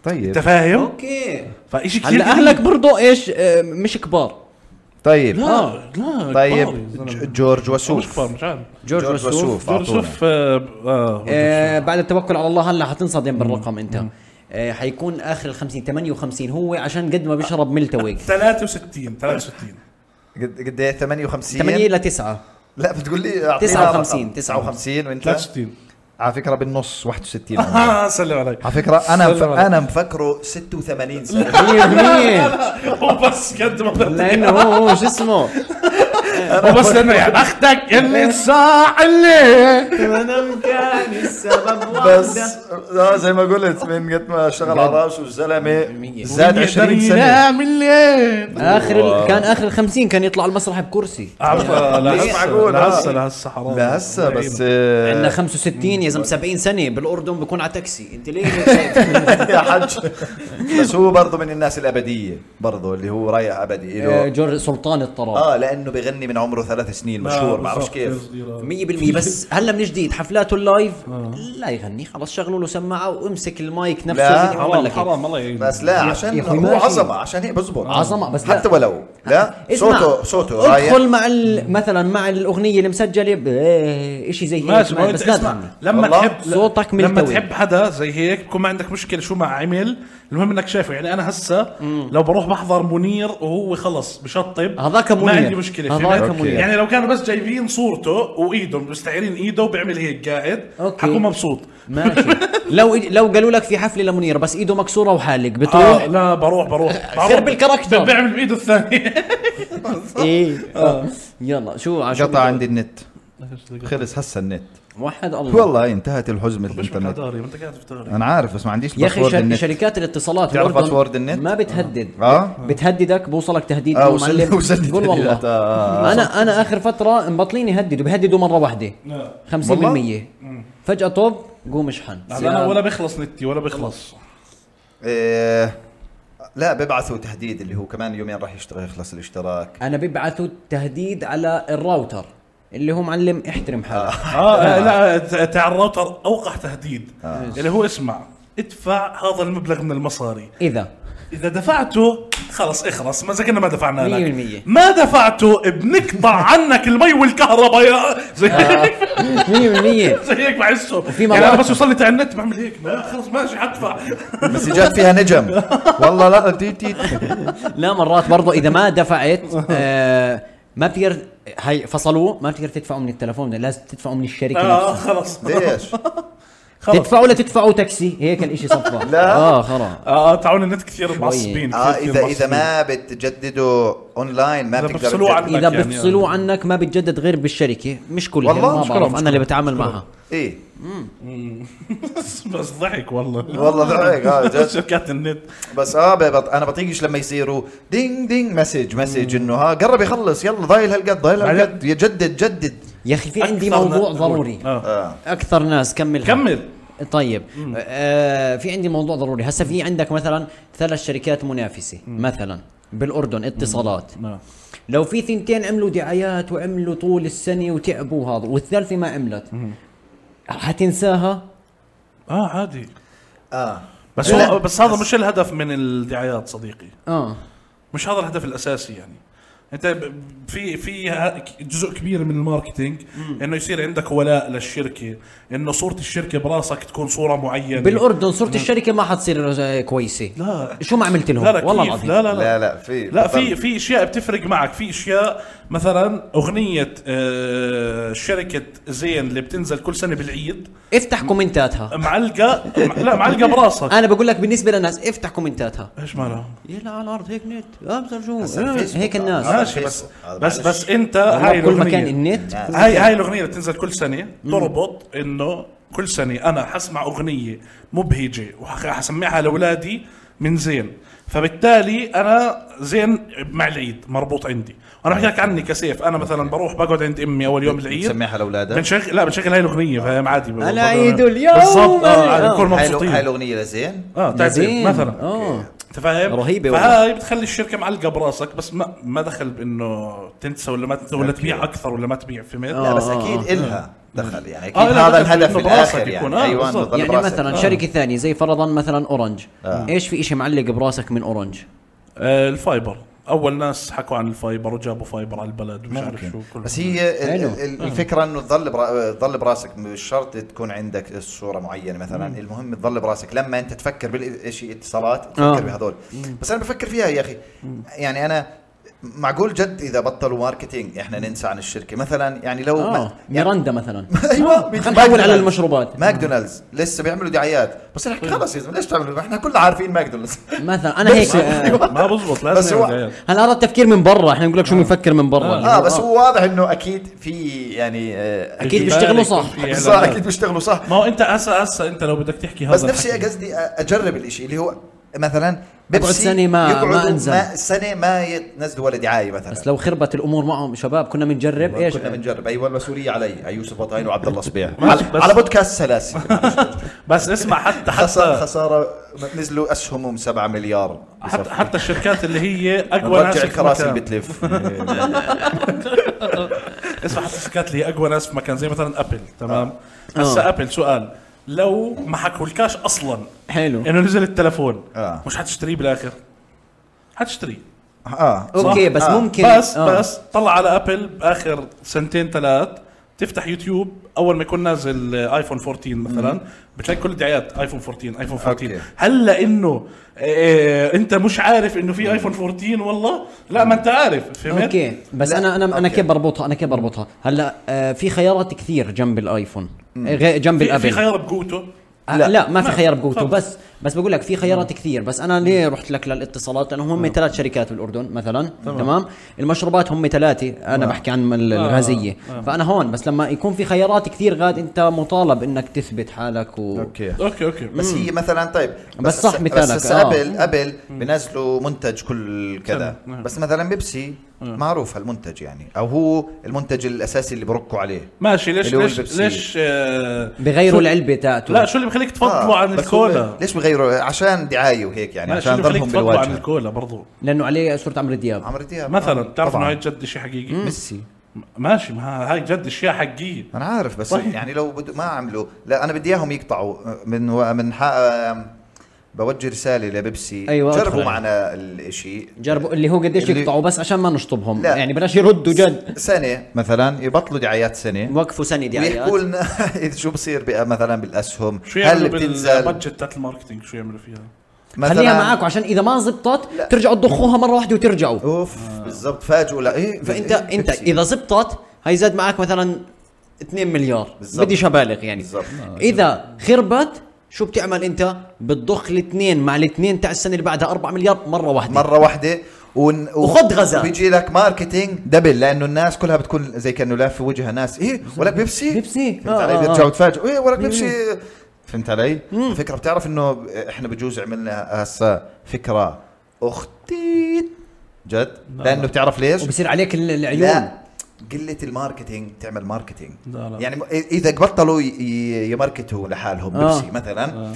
S2: انت
S3: طيب
S2: فاهم؟
S1: اوكي
S2: فشيء كثير
S1: هلا اهلك برضو ايش آه، مش كبار آه.
S3: طيب
S2: لا لا
S3: طيب ج- جورج
S2: مش
S3: وسوف
S2: كبار مش عارف
S1: جورج
S3: جورج
S1: وسوف.
S3: وسوف
S2: جورج
S3: اعطونا
S2: شوف آه، آه،
S1: آه بعد التوكل على الله هلا حتنصدم بالرقم انت آه حيكون اخر ال 50 58 هو عشان قد ما بيشرب ملتوي
S2: 63 63
S3: قد قد ايه 58
S1: 8 ل 9
S3: لا بتقول لي أعطينا
S1: 59
S3: رقم. 59 وانت
S2: 63
S3: على فكره بالنص 61 عمره.
S2: اه سلم عليك
S3: على فكره انا مف...
S2: سلم عليك.
S3: انا مفكره 86 سنه
S1: 100%
S2: هو بس قد ما بدك
S1: لانه هو هو شو اسمه
S2: هو بس لانه يا بختك اللي صاع اللي
S1: ولو كان السبب
S3: بس آه زي ما قلت من قد ما شغل على راسه الزلمه
S1: مية.
S3: زاد 20 سنه
S2: ينام الليل
S1: اخر ال- كان اخر ال 50 كان يطلع المسرح بكرسي
S2: آه،
S3: مش
S2: لهسه
S3: معقول، آه.
S2: لهسه لهسه حرام
S3: لهسه بس
S1: عندنا
S3: آه،
S1: 65 يا زلمه 70 سنه بالاردن بكون على تاكسي انت ليه هيك شايف؟
S3: يا حج بس هو برضه من الناس الابديه برضه اللي هو رايح ابدي
S1: آه،
S3: له
S1: جورج سلطان الطراب
S3: اه لانه بيغني من عمره ثلاث سنين
S2: آه،
S3: مشهور ما
S2: بالضبط.
S3: بعرفش كيف
S1: 100% بس هلا من جديد حفلاته اللايف لا يغني خلص شغلوا له سماعه وامسك المايك نفسه
S3: لا،
S1: زي ما عمل
S2: حرام
S1: لك إياه.
S2: حرام الله يعينك
S3: بس لا عشان
S1: يا أخوي
S3: هو
S1: ماشي.
S3: عظمه عشان هيك بزبط
S1: عظمة، بس لا.
S3: حتى ولو لا
S1: اسمع،
S3: صوته صوته رايق
S1: ادخل مع ال- مثلا مع الاغنيه اللي مسجله بشيء إيه، زي هيك
S2: ماشي ما هو
S1: ما-
S2: انت
S1: بس لا
S2: اسمع
S1: تغني
S2: لما
S3: والله
S2: تحب
S1: صوتك
S2: لما
S1: ملتوي.
S2: تحب حدا زي هيك بكون ما عندك مشكله شو ما عمل المهم انك شايفه يعني انا هسه لو بروح بحضر منير وهو خلص بشطب
S1: هذاك
S2: ما
S1: منير.
S2: عندي مشكله
S1: هذاك
S2: فهمت؟
S1: منير.
S2: يعني لو كانوا بس جايبين صورته وايده مستعيرين ايده وبيعمل هيك قاعد
S1: أوكي.
S2: حكون مبسوط
S1: ماشي لو لو قالوا لك في حفله لمنير بس ايده مكسوره وحالق بتروح
S2: آه لا بروح بروح
S1: خرب الكاركتر.
S2: بيعمل بايده الثانيه
S1: ايه آه. يلا شو عشان
S3: قطع عندي النت خلص هسه النت
S1: وحد الله
S3: والله انتهت الحزمه
S2: مش
S3: الانترنت
S2: داري انت قاعد بتغري
S3: انا عارف بس ما عنديش
S1: يا اخي
S3: باسورد
S1: شر...
S3: النت
S1: شركات الاتصالات
S3: تعرف
S1: بالأردن
S3: باسورد النت؟
S1: ما بتهدد
S3: اه
S1: بتهددك بوصلك تهديد
S3: اه
S1: يا
S3: وصلت
S1: معلم
S3: وصلت
S1: قول والله
S3: التهديدات، آه.
S1: انا انا اخر فتره مبطلين يهددوا بيهددوا مره واحده 50% فجاه طب قوم اشحن
S2: انا ولا بيخلص نتي ولا بيخلص
S3: إيه، لا ببعثوا تهديد اللي هو كمان يومين راح يشتغل يخلص الاشتراك
S1: انا بيبعثوا تهديد على الراوتر اللي هو معلم احترم حالك
S2: اه لا ت- تاع الراوتر اوقع تهديد
S1: آه.
S2: اللي هو اسمع ادفع هذا المبلغ من المصاري
S1: اذا
S2: اذا دفعته خلص اخلص ما زكنا ما دفعنا
S1: مية
S2: لك
S1: بالمية.
S2: ما دفعته بنقطع عنك المي والكهرباء يا زي
S1: آه.
S2: هيك
S1: 100%
S2: زي هيك بحسه يعني
S1: مواقع-
S2: انا بس يوصل لي تاع النت بعمل هيك ما خلص ماشي حدفع
S3: مسجات فيها نجم والله لا تي تي
S1: لا مرات برضه اذا ما دفعت آه ما بتقدر هي فصلوه ما بتقدر تدفعه من التلفون لازم تدفعه من الشركه
S2: اه
S1: نفسها
S2: خلص
S3: ليش؟
S2: خلص
S1: تدفعوا ولا تدفعوا تاكسي هيك الاشي صفى
S3: لا.
S1: اه خلاص
S2: اه آه، تعاون آه، النت كثير معصبين
S3: اه
S2: كثير
S3: اذا اذا
S2: معصبين.
S3: ما بتجددوا اونلاين ما
S2: إذا
S3: بتقدر
S2: بفصلوه
S3: تجدد.
S2: عن-
S1: اذا
S2: يعني-
S1: بفصلوه عنك ما بتجدد غير بالشركه مش كلها
S3: والله
S1: ما
S3: مش
S2: كلهم،
S1: بعرف
S2: مش
S1: انا اللي
S2: كلهم.
S1: بتعامل معها
S3: ايه
S2: بس بس ضحك والله
S3: والله ضحك اه جد
S2: شركات النت
S3: بس اه ببط... انا بطيقش لما يصيروا دينج دينج مسج مسج انه ها قرب يخلص يلا ضايل هالقد ضايل هالقد يا جدد جدد
S1: يا اخي في عندي
S2: أكثر
S1: موضوع
S2: ن-
S1: ضروري
S2: آه.
S3: اه
S1: اكثر ناس كمل
S2: كمل
S1: طيب آه في عندي موضوع ضروري هسا في عندك مثلا ثلاث شركات منافسه مثلا بالاردن اتصالات
S2: آه.
S1: لو في ثنتين عملوا دعايات وعملوا طول السنه وتعبوا هذا والثالثه ما عملت حتنساها
S2: اه عادي
S3: اه
S2: بس هو بس هذا مش الهدف من الدعايات صديقي
S1: اه
S2: مش هذا الهدف الاساسي يعني انت ب- في في ه- جزء كبير من الماركتينج انه يصير عندك ولاء للشركه انه صوره الشركه براسك تكون صوره
S1: يعني
S2: معينه
S1: بالاردن صورة الشركه ما حتصير آه، كويسه
S2: لا.
S1: شو ما عملت لهم
S2: لا لا
S1: والله
S2: كيف؟
S1: العظيم
S2: لا لا لا
S3: لا لا في
S2: لا في في اشياء بتفرق معك في اشياء مثلا اغنيه آه، شركه زين اللي بتنزل كل سنه بالعيد
S1: افتح كومنتاتها
S2: معلقه مع- لا معلقه براسك
S1: انا بقول لك بالنسبه للناس افتح كومنتاتها
S2: ايش مالها
S1: يلا على الارض هيك نت ابصر شو أه.
S3: هسا الفيسبوك
S1: هيك الناس
S3: هذا
S2: ماشي بس
S3: الفيسبوك. هذا
S2: بس
S3: معلش.
S2: بس انت
S1: والله
S2: هاي
S1: بكل
S2: الأغنية.
S1: مكان النت
S2: هاي هاي الاغنيه اللي بتنزل كل سنه تربط انه كل سنه انا حسمع اغنيه مبهجه وحسمعها لاولادي من زين فبالتالي انا زين مع العيد مربوط عندي انا بحكي لك عني كسيف انا مثلا بروح بقعد عند امي اول يوم العيد
S3: تسميها لاولادك
S2: بنشغل لا بنشغل هاي الاغنيه فاهم عادي
S1: أنا عيد اليوم.
S2: بالضبط اه عادي، بنكون
S3: آه. هاي الأغ- هاي
S2: مبسوطين
S3: الاغنيه لزين
S2: اه تعزيم
S1: زين.
S2: مثلا
S3: آه.
S1: اه
S2: انت فاهم؟
S1: رهيبة والله.
S2: فهاي بتخلي الشركه معلقه براسك بس ما ما دخل بانه تنسى ولا ما تنسى ولا تبيع اكثر ولا ما تبيع فهمت؟
S3: لا بس
S1: آه،
S3: اكيد الها دخل يعني اكيد
S2: آه، إلها
S3: هذا
S2: دخل،
S3: الهدف
S2: إنه براسك
S3: الاخر
S2: يكون،
S3: يعني
S2: آه،
S3: ايوه
S2: بالضبط.
S3: إنه ضل
S1: يعني
S3: براسك. آه.
S1: مثلا شركه ثانيه زي فرضا مثلا اورنج ايش في اشي معلق براسك من اورنج
S2: آه، الفايبر اول ناس حكوا عن الفايبر وجابوا فايبر على البلد ومش عارف شو آه. كله
S3: بس هي ال-
S1: حلو.
S3: ال- الفكره انه تظل برا... تظل براسك مش شرط تكون عندك الصوره معينه مثلا المهم تظل براسك لما انت تفكر بالشيء اتصالات تفكر
S1: آه.
S3: بهذول بس انا بفكر فيها يا اخي يعني انا معقول جد اذا بطلوا ماركتينج احنا ننسى عن الشركه مثلا يعني لو
S2: آه،
S1: اه
S3: ما- يعني
S1: ميراندا مثلا
S3: ايوه
S1: خلينا نحول على المشروبات
S3: ماكدونالدز لسه بيعملوا دعايات بس نحكي خلص يا زلمه ليش تعملوا احنا كلنا عارفين ماكدونالدز
S1: مثلا انا هيك آه،
S2: ما بزبط لازم
S3: بس هو-
S2: يعمل دعايات.
S1: هلا هذا التفكير من برا احنا بنقول لك شو بنفكر من برا آه.
S3: اه آه. بس هو واضح انه اكيد في يعني آه،
S1: أكيد
S2: بالك
S1: بيشتغلوا
S2: يكون
S1: صح.
S2: في
S3: صح
S2: إعلانات.
S3: اكيد بيشتغلوا صح
S2: ما هو انت هسه هسه انت لو بدك تحكي هذا
S3: بس نفسي
S2: الحكي.
S3: قصدي اجرب الاشي اللي هو مثلا
S1: أقعد سنة ما- ما
S3: يقعدوا
S1: أنزل.
S3: ما سنه ما ينزلوا ولا دعايه مثلا
S1: بس لو خربت الامور معهم شباب كنا بنجرب ايش
S3: كنا بنجرب ايوه المسؤوليه علي يوسف بطاين وعبد الله صبيح
S2: ماشي،
S3: على,
S2: بس-
S3: على بودكاست سلاسل
S2: بس اسمع حتى
S3: خساره
S2: حتى
S3: خساره نزلوا اسهمهم 7 مليار
S2: حتى, حتى الشركات اللي هي اقوى ناس
S3: نرجع
S2: في
S3: الكراسي
S2: المكان.
S3: بتلف
S2: اسمع حتى الشركات اللي هي اقوى ناس في مكان زي مثلا ابل تمام
S3: آه.
S2: هسه ابل سؤال لو ما حكولكاش اصلا
S1: حلو
S2: انه نزل التلفون
S3: آه.
S2: مش حتشتريه بالاخر حتشتريه
S3: اه
S1: اوكي
S2: صح.
S1: بس
S3: آه.
S1: ممكن
S2: بس
S1: آه.
S2: بس طلع على ابل باخر سنتين ثلاث تفتح يوتيوب اول ما يكون نازل ايفون 14 مثلا بتلاقي كل الدعايات ايفون 14 ايفون 14
S3: أوكي.
S2: هل لانه آه، انت مش عارف انه في ايفون 14 والله لا ما انت عارف فهمت
S1: اوكي بس
S3: لا،
S1: انا انا انا
S3: أوكي.
S1: كيف بربطها انا كيف بربطها هلا آه في خيارات كثير جنب الايفون غير- جنب
S2: في, في
S1: الابل
S2: خيار بقوته
S1: آه، لا, لا ما في
S2: ما-
S1: خيار بقوته
S2: تفضل.
S1: بس بس بقول لك في خيارات كثير بس انا ليه رحت لك للاتصالات لانه هم ثلاث شركات بالاردن مثلا تمام, المشروبات هم ثلاثه انا بحكي عن ال- الغازيه فانا هون بس لما يكون في خيارات كثير غاد انت مطالب انك تثبت حالك و
S3: اوكي
S2: اوكي اوكي
S3: بس هي مثلا طيب
S1: بس صح
S3: هسا-
S1: مثالك،
S3: بس
S1: آه.
S3: آه. ابل ابل بنزلوا منتج كل كذا
S2: سنة، نعم.
S3: بس مثلا بيبسي معروف هالمنتج يعني او هو المنتج الاساسي اللي بركوا عليه
S2: ماشي ليش
S3: اللي هو
S2: ليش
S3: البيبسي.
S2: ليش آه،
S1: بغيروا
S2: شو-
S1: العلبه تاعته
S2: لا شو اللي بخليك تفضلوا
S3: آه،
S2: عن
S3: بس هو
S2: الكولا
S3: ليش بغيروا عشان دعايه وهيك يعني
S2: لا شو
S3: عشان
S2: اللي بخليك
S3: ضلهم
S2: تفضلوا عن
S3: بالواجهه
S2: الكولا برضو
S1: لانه عليه صوره عمرو دياب
S3: عمرو دياب
S2: مثلا
S3: آه،
S2: بتعرف انه
S3: طبعاً.
S2: هاي جد شيء حقيقي
S3: ميسي
S2: ماشي ما هاي جد اشياء حقيقيه
S3: انا عارف بس
S2: صحيح.
S3: يعني لو بدو ما عملوا لا انا بدي اياهم يقطعوا من و- من حق بوجه رساله لبيبسي
S1: أيوة،
S3: جربوا
S1: أدخل.
S3: معنا الشيء
S1: جربوا اللي هو قديش
S3: اللي-
S1: يقطعوا بس عشان ما نشطبهم
S3: لا.
S1: يعني بلاش يردوا جد
S3: سنه مثلا يبطلوا دعايات سنه
S1: وقفوا سنه دعايات
S3: ويحكوا لنا إذا شو بصير بقى مثلا بالاسهم
S2: شو يعملوا
S3: هل بتنزل
S2: بالبادجت تاعت الماركتينج شو يعملوا فيها؟
S1: خليها معاكم عشان اذا ما زبطت ترجعوا تضخوها مره واحده وترجعوا
S3: اوف
S2: آه.
S3: بالضبط فاجئوا لا ايه
S1: فانت
S3: إيه،
S1: انت
S3: بيبسي.
S1: اذا زبطت هي زاد معك مثلا 2 مليار
S3: بالظبط.
S1: بديش ابالغ يعني
S3: بالضبط آه،
S1: اذا خربت شو بتعمل انت بتضخ الاثنين مع الاثنين تاع السنه اللي بعدها 4 مليار مره واحده
S3: مره واحده ون... و-
S4: وخد غزال.
S3: بيجي لك ماركتينج دبل لانه الناس كلها بتكون زي كانه لاف في وجهها ناس ايه ولك بيبسي
S1: بيبسي.
S3: فهمت
S1: آه،
S3: علي
S1: آه، آه.
S3: بيرجعوا بتفاجئوا ايه ولك بيبسي فهمت علي؟ الفكره بتعرف انه احنا بجوز عملنا هسا فكره اختي جد لانه بتعرف ليش؟
S1: وبصير عليك ال- العيون
S3: لا قله الماركتينج تعمل ماركتينج
S2: لا، لا.
S3: يعني اذا بطلوا ي- ي- يماركتوا لحالهم
S1: آه.
S3: بيبسي مثلا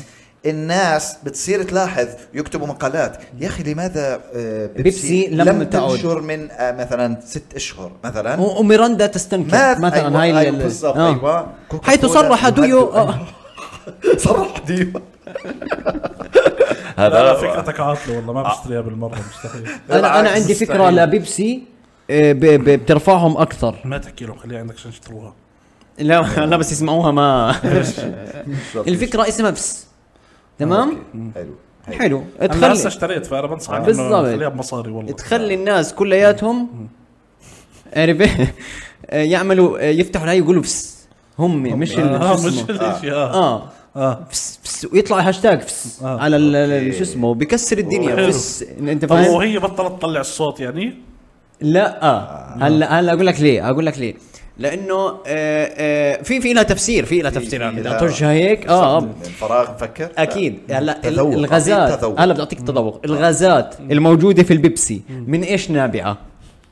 S3: الناس بتصير تلاحظ يكتبوا مقالات يا اخي لماذا آه،
S1: بيبسي لم
S3: لم
S1: تعد؟
S3: تنشر من آه، مثلا ست اشهر مثلا
S1: و- وميراندا تستنكر
S3: ماذا-
S1: مثلا
S3: أيوة،
S1: هاي
S3: أيوة،
S1: ال-
S3: بالضبط
S1: آه.
S3: ايوه كوكا
S1: حيث
S3: كولا
S1: صرح
S3: يمدوا-
S1: ديو
S3: أيوة.
S1: آه.
S3: صرح ديو
S2: لا
S3: هذا
S2: لا
S3: فكرة
S2: فكرتك عاطله والله ما بشتريها بالمره مستحيل
S1: انا انا
S3: بالعكس،
S1: عندي فكره
S3: مستحيل.
S1: لبيبسي آه، ب- ب- بترفعهم اكثر
S2: ما تحكي لهم خليها عندك عشان يشتروها
S1: لا لا بس يسمعوها ما الفكره اسمها بس تمام
S3: حلو حلو
S1: حلو
S2: انا هسه
S1: تخلي
S2: اشتريت فانا بنصحك إنه
S1: بالضبط.
S2: خليها بمصاري والله
S1: تخلي الناس كلياتهم عرفت آه، يعملوا آه، يفتحوا الهاي يقولوا بس هم مش ال-
S2: اه
S1: شو
S2: مش
S1: اسمه
S2: ليش اه
S3: آه.
S1: اه
S2: اه
S1: فس فس ويطلع هاشتاج فس
S2: آه.
S1: على ال- ال-
S3: أوكي.
S1: شو اسمه بكسر الدنيا
S2: حلو.
S1: فس انت
S2: طب
S3: طيب.
S1: فاهم
S2: وهي بطلت تطلع الصوت يعني
S1: لا آه. هلا هلا اقول لك ليه اقول لك ليه لانه آه آه في في لها تفسير في لها تفسير
S3: في
S1: يعني بدها
S3: لها-
S1: ترجع هيك اه آه.
S3: الفراغ فكر آه،
S1: اكيد هلا ال-
S3: طيب، تذوق، أعطيك
S1: الغازات
S3: تذوق.
S1: هلا بدي اعطيك تذوق الغازات الموجوده في البيبسي من ايش نابعه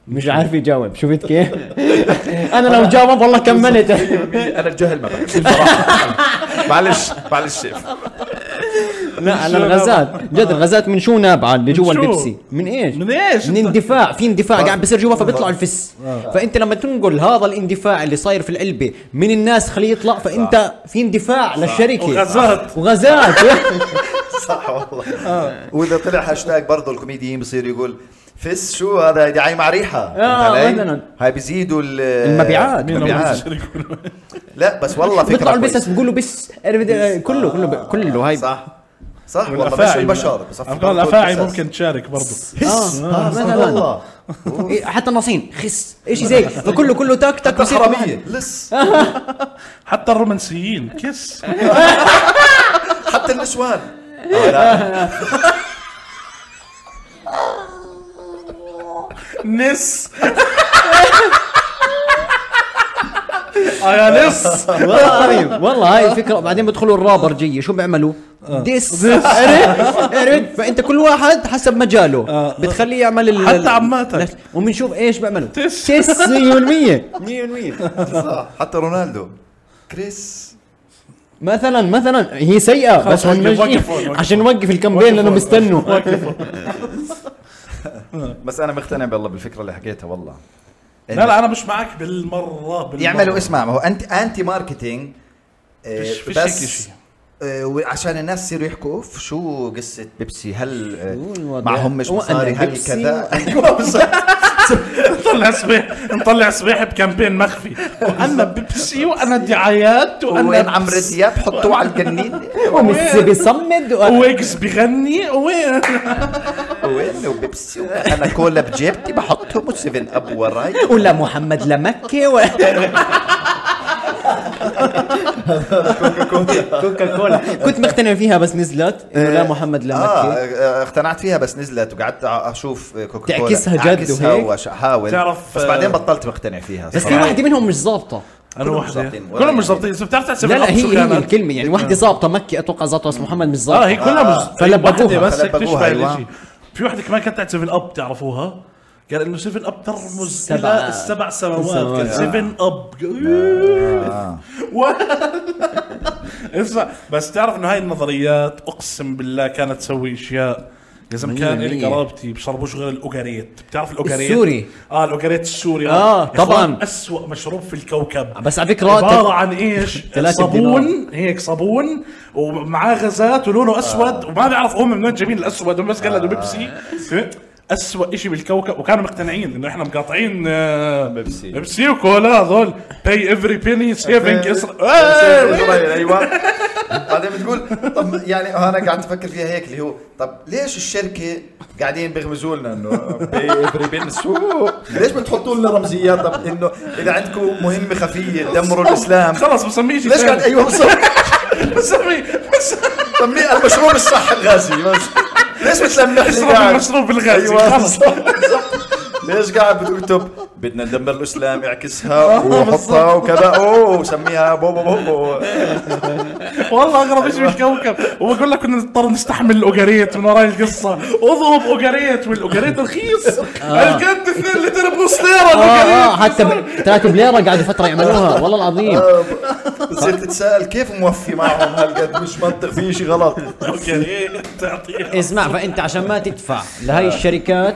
S1: مش عارف يجاوب شفت كيف انا لو جاوب والله كملت
S3: انا الجهل ما بعرف صراحة. معلش معلش شيف
S1: لا على الغازات جد الغازات من شو نابعه اللي جوا
S2: شو؟
S1: البيبسي من ايش
S2: من إيش؟
S1: من اندفاع في اندفاع
S3: آه.
S1: قاعد بصير جوا فبيطلع الفس فانت لما تنقل هذا الاندفاع اللي صاير في العلبه من الناس خليه يطلع فانت في اندفاع للشركه
S2: وغازات.
S1: وغازات
S3: صح والله واذا طلع هاشتاج برضه الكوميديين بصير يقول فس شو هذا دعاية مع ريحه فهمت علي؟
S1: مثلاً.
S3: هاي بيزيدوا ال-
S1: المبيعات.
S2: مين أول
S3: المبيعات
S2: شيء يقولوا؟
S3: لا بس والله
S1: بيطلعوا
S3: فكره كويسة.
S1: البسس بيقولوا بس إيه، كله كله كله هاي
S3: صح صح والله بس
S2: والافاعي
S3: البشر
S2: أفكار الافاعي ممكن تشارك برضه
S3: هس
S1: آه،
S3: هس
S1: مثلاً.
S3: والله
S1: إيه، حتى النصين خس ايش زي فكله كله تاك تاك بصير
S3: حرامية
S1: واحد.
S3: لس
S2: حتى الرومانسيين كس
S3: حتى النسوان آه، لا.
S2: نس آه يا نس
S1: والله العظيم والله هاي الفكره بعدين بيدخلوا الرابر جي شو بيعملوا؟
S2: آه.
S1: ديس عرفت؟ عرفت؟ فانت كل واحد حسب مجاله
S2: آه.
S1: بتخليه يعمل ال-
S2: حتى عماتك.
S1: وبنشوف ايش بيعملوا
S2: تس.
S1: تس 100%
S3: صح حتى رونالدو كريس
S1: مثلا مثلا هي سيئه بس
S2: خلاص،
S1: عشان
S2: وقف،
S1: نوقف-
S2: وقف، وقف.
S1: عشان نوقف الكامبين لانه بيستنوا
S3: بس انا مقتنع بالله بالفكره اللي حكيتها والله
S2: لا لا انا مش معك بالمره بالمره
S3: يعملوا اسمع ما هو انت انتي ماركتينج آه،
S2: فيش- فيش هيك
S3: بس
S2: شيء.
S3: آه، وعشان الناس يصيروا يحكوا اوف شو قصه بيبسي هل
S1: شو
S3: آه،
S1: الوضع؟
S3: معهم مش
S1: هو أنا
S3: مصاري هل
S1: بيبسي؟
S3: كذا أيوة، بالظبط.
S2: نطلع صبيح نطلع صبيح بكامبين مخفي وانا بيبسي وانا دعايات
S3: وين
S2: وانا
S3: عمرو دياب حطوه على الجنين
S1: وميسي بيصمد و-
S2: ويجز بغني وين
S3: وين وبيبسي انا كولا بجيبتي بحطهم وسيفن اب وراي
S1: ولا محمد لمكه و... كوكا كولا كنت مقتنع فيها بس نزلت انه
S2: آه.
S1: لا محمد لا
S3: اه
S1: مكه
S3: اقتنعت فيها بس نزلت وقعدت اشوف كوكا كولا
S1: تعكسها جد وهيك؟
S3: واحاول
S2: تعرف، آه،
S3: بس بعدين بطلت مقتنع فيها
S1: بس في
S3: صراحة.
S1: واحدة منهم مش ظابطة
S2: انا
S3: كلهم
S2: وحده
S3: مش ظابطين. يعني.
S2: كلهم مش ظابطين اذا بتعرف تحسب
S1: لا لا
S2: الأب شو
S1: هي
S2: كانت.
S1: هي الكلمة يعني واحدة ظابطة مكي اتوقع ظابطة بس محمد مش
S2: اه هي
S1: ظابطة
S2: كلها
S3: آه.
S2: مش هي واحده
S1: فلبقوها.
S2: بس هيك
S3: فلبقوها،
S2: تشبه
S3: أيوة.
S2: الاشي في واحده كمان كانت تاعت 7 اب تعرفوها قال انه 7 اب ترمز
S1: السبع-
S2: الى السبع سماوات
S1: السماوات.
S2: كان 7
S3: آه.
S2: اب و- اسمع بس تعرف انه هاي النظريات اقسم بالله كانت تسوي اشياء يا زلمه كان
S1: مية
S2: لي
S1: مية.
S2: قرابتي بشربوش غير الاوكاريت بتعرف الاوكاريت
S1: السوري.
S2: اه الاوكاريت السوري
S1: آه،
S2: يا إخوان،
S1: طبعاً.
S2: اسوأ مشروب في الكوكب
S1: آه، بس على فكرة
S2: عباره عن ايش؟
S1: ثلاثة
S2: صابون هيك صابون ومعاه غازات ولونه اسود وما بيعرف هم من وين جايبين الاسود هم بس قلدوا بيبسي اسوء شيء بالكوكب وكانوا مقتنعين انه احنا مقاطعين آه،
S3: بيبسي.
S2: بيبسي وكولا هذول باي افري بيني
S3: آه،
S2: سيفنج آه، إيه!
S3: إسرائيل، ايوه بعدين بتقول طب يعني انا قاعد افكر فيها هيك اللي هو طب ليش الشركه قاعدين بيغمزوا لنا انه بريبين شو ليش بتحطوا لنا رمزيات طب انه اذا عندكم مهمه خفيه تدمروا الاسلام
S2: خلص بسميه شيء
S3: ليش قاعد أيوة،
S2: ثاني.
S3: ايوه بالضبط
S2: إيه، بسميه بس-
S3: طب ليه المشروب الصح الغازي بس ليش بتلمح لي
S2: اشرب
S3: قاعد
S2: المشروب الغازي
S3: أيوة،
S2: خلص
S3: ليش قاعد بتكتب بدنا ندمر الاسلام
S2: آه،
S3: اعكسها وحطها وكذا اوه سميها بوبو بوبو
S2: والله اغرب شيء بالكوكب وبقول لك كنا نضطر نستحمل الاوجريت من وراي القصه اضرب اوجريت والاوجريت رخيص الجد 2 لتر بنص ليره
S1: اه اه
S2: الاوجريت
S1: حتى ب- ثلاثة بليره قعدوا فتره يعملوها والله العظيم
S3: بتصير تتساءل كيف موفي معهم هالقد مش منطق في شيء غلط
S2: اوجريت تعطيه
S1: اسمع فانت عشان ما تدفع
S2: آه.
S1: لهاي الشركات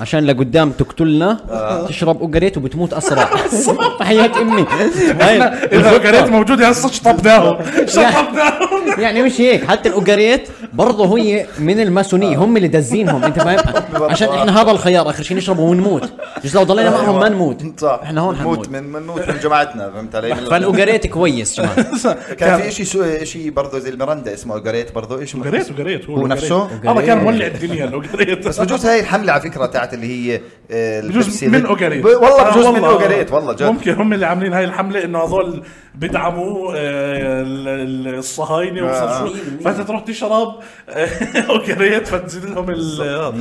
S1: عشان لقدام
S2: آه.
S1: تقتلنا تشرب اوجريت وبتموت اسرع فحياة امي هاي
S2: اذا اوجريت موجود يا هسه شطبناهم شطبناهم
S1: يعني مش هيك حتى الاوجريت برضه هي من
S2: آه.
S1: الماسونيه هم اللي دازينهم انت فاهم عشان احنا هذا الخيار اخر شيء نشربه ونموت مش لو ضلينا
S2: آه.
S1: معهم ما نموت
S3: صح
S1: احنا هون
S3: أيوة. نموت
S1: حنموت
S3: من بنموت من جماعتنا فهمت علي؟ من-
S1: فالاوجريت كويس جماعه
S3: كان في شيء شيء برضه زي المرندا اسمه قريت برضه ايش
S2: اوجريت اوجريت
S3: هو نفسه؟
S2: هذا كان مولع الدنيا الاوجريت
S3: بس بجوز هاي الحمله على فكره تاعت اللي هي آه،
S2: بجوز
S3: البيبسي
S2: من
S3: ضد-
S2: اوجريت
S3: ب- والله
S2: آه،
S3: بجوز من اوجريت والله جد
S2: ممكن هم اللي عاملين هاي الحمله انه هذول بدعموا آه، ال- ال- الصهاينه
S3: آه،
S2: وصرفوا فانت تروح تشرب آه، اوجريت فتزيد لهم ال آه.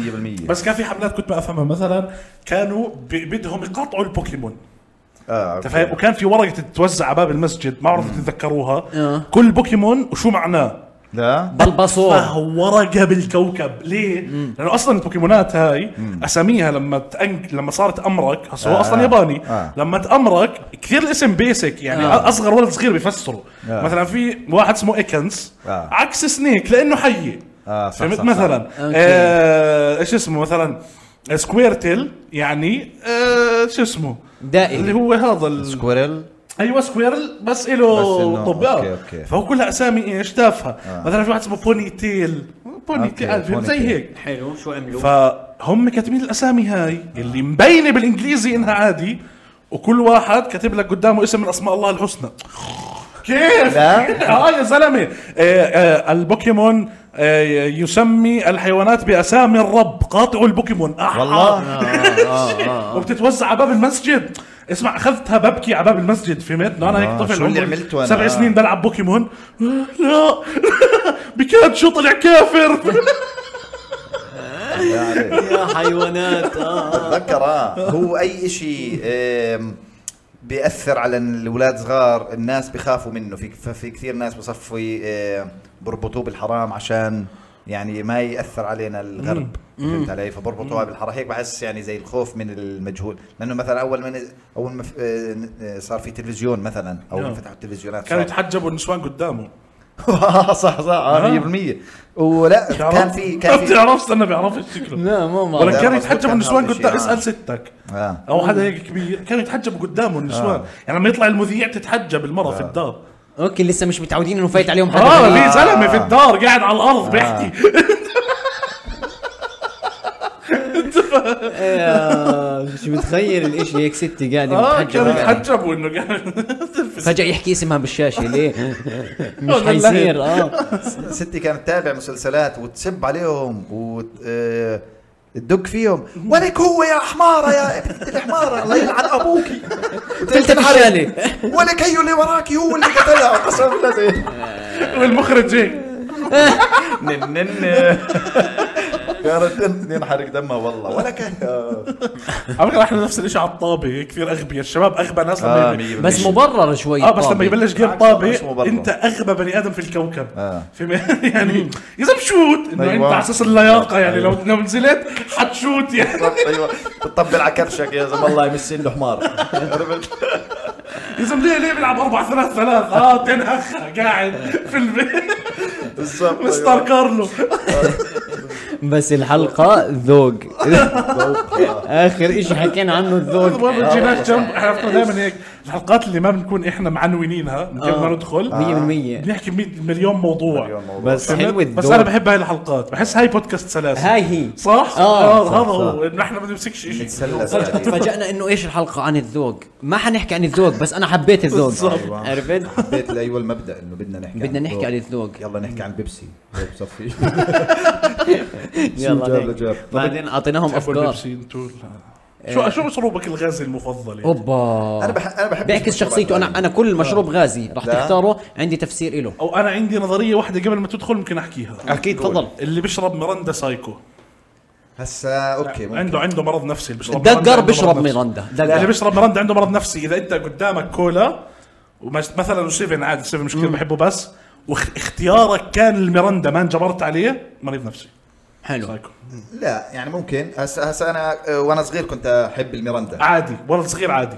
S3: 100%
S2: بس كان في حملات كنت ما افهمها مثلا كانوا ب- بدهم يقاطعوا البوكيمون
S3: اه
S2: انت فاهم وكان في ورقه تتوزع على باب المسجد ما بعرف
S3: آه.
S2: تتذكروها كل بوكيمون وشو معناه
S3: لا
S1: بالباصور
S2: أتفه ورقه بالكوكب ليه؟ لانه اصلا البوكيمونات هاي اساميها لما تأنك لما صارت امرك هسه هو
S3: آه.
S2: اصلا ياباني
S3: آه.
S2: لما تامرك كثير الاسم بيسك يعني
S1: آه.
S2: اصغر ولد صغير بيفسره
S3: آه.
S2: مثلا في واحد اسمه ايكنز
S3: آه.
S2: عكس سنيك لانه حي
S3: آه، صح،
S2: فهمت
S3: صح،
S2: مثلا
S1: أوكي.
S2: آه، ايش اسمه مثلا سكويرتل يعني آه، شو اسمه
S1: دائري.
S2: اللي هو هذا ال-
S3: سكويرل
S2: ايوه سكويرل بس له
S3: إنه-
S2: طب
S3: أوكي،
S2: آه.
S3: أوكي.
S2: فهو كلها اسامي ايش تافهه
S3: آه.
S2: مثلا في واحد اسمه بوني تيل بوني
S3: أوكي،
S2: تيل فهمت؟ زي
S3: بوني تيل.
S2: هيك
S4: حلو شو عملوا؟
S2: فهم كاتبين الاسامي هاي اللي مبينه بالانجليزي انها عادي وكل واحد كاتب لك قدامه اسم من اسماء الله الحسنى كيف؟
S3: لا.
S2: اه يا زلمه آه، آه، البوكيمون آه، يسمي الحيوانات باسامي الرب قاطعوا البوكيمون آه،
S3: والله
S1: آه،
S2: وبتتوزع على باب المسجد اسمع اخذتها ببكي على باب المسجد فهمت إنه انا هيك
S3: آه،
S2: طفل
S3: شو اللي
S2: عمري
S3: عملته أنا؟
S2: سبع
S3: آه.
S2: سنين بلعب بوكيمون آه، لا بيكاتشو طلع كافر
S3: لا عليك.
S4: يا حيوانات اه
S3: بتذكر اه هو اي شيء آم، بياثر على الاولاد صغار الناس بخافوا منه في ففي كثير ناس بصفوا آه، بربطوه بالحرام عشان يعني ما ياثر علينا الغرب فهمت علي فبربطوها بالحرام هيك بحس يعني زي الخوف من المجهول لانه مثلا اول ما نز- اول ما ف- آه، آه، صار في تلفزيون مثلا اول ما
S2: نعم.
S3: فتحوا التلفزيونات
S2: كانوا
S3: صار-
S2: يتحجبوا النسوان قدامه
S3: صح صح آه، 100% ولا كان في
S2: كان
S3: كان
S2: في
S3: في
S2: بتعرفش انا بعرفش شكله
S1: لا ما
S2: ولا
S1: بعرف
S3: لا،
S2: كانوا
S3: مظبوط،
S2: يتحجبوا
S3: كان
S2: النسوان
S3: هذا الشيء،
S2: قدام
S3: آه.
S2: اسال ستك
S3: آه.
S2: او حدا هيك كبير كانوا يتحجبوا قدامه النسوان يعني لما يطلع المذيع تتحجب المره
S3: آه.
S2: في الدار
S1: اوكي لسه مش متعودين انه فايت عليهم حدا
S2: اه
S1: غريب.
S2: في زلمه في الدار قاعد على الارض بيحكي
S1: آه، مش متخيل الاشي هيك ستي قاعده
S3: آه.
S2: اه
S1: متحجبة
S2: كانوا
S1: قاعدة.
S2: يتحجبوا انه قاعد
S1: فجاه يحكي اسمها بالشاشه ليه مش
S2: والله.
S1: حيصير اه
S3: ستي كانت تتابع مسلسلات وتسب عليهم وتدق فيهم ولك هو يا حماره يا بنت الحماره الله يلعن ابوك
S1: فلتة الشالة.
S3: ولك هي اللي وراك هو اللي قتلها قسم بالله زي
S2: والمخرج هيك
S3: نن نن كانت تن- ينحرق دمها والله ولك آه.
S2: على فكره احنا نفس الشيء على الطابه كثير اغبياء الشباب اغبى ناس لما
S3: آه،
S2: يبي-
S3: مية
S1: بس مبرر شوي
S2: اه بس
S1: طابة.
S2: لما يبلش جيم
S3: مش
S2: طابه
S3: مبرر.
S2: انت اغبى بني ادم في الكوكب
S3: آه.
S2: في يعني يا زلمه شوت انه انت
S3: أيوة.
S2: على اساس اللياقه يعني لو لو نزلت حتشوت يعني
S3: ايوه بتطبل على كرشك يا زلمه والله مسين له حمار عرفت؟
S2: يا زلمه ليه ليه بيلعب 4 3 3 اه تنهخ قاعد في البيت
S3: بالضبط
S2: مستر كارلو
S1: بس الحلقه ذوق اخر اشي حكينا عنه الذوق
S3: أيوة.
S2: المهم جيناك جنب احنا عرفنا دائما هيك الحلقات اللي ما بنكون احنا معنونينها من
S3: آه.
S2: قبل ما ندخل
S1: 100%
S2: بنحكي مية- مليون موضوع
S1: بس حلو
S2: بس انا
S1: الذوق
S2: بحب هاي الحلقات بحس هاي بودكاست سلاسل
S1: هاي هي
S2: صح؟
S1: آه،
S2: آه،
S1: صح،
S2: هذا
S1: صح.
S2: هو انه احنا ما بنمسكش شيء
S3: بحب
S1: تفاجئنا انه ايش الحلقه عن الذوق ما حنحكي عن الذوق بس انا حبيت الذوق
S2: بالضبط.
S1: عرفت
S3: حبيت ايوه المبدا انه بدنا نحكي
S1: بدنا
S3: عن
S1: نحكي
S3: الذوق.
S1: عن الذوق
S3: يلا نحكي عن بيبسي هيك بصفي
S1: يلا
S3: جاب
S1: هيك.
S3: جاب.
S1: بعدين اعطيناهم
S2: تحبوا
S1: افكار
S2: البيبسي انتوا؟ لا.
S1: آه.
S2: شو شو مشروبك الغازي المفضل يعني؟
S1: اوبا
S3: أنا بح- أنا بحب
S1: بيعكس
S3: المشروبات
S1: شخصيته انا
S3: هاي.
S1: انا كل مشروب غازي رح
S3: لا.
S1: تختاره عندي تفسير له
S2: او انا عندي نظريه واحده قبل ما تدخل ممكن احكيها
S1: اكيد تفضل
S2: اللي بيشرب مرندا سايكو
S3: هسا اوكي ممكن.
S2: عنده عنده مرض نفسي اللي بيشرب مرندا
S1: دقر
S2: عنده
S1: بشرب
S2: مرض نفسي.
S1: ميراندا
S2: لا، اللي
S1: دقر
S2: بيشرب مرندا عنده مرض نفسي اذا انت قدامك كولا ومس- مثلا سيفن عادي سيفن مش كثير بحبه بس واختيارك كان الميرندا ما انجبرت عليه مريض نفسي
S1: حلو
S2: سايكو
S3: لا يعني ممكن هسا هسا انا آه، وانا صغير كنت احب الميرندا
S2: عادي ولد صغير عادي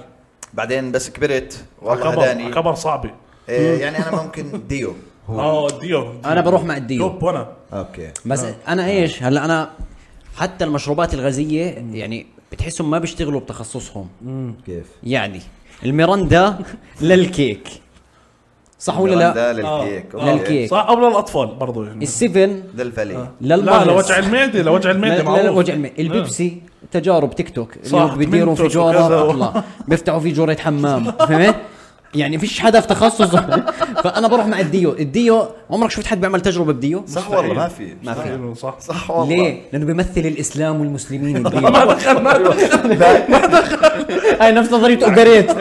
S3: بعدين بس كبرت والله
S2: كبر
S3: هداني
S2: كبر صعبه
S3: آه، يعني انا ممكن ديو هو
S2: اه ديو
S1: انا بروح مع الديو
S2: توب وانا
S3: اوكي
S1: بس
S2: آه.
S1: انا ايش هلا انا حتى المشروبات الغازيه يعني بتحسهم ما بيشتغلوا بتخصصهم
S3: كيف
S1: يعني الميراندا للكيك صح ولا لا
S3: الميرندا للكيك
S2: آه.
S3: أوكي.
S1: للكيك. آه.
S2: صح او للاطفال برضو يعني
S1: السيفن
S3: للفلي
S2: لا
S1: للمغز
S2: لوجع المعده لوجع المعده
S1: لا- لا- لا
S2: معروف آه.
S1: وجع المعده البيبسي تجارب تيك توك
S2: صح،
S1: اللي هو بيديروا في
S2: منتوس وكذا
S1: جوره
S2: و-
S1: اطلع بيفتحوا في جوره حمام فهمت؟ يعني فيش حدا في تخصصه فانا بروح مع الديو الديو عمرك شفت حد بيعمل تجربه بديو
S3: صح
S2: مستحيل.
S3: والله ما في
S1: ما في.
S2: آه، صح
S3: صح والله
S1: ليه لانه بيمثل الاسلام والمسلمين الديو
S2: ما دخل ما دخل
S1: هاي نفس نظريه اوبريت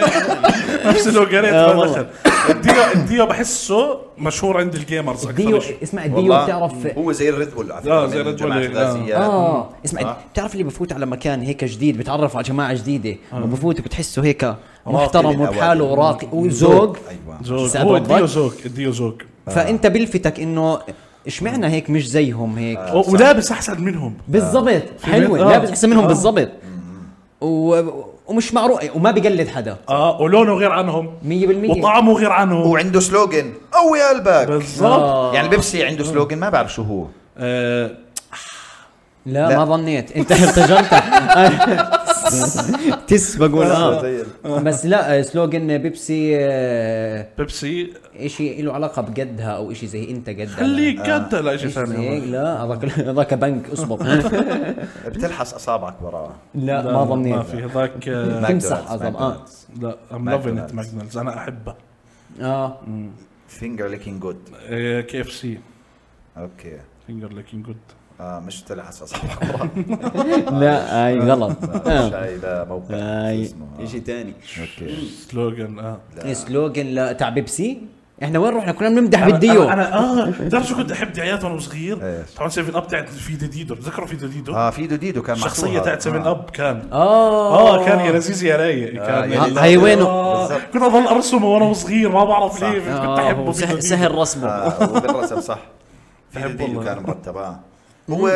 S2: نفس لو قريت
S1: آه،
S2: ما
S1: والله.
S2: دخل الديو الديو بحسه مشهور عند الجيمرز
S1: الديو
S2: اكثر شيء
S1: اسمع الديو
S3: والله
S1: بتعرف
S3: هو زي الريد بول على
S2: آه،
S3: فكره
S2: زي
S3: من
S2: الريد بول،
S3: جماعة
S2: آه.
S3: الغازيات.
S1: اه اسمع
S3: آه.
S1: بتعرف اللي بفوت على مكان هيك جديد بتعرف على جماعه جديده
S2: آه.
S1: وبفوت بتحسه هيك محترم
S3: للأوائل.
S1: وبحاله
S3: أيوة.
S1: وراقي وزوج
S3: ايوه
S2: زوج
S1: ساعات
S2: هو
S1: بتضل.
S2: الديو زوج الديو زوج
S1: فانت بلفتك انه اشمعنا هيك مش زيهم هيك
S2: و- ولابس احسن منهم
S1: بالضبط حلوه
S2: آه.
S1: لابس احسن منهم
S2: آه.
S1: بالضبط و... ومش معروف وما بقلد حدا
S2: اه ولونه غير عنهم
S1: 100%
S2: وطعمه غير عنهم
S3: وعنده سلوجن قوي قلبك
S1: آه.
S2: بالضبط
S3: يعني بيبسي عنده سلوجن ما بعرف شو هو
S2: آه،
S1: لا,
S3: لا.
S1: ما ظنيت انت ارتجلت تسبق
S3: آه،
S1: ولا
S3: زي ال-
S1: بس لا آه، سلوجن بيبسي آه،
S2: بيبسي
S1: اشي له علاقه بقدها او اشي زي انت قدها
S2: خليك
S1: آه.
S2: قد لا شيء
S1: إيش زي-
S2: ثاني
S1: لا هذاك هذاك بنك اصبر
S3: بتلحس اصابعك وراه
S1: لا ما
S2: ما
S1: ظنيت
S2: في هذاك آه،
S1: تمسح
S3: ماكدونالدز،
S1: اظن اه
S3: ماكدونالدز.
S2: لا ام لافين ات
S3: ماكدونالدز.
S2: ماكدونالدز انا احبه
S1: اه
S3: فينجر ليكينج جود
S2: كي اف سي
S3: اوكي
S2: فينجر لكن جود
S3: اه مش تلحس اصابعك وراه
S1: لا آه. اي غلط
S3: مش هيدا موقع
S1: هاي.
S3: شو اسمه، آه.
S4: شيء ثاني
S3: اوكي
S2: سلوجن اه
S1: إيه، سلوجن لا تاع بيبسي احنا وين رحنا كنا بنمدح بالديو
S2: انا, أنا اه بتعرف شو كنت احب دعايات وانا صغير؟
S3: إيش؟
S2: طبعا 7 اب تاعت في ديدو بتذكروا في ديدو؟
S3: اه في دوديدو كان
S2: الشخصيه تاعت 7 اب كان
S1: اه
S2: اه كان يا لذيذ يا رايق كان
S3: آه.
S2: يعني
S3: يا
S1: لذيذ. هاي وينه؟
S2: آه،
S3: آه، يعني بالضبط.
S2: كنت اضل ارسمه وانا صغير ما بعرف ليه كنت آه.
S1: آه،
S2: احبه
S1: هو
S2: في
S1: سه-
S2: ديدو.
S1: سهل رسمه
S3: آه، وبالرسم صح في
S2: بحب
S3: دوديدو
S2: والله.
S3: كان مرتب اه هو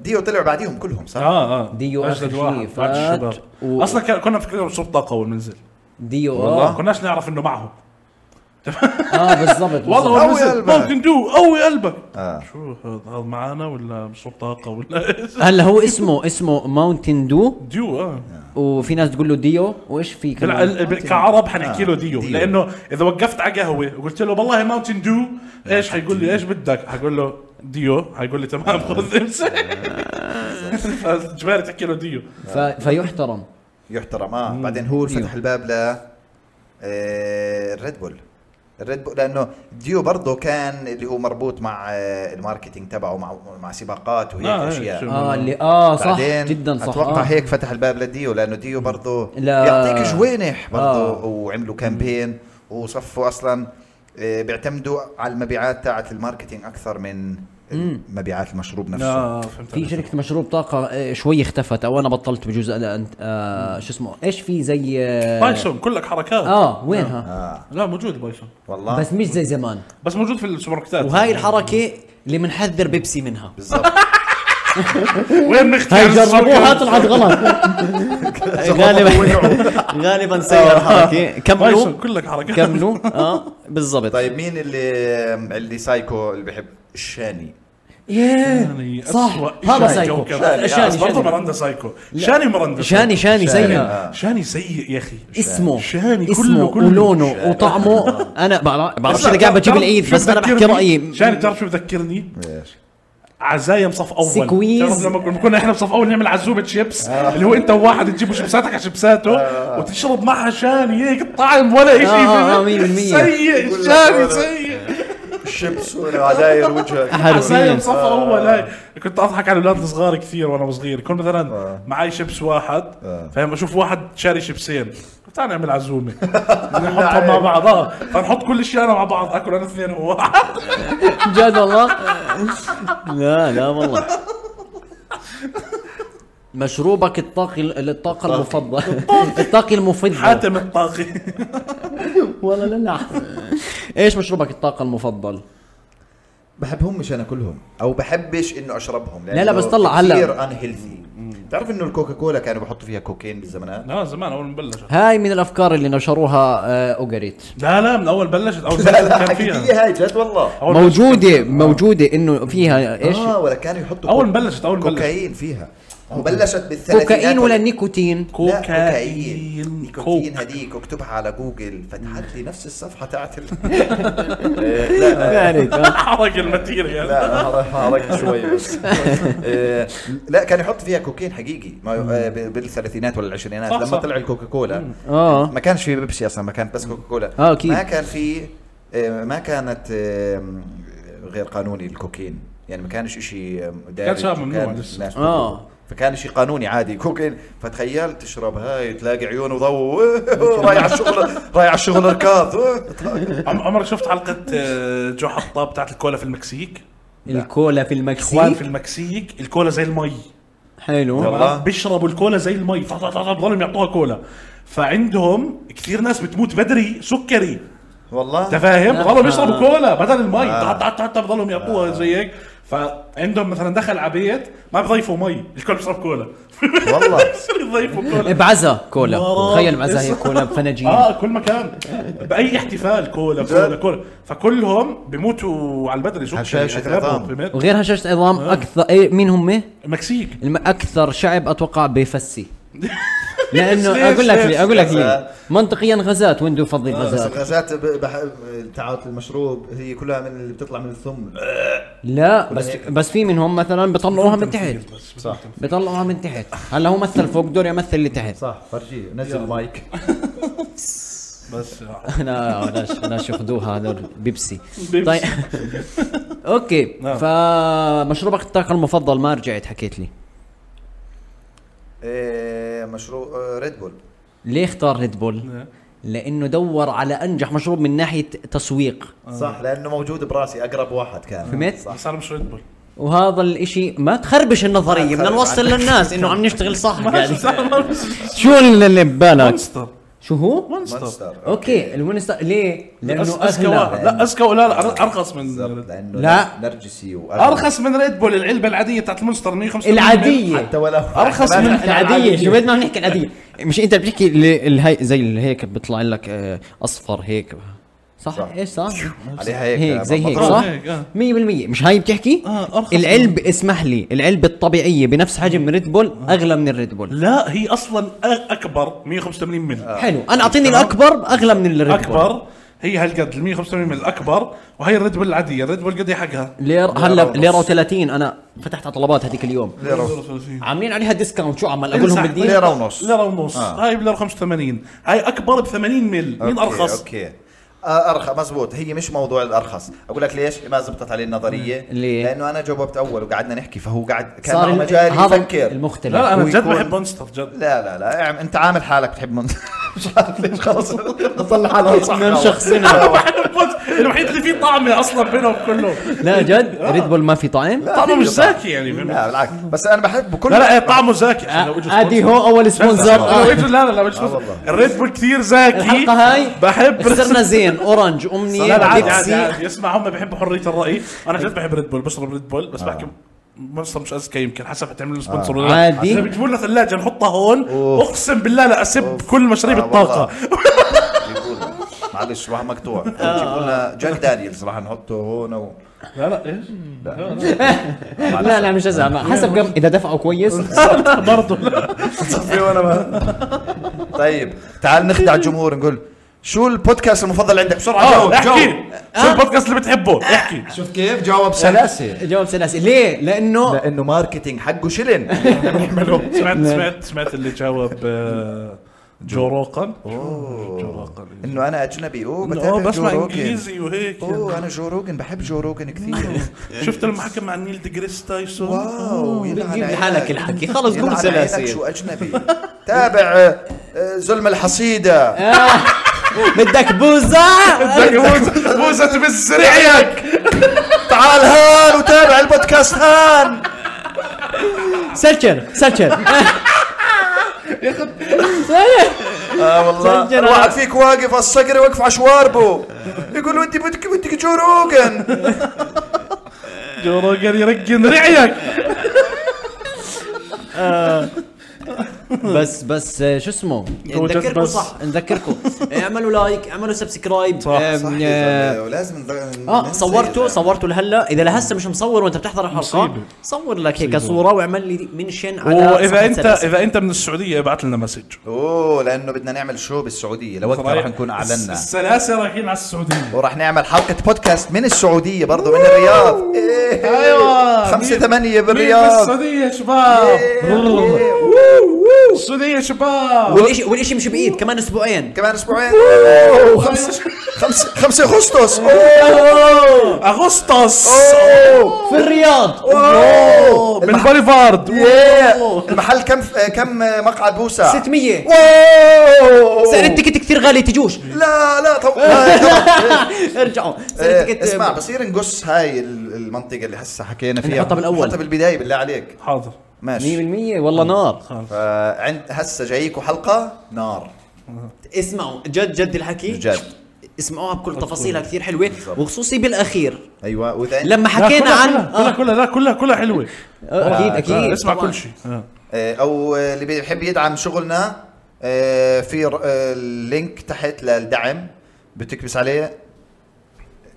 S3: ديو طلع بعديهم كلهم صح؟
S2: اه اه
S1: ديو
S2: أجدد
S1: آخر
S2: واحد
S1: شيء
S2: بعد
S1: فات
S2: الشباب
S1: و-
S2: اصلا كان- كنا فكرنا بصوب طاقه اول ما نزل
S1: ديو
S2: ما
S1: اه
S2: كناش نعرف انه معهم
S1: اه بالضبط
S2: والله
S1: بالضبط.
S2: هو
S3: قوي
S2: نزل
S3: قلبك.
S2: ممكن دو قوي قلبك
S3: آه.
S2: شو هذا هذا معانا ولا بصوب طاقه ولا إيش؟
S1: هلا هو اسمه اسمه ماونتن دو
S2: ديو اه
S1: وفي ناس تقول له ديو وايش في
S2: بال-
S1: كمان
S2: ال- بال- كعرب حنحكي له
S3: آه،
S2: ديو
S3: ديو.
S2: لانه اذا وقفت على قهوه وقلت له والله ماونتن دو ايش حيقول لي ايش بدك؟ حقول له ديو حيقول لي تمام خذ امسك فجباري تحكي له ديو
S1: ف... فيحترم
S3: يحترم اه بعدين هو
S1: ديو.
S3: فتح الباب ل آه، الريد بول الريد بول لانه ديو برضه كان اللي هو مربوط مع آه، الماركتينج تبعه مع مع سباقات وهيك
S2: آه،
S3: اشياء
S2: شو.
S1: اه اللي اه صح
S3: بعدين
S1: جدا صح
S3: اتوقع
S1: آه.
S3: هيك فتح الباب لديو لانه ديو برضه
S1: لا.
S3: يعطيك جوينح برضه
S1: آه.
S3: وعملوا كامبين وصفوا اصلا آه، بيعتمدوا على المبيعات تاعت الماركتينج اكثر من مبيعات المشروب نفسه
S2: اه فهمت
S1: في
S2: عليك.
S1: شركة مشروب طاقة آه، شوي اختفت او انا بطلت بجوز ألا انت آه شو اسمه ايش في زي آه,
S2: بايسون كلك حركات
S1: اه وينها؟
S3: اه
S2: لا موجود بايسون
S3: والله
S1: بس مش زي زمان
S2: بس موجود في السوبر ماركتات
S1: وهاي الحركة اللي بنحذر بيبسي منها
S3: بالضبط
S2: وين نختار
S1: هاي جربوها
S2: السوبر؟
S1: طلعت غلط غالبا غالبا
S3: آه.
S1: سيئة الحركة
S2: بايسون
S1: كملوا
S2: كلك حركات
S1: كملوا اه بالضبط
S3: طيب مين اللي اللي سايكو اللي بحب الشاني
S1: ياه
S2: يعني
S1: صح
S2: أسوأ إشي
S1: هذا
S2: على
S1: سايكو
S2: الكوكب.
S1: شاني
S2: بس برضه
S1: شاني
S2: مرندا سايكو شاني مرندا
S1: شاني شاني سيء
S3: آه.
S2: شاني سيء يا اخي
S1: اسمه
S2: شاني
S1: اسمه
S2: كله كله
S1: ولونه وطعمه انا بعرف- بعرفش اذا قاعد بجيب العيد
S2: شو
S1: بس انا بحكي
S2: بذكرني؟
S1: رايي
S2: شاني بتعرف شو بذكرني؟
S3: ايش
S2: عزايم صف اول
S1: سكويز.
S2: بتعرف لما كنا- كنا احنا بصف اول نعمل عزومه شيبس
S1: آه.
S2: اللي هو انت وواحد تجيبوا شيبساتك على شيبساته وتشرب معها شاني هيك الطعم ولا
S1: آه،
S2: شيء
S1: آه، آه، مية بالمية.
S2: سيء
S3: بقول لك
S2: شاني
S3: هذا.
S2: سيء
S3: الشيبس والعداير وجهك
S2: عصاية
S1: حرفيا
S2: مصفرة هو لا كنت اضحك على اولاد صغار كثير وانا صغير كنت مثلا
S3: آه.
S2: معي شيبس واحد
S3: آه.
S2: فاهم اشوف واحد شاري شيبسين تعال نعمل عزومه نحطهم مع بعض اه فنحط كل شيء انا مع بعض اكل انا اثنين وواحد
S1: جد والله لا لا والله مشروبك الطاقي الطاقة المفضل الطاقي المفضل
S2: حاتم الطاقي
S1: والله لا لا ايش مشروبك الطاقة المفضل؟
S3: بحبهم مش انا كلهم او بحبش انه اشربهم
S1: لا، بس طلع هلا.
S3: كثير ان هيلثي بتعرف انه الكوكا كولا كانوا بحطوا فيها كوكين بالزمانات
S2: لا زمان اول ما بلشت
S1: هاي من الافكار اللي نشروها آه، اوجريت
S2: لا لا من اول بلشت اول
S3: لا لا
S2: كان
S3: حكيت
S2: فيها
S3: هاي جد والله
S2: أول
S1: موجودة موجودة انه فيها ايش؟
S3: اه ولا كانوا يحطوا
S2: اول ما
S3: كو-
S2: بلشت اول ما بلشت
S3: كوكايين فيها وبلشت بالثلاثينات
S1: كوكايين ولا نيكوتين؟
S3: لا،
S2: كوكايين
S3: نيكوتين
S2: كوك.
S3: هديك اكتبها على جوجل فتحت لي نفس الصفحه تاعت ال...
S1: يعني.
S2: حرق الماتيريال
S3: لا حركت شوي بس آه، لا كان يحط فيها كوكين حقيقي ما آه، ب- بالثلاثينات ولا العشرينات
S2: صح،
S3: لما
S2: صح.
S3: طلع الكوكا كولا
S1: اه
S3: ما كانش في بيبسي اصلا ما كانت بس كوكا كولا
S1: آه، أكيد.
S3: ما كان في آه، ما كانت آه، غير قانوني الكوكين يعني ما كانش شيء دارج
S2: شيء ممنوع
S3: وكان
S2: لسه.
S3: ناس
S1: آه.
S3: بتطلبه. فكان شيء قانوني عادي كوكين فتخيل تشرب هاي تلاقي عيونه ضو رايح على الشغل رايح على الشغل ركاض
S2: عم- عمرك شفت حلقه آه، جو حطاب بتاعت الكولا في المكسيك؟
S1: الكولا في
S2: اخوان
S1: المكسيك
S2: في المكسيك الكولا زي المي
S1: حلو
S3: والله.
S2: بيشربوا الكولا زي المي طا- طا- طا- بضلهم يعطوها كولا فعندهم كثير ناس بتموت بدري سكري انت
S3: والله
S2: فاهم؟ بضلهم يشربوا
S1: آه.
S2: كولا بدل المي حتى حتى حتى بضلهم
S3: آه.
S2: يعطوها زي هيك فعندهم مثلا دخل على بيت ما بضيفوا مي الكل بيشرب كولا
S3: والله
S2: بصير يضيفوا كولا
S1: بعزة إيه، كولا
S2: مرة.
S1: تخيل بعزة هي كولا بفناجين
S2: اه كل مكان باي احتفال كولا كولا كولا فكلهم بيموتوا على البدري يعني سكري
S3: هشاشة عظام.
S2: أغلبهم بيموت.
S1: وغير هشاشة عظام
S2: آه.
S1: اكثر ايه مين هم؟
S2: المكسيك
S1: الم- اكثر شعب اتوقع بيفسي لانه
S2: ليش-
S1: اقول لك
S2: ليش آه،
S1: ليه اقول لك ليه
S3: غزات؟
S1: منطقيا غازات وين بده يفضل
S3: بس
S1: غازات
S3: الغازات ب- بح- تعاطي المشروب هي كلها من اللي بتطلع من الثم
S1: لا بس بس في منهم مثلا بيطلعوها من تحت
S3: صح
S1: بيطلعوها من تحت هلا هو مثل فوق دور يمثل اللي تحت
S3: صح فرجيه نزل المايك
S2: بس آه.
S1: انا انا انا شخدوها هذول بيبسي
S2: بيبسي.
S1: طيب اوكي
S2: نعم.
S1: فمشروبك الطاقه المفضل ما رجعت حكيت لي
S3: إيه، مشروب آه، ريد بول
S1: ليه اختار ريد بول؟ لانه دور على انجح مشروب من ناحيه تسويق
S2: آه.
S3: صح لانه موجود براسي اقرب واحد كان
S1: فهمت؟
S3: صح
S2: بس انا مش ريد بول
S1: وهذا الاشي ما تخربش النظريه
S3: ما
S1: بدنا
S3: تخربش
S1: نوصل
S3: عندك.
S1: للناس انه عم نشتغل صح يعني
S2: مونستر
S1: شو اللي ببالك؟
S2: مونستر
S1: شو هو؟ اوكي الوينستر ليه؟ لانه
S2: اذكى واحد
S1: اغلى
S2: لا اذكى لا لا أر- ارخص من
S3: بالضبط، لانه
S1: لا.
S3: نرجسي وأغلى.
S2: ارخص من ريد بول العلبه العاديه بتاعت المونستر 185
S1: العاديه
S3: حتى ولو
S2: أرخص من
S3: حتى
S1: العاديه شو بد ما بنحكي العاديه مش انت بتحكي اللي- الهي زي اللي هيك بيطلع لك آه، اصفر هيك صح
S3: صح.
S1: ايش صح
S3: عليها هيك،
S1: هيك زي هيك
S3: مضروب
S1: صح
S2: هيك، آه.
S1: 100% مش هاي بتحكي
S2: آه، أرخص
S1: العلب اسمح لي العلبه الطبيعيه بنفس حجم ريد بول اغلى من الريد بول
S2: لا هي اصلا أ- اكبر 185
S3: آه.
S2: مل
S1: حلو انا اعطيني الاكبر اغلى من الريد بول
S2: اكبر هي هالقد ال 185 مل اكبر وهي الريد بول العاديه الريد بول قد ايه حقها؟
S1: لير
S3: ليرة
S1: هلا
S3: ونص.
S1: ليره و30 انا فتحت على طلبات هذيك اليوم
S3: ليرة
S1: عاملين عليها ديسكاونت شو عمل اقول لهم
S2: انسحب.
S1: بدي
S3: ليرة ونص
S2: ليره ونص
S3: آه.
S2: هاي بليره 85 هاي اكبر ب 80 مل مين
S3: أوكي،
S2: ارخص؟
S3: اوكي آه، ارخص مزبوط هي مش موضوع الارخص اقول لك ليش ما زبطت عليه النظريه
S1: ليه؟
S3: لانه انا جاوبت اول وقعدنا نحكي فهو قاعد كان
S1: صار
S3: معه
S1: ال-
S3: مجال
S1: هذا
S3: يفكر
S2: لا
S1: المختلف
S2: لا انا جد
S3: ويكون-
S2: بحب مونستر جد
S3: لا لا لا اعم- انت عامل حالك بتحب من مش عارف ليش خلص اطلع حالي صح
S1: من
S3: خلص.
S1: شخصنا
S2: الوحيد اللي فيه طعمه اصلا بينهم كلهم
S1: لا جد ريد بول ما في طعم
S2: طعمه مش
S3: في طعم.
S2: زاكي يعني فهمت؟
S3: لا بالعكس بس انا بحبه كل
S2: لا لا طعمه زاكي لو إجوا
S1: ادي آه، هو اول سبونسر
S2: لا
S1: آه.
S2: لو إجوا- لا لا لو إجوا-
S3: والله.
S2: الريد بول كثير زاكي
S1: الحلقه هاي
S2: بحب
S1: خسرنا زين اورنج امنيه
S2: لا لا عادي عادي
S1: بيبسي
S2: عادي اسمع هم بيحبوا حريه الراي انا جد بحب ريد بول بشرب ريد بول بس بحكي مونستر مش اذكى يمكن حسب حتعمل له سبونسر ولا لا
S1: عادي.
S2: إذا بيجيبوا لنا ثلاجه نحطها هون
S3: أوف.
S2: اقسم بالله لا اسب كل مشاريب
S3: آه،
S2: الطاقه
S3: والله. بيقول معلش راح مقطوع
S2: آه.
S3: بيجيبوا لنا جاك دانييلز راح نحطه هون و...
S2: لا لا ايش؟
S1: لا لا مش ازعل حسب كم اذا دفعوا كويس
S2: برضه لا
S3: صفي وانا ما طيب تعال نخدع الجمهور نقول شو البودكاست المفضل عندك بسرعه
S2: آه،
S3: جاوب جاوب
S2: احكي شو البودكاست اللي بتحبه احكي
S3: شوف كيف جاوب سلاسه
S1: جواب سلاسل ليه؟ لانه
S3: لانه ماركتينج حقه شلن
S2: سمعت سمعت سمعت اللي جاوب آه، جو روقن جو
S3: اوه
S2: روقن
S3: انه انا اجنبي اوه
S2: إنه
S3: بتابع
S2: آه،
S3: جو
S2: بسمع
S3: روجن
S2: انجليزي وهيك
S3: اوه انا جو روجن بحب جو روجن كثير
S2: شفت لما حكى مع نيل ديجريس تايسون
S3: واو يلعن
S4: بتجيب
S3: عينك.
S4: لحالك الحكي خلص قول
S3: يلعن عينك
S4: سلاسل
S3: شو اجنبي تابع آه، آه، زلمه الحصيده
S4: بدك بوزة
S3: فوزت بسرعك تعال هان وتابع البودكاست هان
S1: سكر سكر
S3: اه والله
S1: سجل
S3: الواحد
S1: على-
S3: فيك واقف على الصقر واقف على شواربه يقول ودي بدك بدك جو روجن
S2: جو روجن يرجن رعيك
S1: بس بس آه، شو اسمه
S4: نذكركم
S2: بس.
S4: صح نذكركم اعملوا لايك اعملوا سبسكرايب
S2: صح،
S4: آم،
S3: صح
S4: آه،
S3: يا زلمة، ولازم نض-
S1: آه،
S4: اه
S3: ننسى
S4: صورته
S3: يا زلمة.
S4: صورته لهلا اذا لهسه مش مصور وانت بتحضر الحلقه
S2: مصيبة.
S4: صور لك هيك صوره واعمل لي منشن على
S2: واذا
S4: صفحة
S2: انت
S4: سلاسل.
S2: اذا انت من السعوديه ابعت لنا مسج
S3: اوه لانه بدنا نعمل شو بالسعوديه لوقتها رح نكون اعلنا
S2: السلاسل رايحين على السعوديه
S3: وراح نعمل حلقة بودكاست من السعودية برضو من الرياض إيه.
S2: أيوة.
S3: خمسة
S2: مين-
S3: ثمانية
S2: مين
S3: بالرياض
S2: بالسعوديه شباب السعوديه شباب
S4: والشيء والشيء مش بايد كمان اسبوعين
S3: كمان اسبوعين أوه، خمسة خمسة خمسة اغسطس أوه.
S2: اغسطس
S3: أوه.
S4: في الرياض
S3: أوه.
S2: بالبوليفارد
S3: إيه. المحل كم كم مقعد بوسع
S4: 600
S3: أوه.
S4: سعر التيكت كثير غالي تجوش
S3: لا لا طب لا، طب.
S4: ارجعوا
S2: آه،
S4: سعر
S3: إيه،
S4: التيكت
S3: اسمع بصير نقص هاي ال- المنطقة اللي هسه حكينا فيها
S4: نحطها بالأول.
S3: حطها بالبداية بالله عليك
S2: حاضر
S3: ماشي
S1: 100%
S2: آه.
S1: والله نار
S3: فعند هسه جايكوا حلقة نار
S4: اسمعوا جد جد الحكي
S3: جد.
S4: اسمعوها بكل تفاصيلها كثير حلوه وخصوصي بالاخير
S3: ايوه واذا أنت-
S4: لما
S2: لا،
S4: حكينا
S2: كلها-
S4: عن
S2: كلها
S4: آه،
S2: كلها لا كلها كلها حلوه
S1: اكيد
S2: آه،
S1: اكيد
S2: اسمع
S4: طبعاً.
S2: كل شيء آه.
S3: آه، او آه، اللي بيحب يدعم شغلنا آه، في ر- آه، اللينك تحت للدعم بتكبس عليه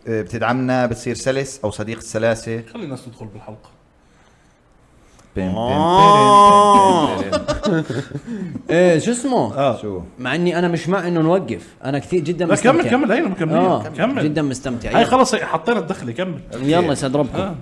S3: آه، بتدعمنا بتصير سلس او صديق السلاسه
S2: خلي الناس تدخل بالحلقه
S3: بيم
S1: آه.
S3: بيم بيم بيم بيم
S1: إيه، شو اسمه
S3: بيم.
S2: اه
S3: شو
S1: مع اني انا مش مع انه نوقف انا كثير جدا
S2: لا
S1: مستمتع
S2: كمل كمل هينا
S1: اه
S2: مكملين
S1: جدا
S2: كمل
S1: مستمتع
S2: هاي
S1: يلا.
S2: خلص هي حطينا الدخله كمل
S1: يلا يسعد ربكم
S2: آه.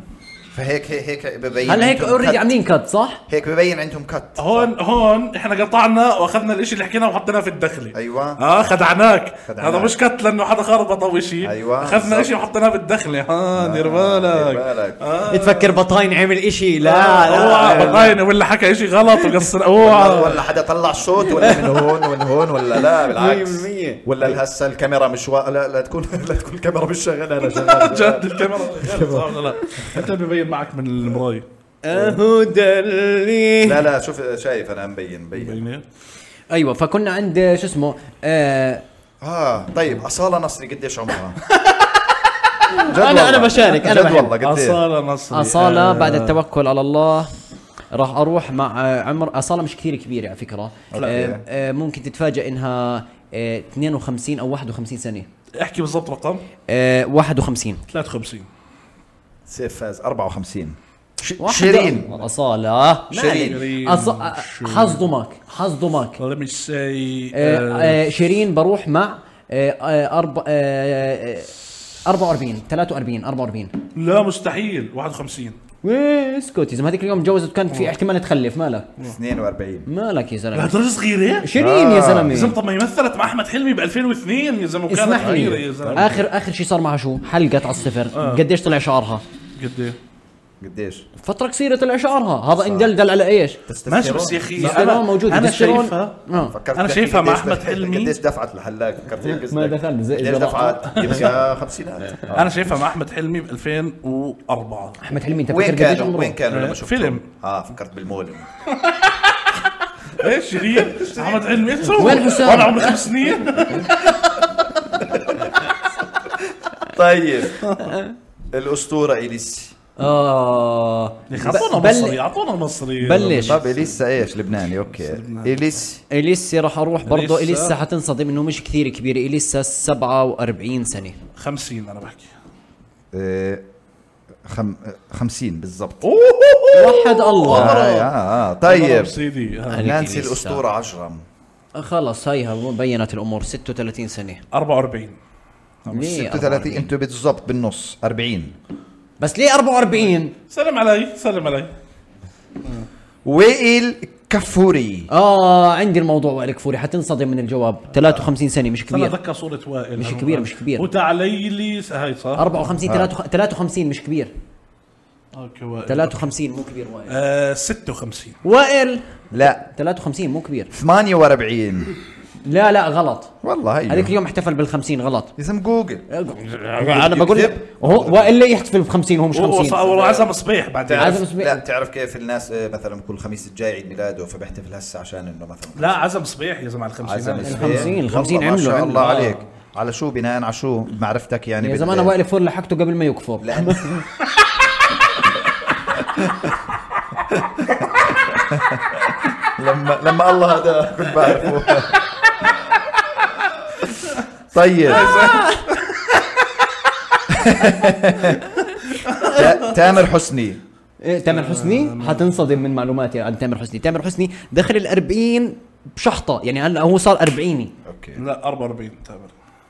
S3: فهيك هيك هيك ببين
S1: هلا هيك يعني؟
S3: عندهم
S1: اوريدي
S3: cut.
S1: عاملين كت صح؟
S3: هيك ببين عندهم كت
S2: هون هون احنا قطعنا واخذنا الاشي اللي حكيناه وحطيناه في الدخله
S3: ايوه
S2: اه خدعناك
S3: خدعناك.
S2: هذا مش كت لانه حدا خربط او شيء
S3: أيوة،
S2: اخذنا
S3: بالضبط.
S2: شيء وحطيناه بالدخله ها دير بالك آه.
S4: تفكر بطاين عمل اشي لا
S1: آه.
S2: اوعى
S4: لا
S2: بطاينه ولا حكى شيء غلط وقصر
S3: ولا,
S2: اوعى
S3: ولا حدا طلع صوت ولا من هون ولا هون ولا لا بالعكس
S4: 100%.
S3: ولا هسه الكاميرا مش وا... لا لا تكون لا تكون الكاميرا مش شغاله انا شغال
S2: جد الكاميرا شغالة، صح ولا لا انت اللي ببين معك من المرايه
S4: اهو دلي
S3: لا لا شوف شايف انا مبين مبين
S2: بيني.
S1: ايوه فكنا عند شو اسمه آه
S3: اه طيب اصاله نصري قديش عمرها؟
S1: أنا- أنا بشارك، أنا
S3: جد
S1: بحب.
S3: والله قديش
S2: اصاله نصري
S1: أصالة
S2: آه.
S1: بعد التوكل على الله راح اروح مع آه، عمر أصالة مش كثير كبيرة على فكرة
S3: أوكي.
S1: آه، آه، ممكن تتفاجئ انها آه، 52 او 51 سنة
S2: احكي بالضبط رقم
S1: آه، 51
S2: 53
S3: سيف فاز 54 ش-
S1: واحدة.
S3: شيرين
S1: أصالة
S3: شيرين.
S1: أص- آه، حصدمك حصدمك
S2: let me say
S1: آه،
S2: آه،
S1: آه، شيرين بروح مع آه، آه، أرب- آه، آه، 44 43 44
S2: لا مستحيل 51
S1: ويه، اسكت يا زلمه هذيك اليوم تجوزت كان
S2: آه.
S1: في احتمال تخلف مالك
S3: 42
S1: مالك يا زلمه
S2: لهالدرجه صغيره؟
S1: شيرين يا
S2: يا
S1: زلمه
S2: زلمه طب ما هي مثلت مع احمد حلمي ب 2002 يا زلمه وكانت
S1: اسمح
S2: صغيره يا آه.
S1: لي
S2: زلمه
S1: اخر اخر شيء صار معها شو حلقت على الصفر قديش طلع شعرها
S2: قد ايه
S3: قديش؟
S1: فتره قصيره طلع شعرها هذا اندلدل على ايش
S2: ماشي بس يا اخي
S1: الدستيرون
S2: انا
S1: موجود
S2: انا
S1: الدستيرون-
S2: شايفها
S1: آه.
S3: فكرت
S2: أنا
S3: تحكي
S2: شايفها مع
S3: قديش
S2: أحمد
S3: دفعت-
S2: حلمي.
S3: قديش دفعت لهلاك فكرت هيك
S1: ما
S3: قصدك
S1: دخل زي-
S3: قديش دفعت؟ يبقى خمسينات
S2: انا شايفها مع احمد حلمي ب 2004
S1: احمد حلمي انت
S3: وين
S1: فاكر قديش
S3: كانوا؟ وين
S1: عمره
S3: كانوا
S2: آه،
S3: لما شفتهم؟
S2: فيلم.
S3: اه فكرت بالمول
S2: ايش إيه، شيرين احمد حلمي ايش سوى؟
S1: وين حسام؟
S2: وانا عمري خمس سنين
S3: طيب الاسطوره اليسي
S1: اه
S2: اعطونا
S1: بل-
S2: مصري يعني. اعطونا مصري
S1: بلش
S3: طب اليسا ايش لبناني اوكي اليسي
S1: اليسا راح اروح برضه
S2: إليسا.
S1: اليسا حتنصدم انه مش كثير كبيره اليسا 47 سنه
S2: 50 انا بحكي
S3: آه، خم... آه، خمسين بالضبط
S1: وحد الله
S3: آه, آه, آه طيب
S2: سيدي آه.
S1: عليك
S3: نانسي
S1: إليسا.
S3: الاسطوره عجرم
S1: خلص هيها بينت الامور 36 سنه
S2: 44
S1: ليه
S3: 36
S1: 46
S3: انتوا بالضبط بالنص 40
S1: بس ليه 44
S2: سلم علي سلم علي
S3: وائل كفوري
S1: اه عندي الموضوع وائل كفوري حتنصدم من الجواب 53 سنه مش
S2: انا
S1: كبير
S2: اتذكر صورة وائل
S1: مش كبير، مش كبير.
S2: وتعلي لي هاي صح
S1: 54 53 مش كبير
S2: اوكي آه، وائل
S1: 53 مو كبير وائل
S2: آه، 56
S1: وائل
S3: لا
S1: 53 مو كبير
S3: 48
S1: لا لا غلط
S3: والله هي
S1: هذيك اليوم احتفل بال 50 غلط
S3: يا زلمه جوجل
S1: انا بقول لك هو والا يحتفل ب 50 هو مش 50
S2: وعزم صبيح بعدين
S1: عزم
S3: تعرف-
S1: صبيح.
S3: لا بتعرف كيف الناس آه، مثلا كل خميس الجاي عيد ميلاده فبحتفل هسه عشان انه مثلا
S2: لا عزم صبيح يا زلمه على الخمسينات
S1: صبيح. الخمسين- الخمسين
S3: والله ما
S1: عمله-
S3: شاء
S1: عمله.
S3: الله
S1: آه.
S3: عليك على شو بناء على شو معرفتك يعني
S1: يا
S3: بال-
S1: زمان وائل كفور لحقته قبل ما يكفر
S3: لأن- لما لما الله هذا كنت بعرفه طيب تا- تامر حسني
S1: إيه، تامر حسني حتنصدم من معلوماتي عن تامر حسني تامر حسني دخل ال 40 بشحطه يعني هلا هو صار 40
S3: اوكي
S2: لا طيب. 44 تامر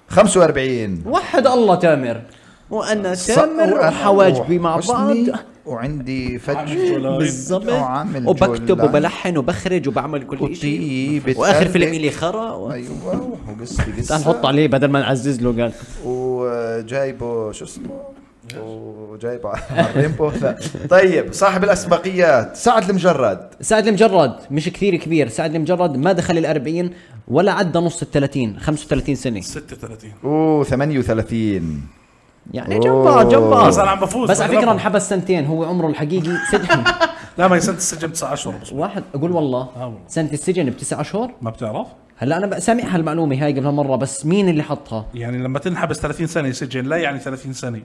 S3: 45
S1: وحد الله تامر وانا تامر
S3: صقر
S1: وحواجبي مع بعض
S3: حسني وعندي فج
S1: بالضبط
S3: وعامل
S1: وبكتب
S3: جولان.
S1: وبلحن وبخرج وبعمل كل شيء
S3: وطيبة
S1: واخر
S3: قلبك.
S1: فيلم الي خرا و...
S3: ايوه وقصتي
S1: تعال نحط
S3: قصه
S1: عليه بدل ما نعزز له قال
S3: وجايبه شو اسمه وجايبه ريمبو لا طيب صاحب الاسبقيات سعد المجرد
S1: سعد المجرد مش كثير كبير سعد المجرد ما دخل ال 40 ولا عدى نص ال 30 35 سنه
S2: 36
S3: اوه 38
S1: يعني جبار جبار
S2: بس انا عم بفوز
S1: بس على فكره
S2: بغلبهم.
S1: انحبس سنتين هو عمره الحقيقي سجن
S2: لا ما هي سنه السجن 9 اشهر بس.
S1: واحد اقول
S2: آه
S1: والله
S2: والله.
S1: سنه السجن بتسع اشهر
S2: ما بتعرف
S1: هلا انا بقى سامعها المعلومه هاي قبل مره بس مين اللي حطها
S2: يعني لما تنحبس 30 سنه سجن لا يعني 30 سنه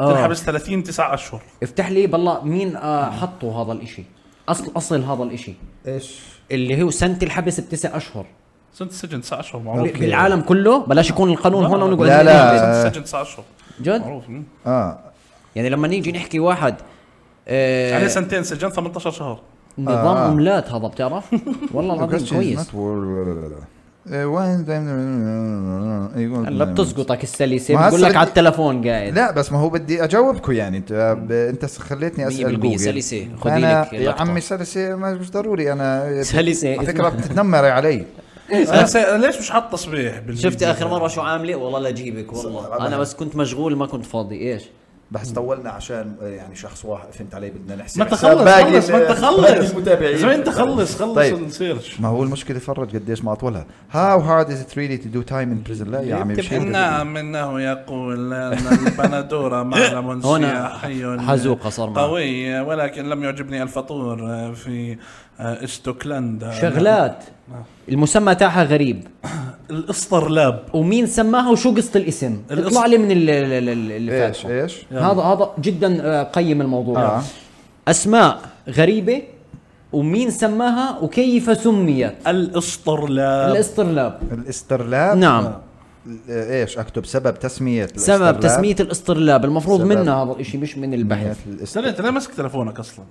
S1: آه.
S2: تنحبس 30 9 اشهر
S1: افتح لي بالله مين آه حطوا هذا الاشي اصل اصل هذا الاشي
S3: ايش
S1: اللي هو سنه الحبس بتسع اشهر
S2: سنه السجن 9 اشهر معروف
S1: ب- بالعالم كله بلاش يكون القانون هون ونقعد
S3: لا، لا.
S1: نهبل.
S2: سنه السجن 9 اشهر
S1: جد
S2: معروف مم.
S3: اه
S1: يعني لما نيجي نحكي واحد
S2: عليه
S3: إيه.
S1: آه
S2: سنتين سجن 18 شهر
S1: نظام املات هذا بتعرف والله العظيم كويس
S3: لا إيه،
S1: هلا بتسقطك السلسه
S3: ما
S1: بقول لك
S3: هسه
S1: على
S3: بدي-
S1: التلفون قاعد
S3: لا بس ما هو بدي اجاوبكم يعني انت ب- انت خليتني اسال
S1: 100%
S3: جوجل
S1: سلسة. خدي
S3: انا
S1: لك
S3: يا
S1: لقطة.
S3: عمي سلسه ما مش ضروري انا
S1: سلسة.
S3: على فكره بتتنمري علي إيه،
S2: هسه ليش مش حاط تصبيح بالفيديو؟
S1: شفت اخر مره شو عامله والله لا اجيبك والله انا بس كنت مشغول ما كنت فاضي ايش
S3: بس طولنا عشان يعني شخص واحد فهمت علي بدنا نحسب
S2: ما انت
S3: حساب
S2: خلص
S3: باقي
S2: خلص ما انت
S3: ال- باقي
S2: خلص
S3: المتابعين.
S2: يا زلمه انت خلص خلص
S3: طيب.
S2: السيرش
S3: ما هو المشكله فرج قديش ما اطولها هاو هارد از ات ريلي تو دو تايم ان بريزن لا يا عمي مش هيك بدي.
S2: نعم انه يقول ان البندوره معلم
S1: هنا
S2: سياحي
S1: حزوقة صار معه.
S2: قوي ولكن لم يعجبني الفطور في استوكلندا
S1: شغلات المسمى تاعها غريب
S2: الاسطرلاب
S1: ومين سماها وشو قصه الاسم
S2: الاسم.
S1: اطلع لي من ال- ال- ال- ال- اللي
S3: ايش
S1: فاتحه
S3: ايش
S1: هذا هذا جدا آه، قيم الموضوع
S3: إيه. آه.
S1: اسماء غريبه ومين سماها وكيف سميت
S2: الاسطرلاب
S1: الاسطرلاب
S3: الاسترلاب
S1: نعم.
S3: ال- ايش اكتب إيه، سبب تسميه
S1: سبب تسميه الاسطرلاب المفروض
S3: سبب.
S1: منا هذا الشيء مش من البحث
S2: استنى
S3: البحث
S2: انت ليه ماسك تلفونك اصلا؟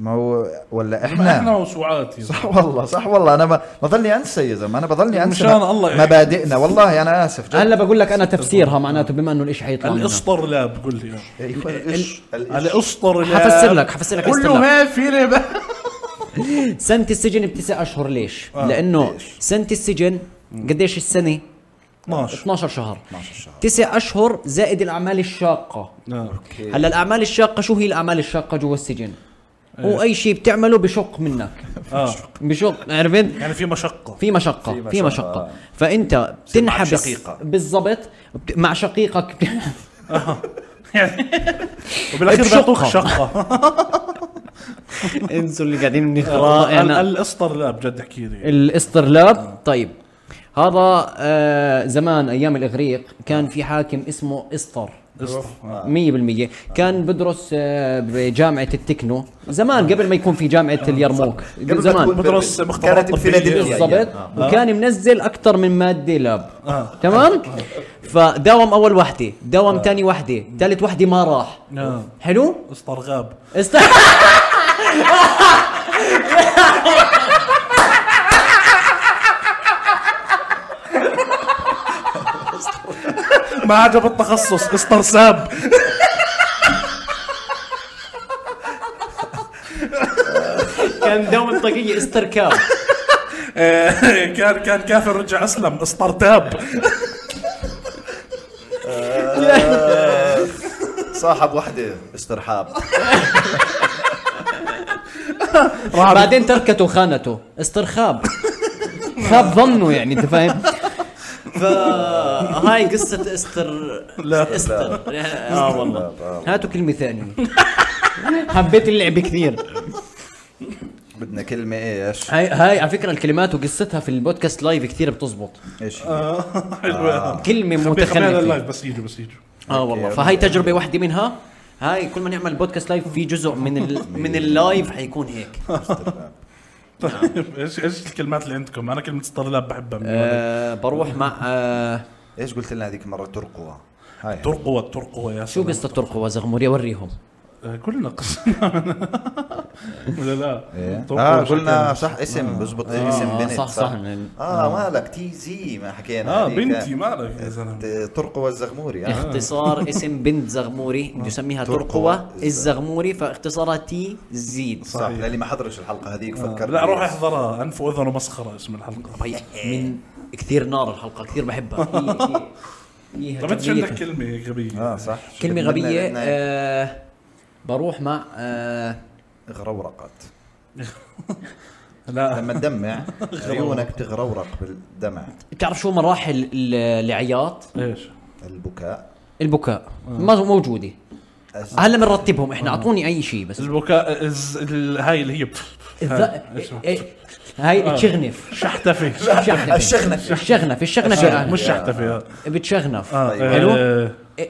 S3: ما هو ولا
S2: ما
S3: احنا
S2: احنا موسوعات يا زلمة.
S3: صح والله صح والله انا ما بضلني انسى يا زلمه انا بضلني انسى
S2: مشان الله يعينك.
S3: مبادئنا والله انا اسف جد
S1: هلا بقول لك انا تفسيرها معناته بما انه الاشي حيطلع منها.
S2: الاسطرلاب قل لي إياه.
S3: أيوة، الإش- الإش.
S2: الاسطرلاب
S1: حفسر لك- حفسر لك
S2: كله
S1: اسطرلاب.
S2: ما في ربا
S1: سنة السجن بتسع أشهر ليش؟ آه لأنه
S3: ليش؟
S1: سنة السجن قديش السنة؟
S2: 12
S1: 12 شهر
S3: 12 شهر.
S1: تسع أشهر زائد الأعمال الشاقة هلا الأعمال الشاقة شو هي الأعمال الشاقة جوا السجن؟ هو أي شيء بتعمله بشق منك
S2: اه
S1: بشق عرفت؟
S2: يعني في مشقه
S1: في مشقة
S3: في
S1: في
S3: مشقة.
S1: مشقة فأنت بتنحبس
S3: شقيقة.
S1: بالضبط بت- مع شقيقك بت-
S2: يعني وبالاخير
S1: بشقة.
S2: بيعطوك شقه
S1: انسوا اللي قاعدين بنقرا
S2: آه، ال-
S1: أنا-
S2: الاسطرلاب جد احكي لي
S1: الاسطرلاب طيب هذا آه زمان أيام الإغريق كان في حاكم اسمه إسطر
S2: اسطر-
S1: مية بالمية كان بدرس آه، بجامعة التكنو زمان قبل ما يكون في جامعة اليرموك
S3: قبل ما تكون
S1: زمان
S2: بدرس
S3: بيربل.
S2: مختبرات
S3: كانت
S2: طبية.
S3: بفيلادلفيا
S1: بالضبط
S3: أيام. آه.
S1: وكان منزل أكثر من مادة لاب
S2: آه.
S1: تمام فداوم أول وحدة داوم ثاني وحدة ثالث وحدة ما راح
S2: آه.
S1: حلو
S2: اسطرغاب
S1: است...
S2: ما عجب التخصص اسطرساب
S1: كان
S4: كان دوم طاقية استركاب
S2: آه، كان كان كافر رجع اسلم اسطرتاب
S1: آه.
S3: صاحب وحده استرحاب
S1: بعدين تركته خانته استرخاب خاب ظنه يعني انت فاهم
S4: فهاي قصة استر
S2: لا.
S4: استر اه والله
S1: هاتوا كلمه ثانيه حبيت اللعب كثير
S3: بدنا إيه، كلمه ايش
S1: هاي هاي على فكره الكلمات وقصتها في البودكاست لايف كثير بتزبط
S3: ايش
S2: حلوة
S1: كلمه
S2: خلينا
S1: متخلفه
S2: اللايف بس يجوا بس يجوا
S1: اه والله فهاي تجربه واحده منها هاي كل ما نعمل بودكاست لايف في جزء من ال... من اللايف حيكون هيك
S2: طيب ايش ايش الكلمات اللي عندكم؟ انا كلمة استرلاب بحبها من ولد.
S1: نعم. آه بروح مع آه
S3: ايش قلت لنا هذيك مره ترقوة هاي
S2: ترقوة ترقوة يا
S1: شو
S2: سلام
S1: قصه ترقوة زغموري اوريهم
S2: آه، كلنا قصة ولا لا؟
S3: إيه.
S2: ترقوة
S3: اه
S2: شو
S3: قلنا
S2: كانت؟
S3: صح اسم بزبط إيه، اسم بنت
S1: صح، صح.
S3: اه مالك تي زي ما حكينا
S2: اه
S3: هذيك.
S2: بنتي مالك يا زلمة
S3: ترقوة الزغموري آه.
S1: اختصار اسم بنت زغموري بده يسميها
S3: ترقوة.
S1: ترقوة الزغموري فاختصارها تي زيد
S3: صح للي ما حضرش الحلقه هذيك فكر
S2: آه، لا روح احضرها انف واذن ومسخرة اسم الحلقة
S1: طيب، من كثير نار الحلقه كثير بحبها هي- هي- فيها
S2: طب انت شو
S1: كمية-
S2: عندك طيب، كلمة غبية؟
S3: اه صح
S1: كلمه
S3: بدنا-
S1: غبيه
S3: بدنا-
S1: آه بروح مع آه
S3: غرورقت
S2: لا
S3: لما تدمع عيونك تغرورق بالدمع
S1: بتعرف شو مراحل ال- العياط
S2: ايش؟
S3: البكاء
S1: البكاء
S2: آه.
S1: ما موجوده
S3: أز-
S1: هلا بنرتبهم احنا اعطوني اي شيء بس
S2: البكاء الز- ال- هاي اللي هي
S1: الذ- إيه-
S2: آه.
S1: هاي تشغنف
S2: شحتفي
S1: شغنف.
S3: الشغنف.
S1: الشغنف الشغنف
S2: مش شحتفي آه.
S1: بتشغنف
S2: اه
S1: طيب. حلو؟
S2: آه،
S1: إيه.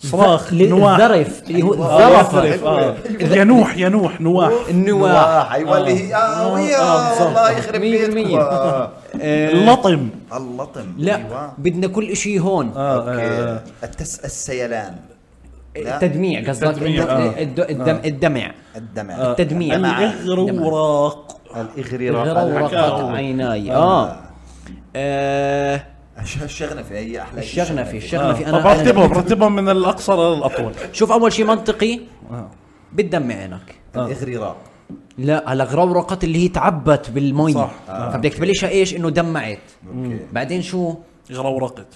S2: صراخ
S1: ل-
S2: نواح
S1: الذرف اللي هو
S2: آه،
S1: الذرف
S2: يثرف، آه. ينوح ينوح نواح
S1: النواح
S3: نواح ايوه اللي هي اه ويا والله يخرب
S1: آه، مية
S3: بيتكم
S1: بالمية.
S3: آه.
S2: اللطم
S3: اللطم
S1: لا آه.
S3: أيوة.
S1: بدنا كل شيء هون
S2: آه، آه.
S3: اوكي التس السيلان لا.
S1: التدميع قصدك
S2: التدميع،
S1: الد-
S2: آه.
S1: الد- الدم- الدمع
S3: الدمع
S1: التدميع
S2: الاغروراق
S3: الاغريرة
S1: غرورقت
S2: الحكاوي.
S1: عيناي اه آه،
S3: الشغنفه هي احلى شيء
S1: الشغنفي الشغنفي
S2: آه. طب
S1: انا أنا-
S2: رتبهم رتبهم من الاقصر للاطول
S1: شوف اول شيء منطقي بتدمع عينك
S3: الاغريرة
S1: لا هلا غرورقت اللي هي تعبت بالمي
S2: صح.
S1: آه. فبدك تبلشها ايش انه دمعت
S3: اوكي
S1: بعدين شو
S2: غرورقت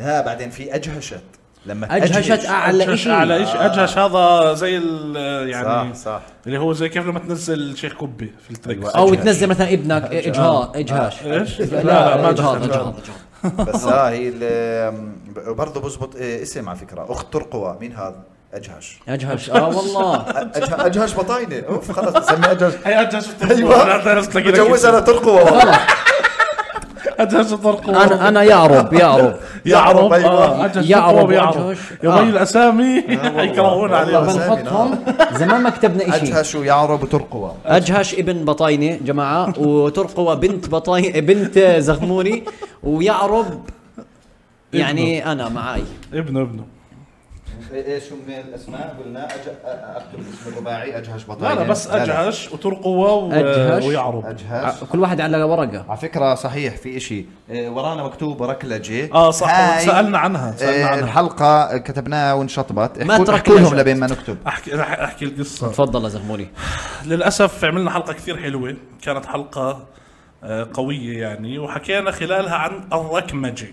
S3: ها بعدين في اجهشت لما
S1: أجهشت
S3: تأجهش.
S1: اعلى
S2: أجهش-
S1: شيء
S2: اعلى شيء اجهش هذا زي ال- يعني
S3: صح صح
S2: اللي هو زي كيف لما تنزل شيخ كبي في التريكس
S3: أيوة.
S1: او
S3: أجهش.
S1: تنزل مثلا ابنك اجهاض اجهاش
S2: ايش؟
S1: لا لا ما اجهاض
S3: أيوة.
S2: دخل.
S1: اجهاض
S3: بس ها هي برضه بزبط إيه، اسم على فكره اخت ترقوة مين هذا؟ اجهش
S1: اجهش اه والله
S3: أجه- اجهش بطاينه اوف خلص بسميه اجهش
S2: هي اجهش تلاقي لك
S3: بجوزها
S2: اسم.
S3: لترقوة والله
S2: اجهش الطرقوة
S1: انا انا يعرب يعرب
S2: يعرب
S3: يعرب، أيوة.
S2: آه، أجهش
S1: يعرب
S2: الطرقوة بيعرب
S1: وأجهش.
S2: يا
S1: آه.
S2: مي الاسامي يكرهون
S1: لما
S2: عليهم
S3: والله.
S1: نحطهم زمان ما كتبنا شيء
S3: اجهش ويعرب وترقوة
S1: اجهش ابن بطاينه جماعه وترقوة بنت بطاي بنت زغموري ويعرب يعني انا معاي
S2: ابنه ابنه
S3: ايش هم الاسماء قلنا اكتب اسم الرباعي اجهش
S2: لا
S3: بطاينه
S2: لا بس اجهش وترقوة و-
S1: أجهش.
S2: ويعرب
S3: اجهش
S1: كل واحد على ورقه
S3: على فكره صحيح في إشي إيه، ورانا مكتوب ركلجة
S2: اه صح
S3: هاي،
S2: سالنا عنها
S3: إيه،
S2: سالنا عنها
S3: الحلقة كتبناها وانشطبت
S1: ما
S3: احكوا
S1: تركلجت.
S3: احكوا لهم لبين ما نكتب
S2: احكي رح احكي القصه
S1: تفضل يا زغموري
S2: للاسف عملنا حلقه كثير حلوه كانت حلقه آه، قويه يعني وحكينا خلالها عن الركمجه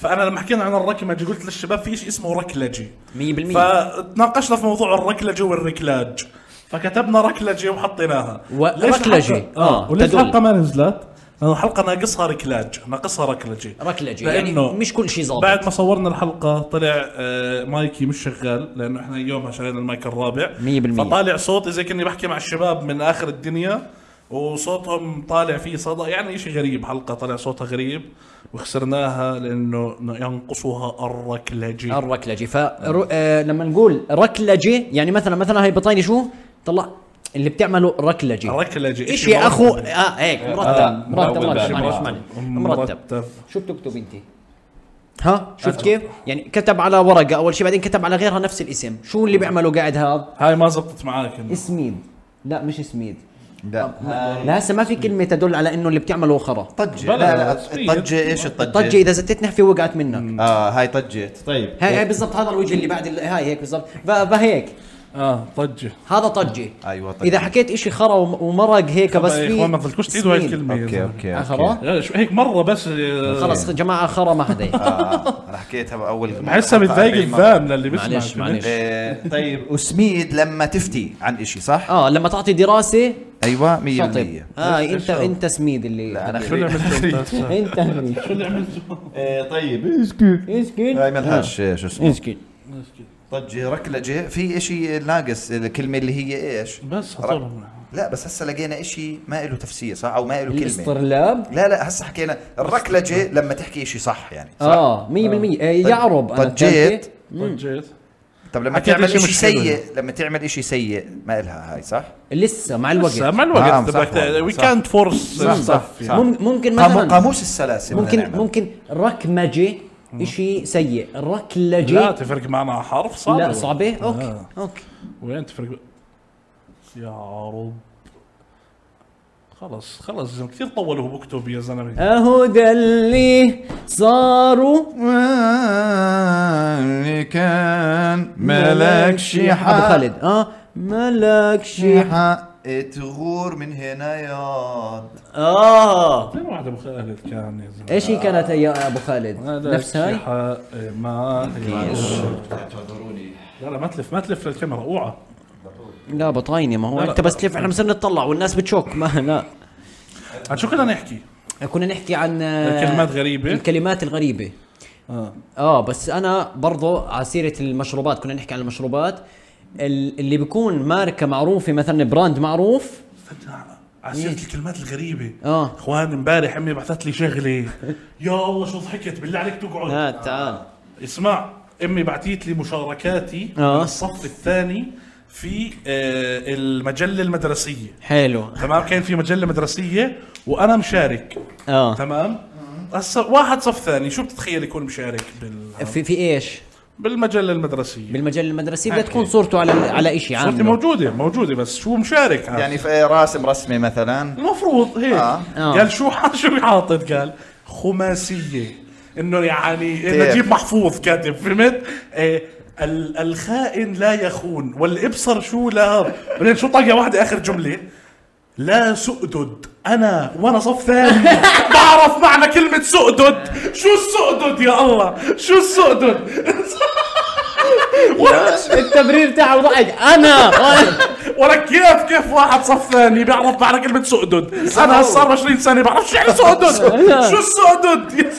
S2: فانا لما حكينا عن الركمجه قلت للشباب في شيء اسمه ركلجه
S1: 100%
S2: فتناقشنا في موضوع الركلجه والركلاج فكتبنا ركلجه وحطيناها
S1: وركلجة،
S2: اه
S1: آه،
S2: وليش
S1: تدل.
S2: الحلقه ما نزلت؟ لانه الحلقه ناقصها ركلاج ناقصها ركلجه
S1: ركلجه يعني
S2: لأنه
S1: مش كل شيء ظابط
S2: بعد ما صورنا الحلقة طلع آه، مايكي مش شغال لأنه احنا يومها شرينا المايك الرابع
S1: مية بالمية.
S2: فطالع صوت زي كأني بحكي مع الشباب من آخر الدنيا وصوتهم طالع فيه صدى يعني شيء غريب حلقة طلع صوتها غريب وخسرناها لأنه ينقصها الركلجة
S1: الركلجه ف آه لما نقول ركلجه يعني مثلا مثلا هاي بطاينه شو طلع اللي بتعمله ركلجه
S2: ركلجة إشي
S1: ايش يا
S2: مرتب.
S1: اخو اه هيك مرتب مرتب
S5: مروّل بالي.
S1: مرتب معلش معلش مرتب
S2: مرتب
S1: شو بتكتب انت؟ ها شفت كيف؟ يعني كتب على ورقه اول شيء بعدين كتب على غيرها نفس الاسم، شو اللي بيعمله قاعد هذا؟
S2: هاي ما زبطت معاك إنه.
S1: اسميد لا مش اسميد
S3: لا
S1: لا هسه آه، ما في كلمه تدل على انه اللي بتعمله خرا
S3: طجة
S2: بلا،
S3: لا لا
S2: صفير.
S3: الطجة ايش الطجة؟
S1: طجه اذا زتت نحفه وقعت منك
S3: اه هاي طجت
S5: طيب
S1: هاي هاي بالضبط هذا الوجه اللي بعد ال- هاي هيك بالضبط ف- فهيك
S2: اه طجه
S1: هذا طجي
S3: أيوة، طجي.
S1: اذا حكيت اشي خرا وم- ومرق هيك بس
S2: يا
S1: في
S2: اخوان إيه، ما تضلكوش تعيدوا هاي
S1: سمين.
S2: الكلمه يا
S3: اوكي
S2: زلمة.
S3: اوكي
S1: آه،
S3: اوكي
S1: خلاص؟
S2: لا شو هيك مره بس آه،
S1: خلاص جماعه خرا ما حدا يحكي.
S3: إيه. آه، انا حكيتها باول
S2: بحسها بتضايق
S3: أربعين مرة.
S2: الفام للي بيسمع
S1: معلش معلش
S3: إيه، طيب وسميد لما تفتي عن شيء صح؟
S1: اه لما تعطي دراسه
S3: ايوه 100%
S1: شطب اه انت انت سميد اللي
S3: لا انا
S2: شو اللي
S3: خلي
S2: عملت
S1: انت
S2: شو اللي عملته
S3: إيه، طيب اسكت
S1: اسكت
S3: هاي ملهاش إيه، شو اسمه
S1: اسكت
S3: طجه ركلجه في اشي ناقص الكلمه اللي هي ايش؟
S2: بس
S3: رك...
S2: خطر
S3: لا بس هسه لقينا اشي ما له تفسير صح او ما له كلمه
S1: الاسترلاب
S3: لا لا هسه حكينا الركلجه لما تحكي اشي صح يعني صح؟ آه.
S1: اه 100% إيه، يعرب انا
S3: طجيت.
S1: الثالثة.
S2: طجيت
S3: طب لما
S2: حكيت
S3: تعمل
S2: إشي
S3: اشي,
S2: مش حلو
S3: سيء لما تعمل اشي سيء ما إلها هاي صح؟
S1: لسه مع الوقت
S2: مع
S3: نعم،
S2: الوقت
S3: صح والله،
S2: وي
S3: صح.
S2: كانت فورس
S3: صح، صح، صح.
S1: مم- ممكن
S3: قامو-
S1: مثلا
S3: قاموس السلاسل
S1: ممكن
S3: بدنا نعمل.
S1: ممكن ركمجه شيء سيء
S2: لا
S1: ركلجه
S2: تفرق معنا حرف صعب آه.
S1: لا صعبه اوكي اوكي
S2: وين تفرق يا رب خلص خلص زلمة، كثير طولوا هو بكتب يا زلمه
S1: اهو ده اللي صاروا
S3: واني كان
S1: ابو خالد اه ملكش حق
S3: شيحة تغور من هنا يا أه.
S1: اه
S2: وين واحد ابو خالد كان يا زلمه
S1: ايش هي كانت يا ابو خالد
S2: هذا
S1: نفس هاي
S2: شيحة، إيه، ما
S3: اعذروني
S2: لا لا ما تلف ما تلف للكاميرا اوعى
S1: لا بطاينه ما هو
S2: لا، لا.
S1: انت بس تلف احنا بنصير نتطلع والناس بتشوك ما لا
S2: عن شو كنا نحكي؟
S1: كنا نحكي عن آه،
S2: الكلمات غريبة.
S1: الكلمات الغريبة
S2: اه
S1: اه بس انا برضو على سيرة المشروبات كنا نحكي عن المشروبات ال- اللي بيكون ماركة معروفة مثلا براند معروف
S2: على سيرة الكلمات الغريبة
S1: إيه؟ آه.
S2: اخوان امبارح امي بعثت لي شغلة يا الله شو ضحكت بالله عليك تقعد
S1: ها تعال
S2: اسمع امي بعتيت لي مشاركاتي
S1: آه.
S2: من الصف الثاني في آه، المجلة المدرسية
S1: حلو
S2: تمام كان في مجلة مدرسية وانا مشارك
S1: اه
S2: تمام هسا واحد صف ثاني شو بتتخيل يكون مشارك بال...
S1: في في ايش؟
S2: بالمجلة المدرسية
S1: بالمجال المدرسي بدها
S2: أكيد.
S1: تكون صورته على على شيء
S2: صورتي
S1: عام
S2: موجودة موجودة بس شو مشارك هذا؟
S3: يعني في راسم رسمة مثلا
S2: المفروض هيك
S3: آه.
S1: آه.
S2: قال شو شو حاطط قال خماسيه انه يعني
S3: كيف؟
S2: نجيب محفوظ كاتب فهمت آه ال- الخائن لا يخون والابصر شو لا بعدين شو طاقه واحده اخر جمله لا سؤدد انا وانا صف ثاني بعرف معنى كلمه سؤدد شو السؤدد يا الله شو السؤدد وأنا-
S1: التبرير تاعه ضحك انا
S2: ولك كيف كيف واحد صف ثاني بيعرف معنى كلمة سؤدد أنا هسه 24 سنة بعرف شو يعني سؤدد شو السؤدد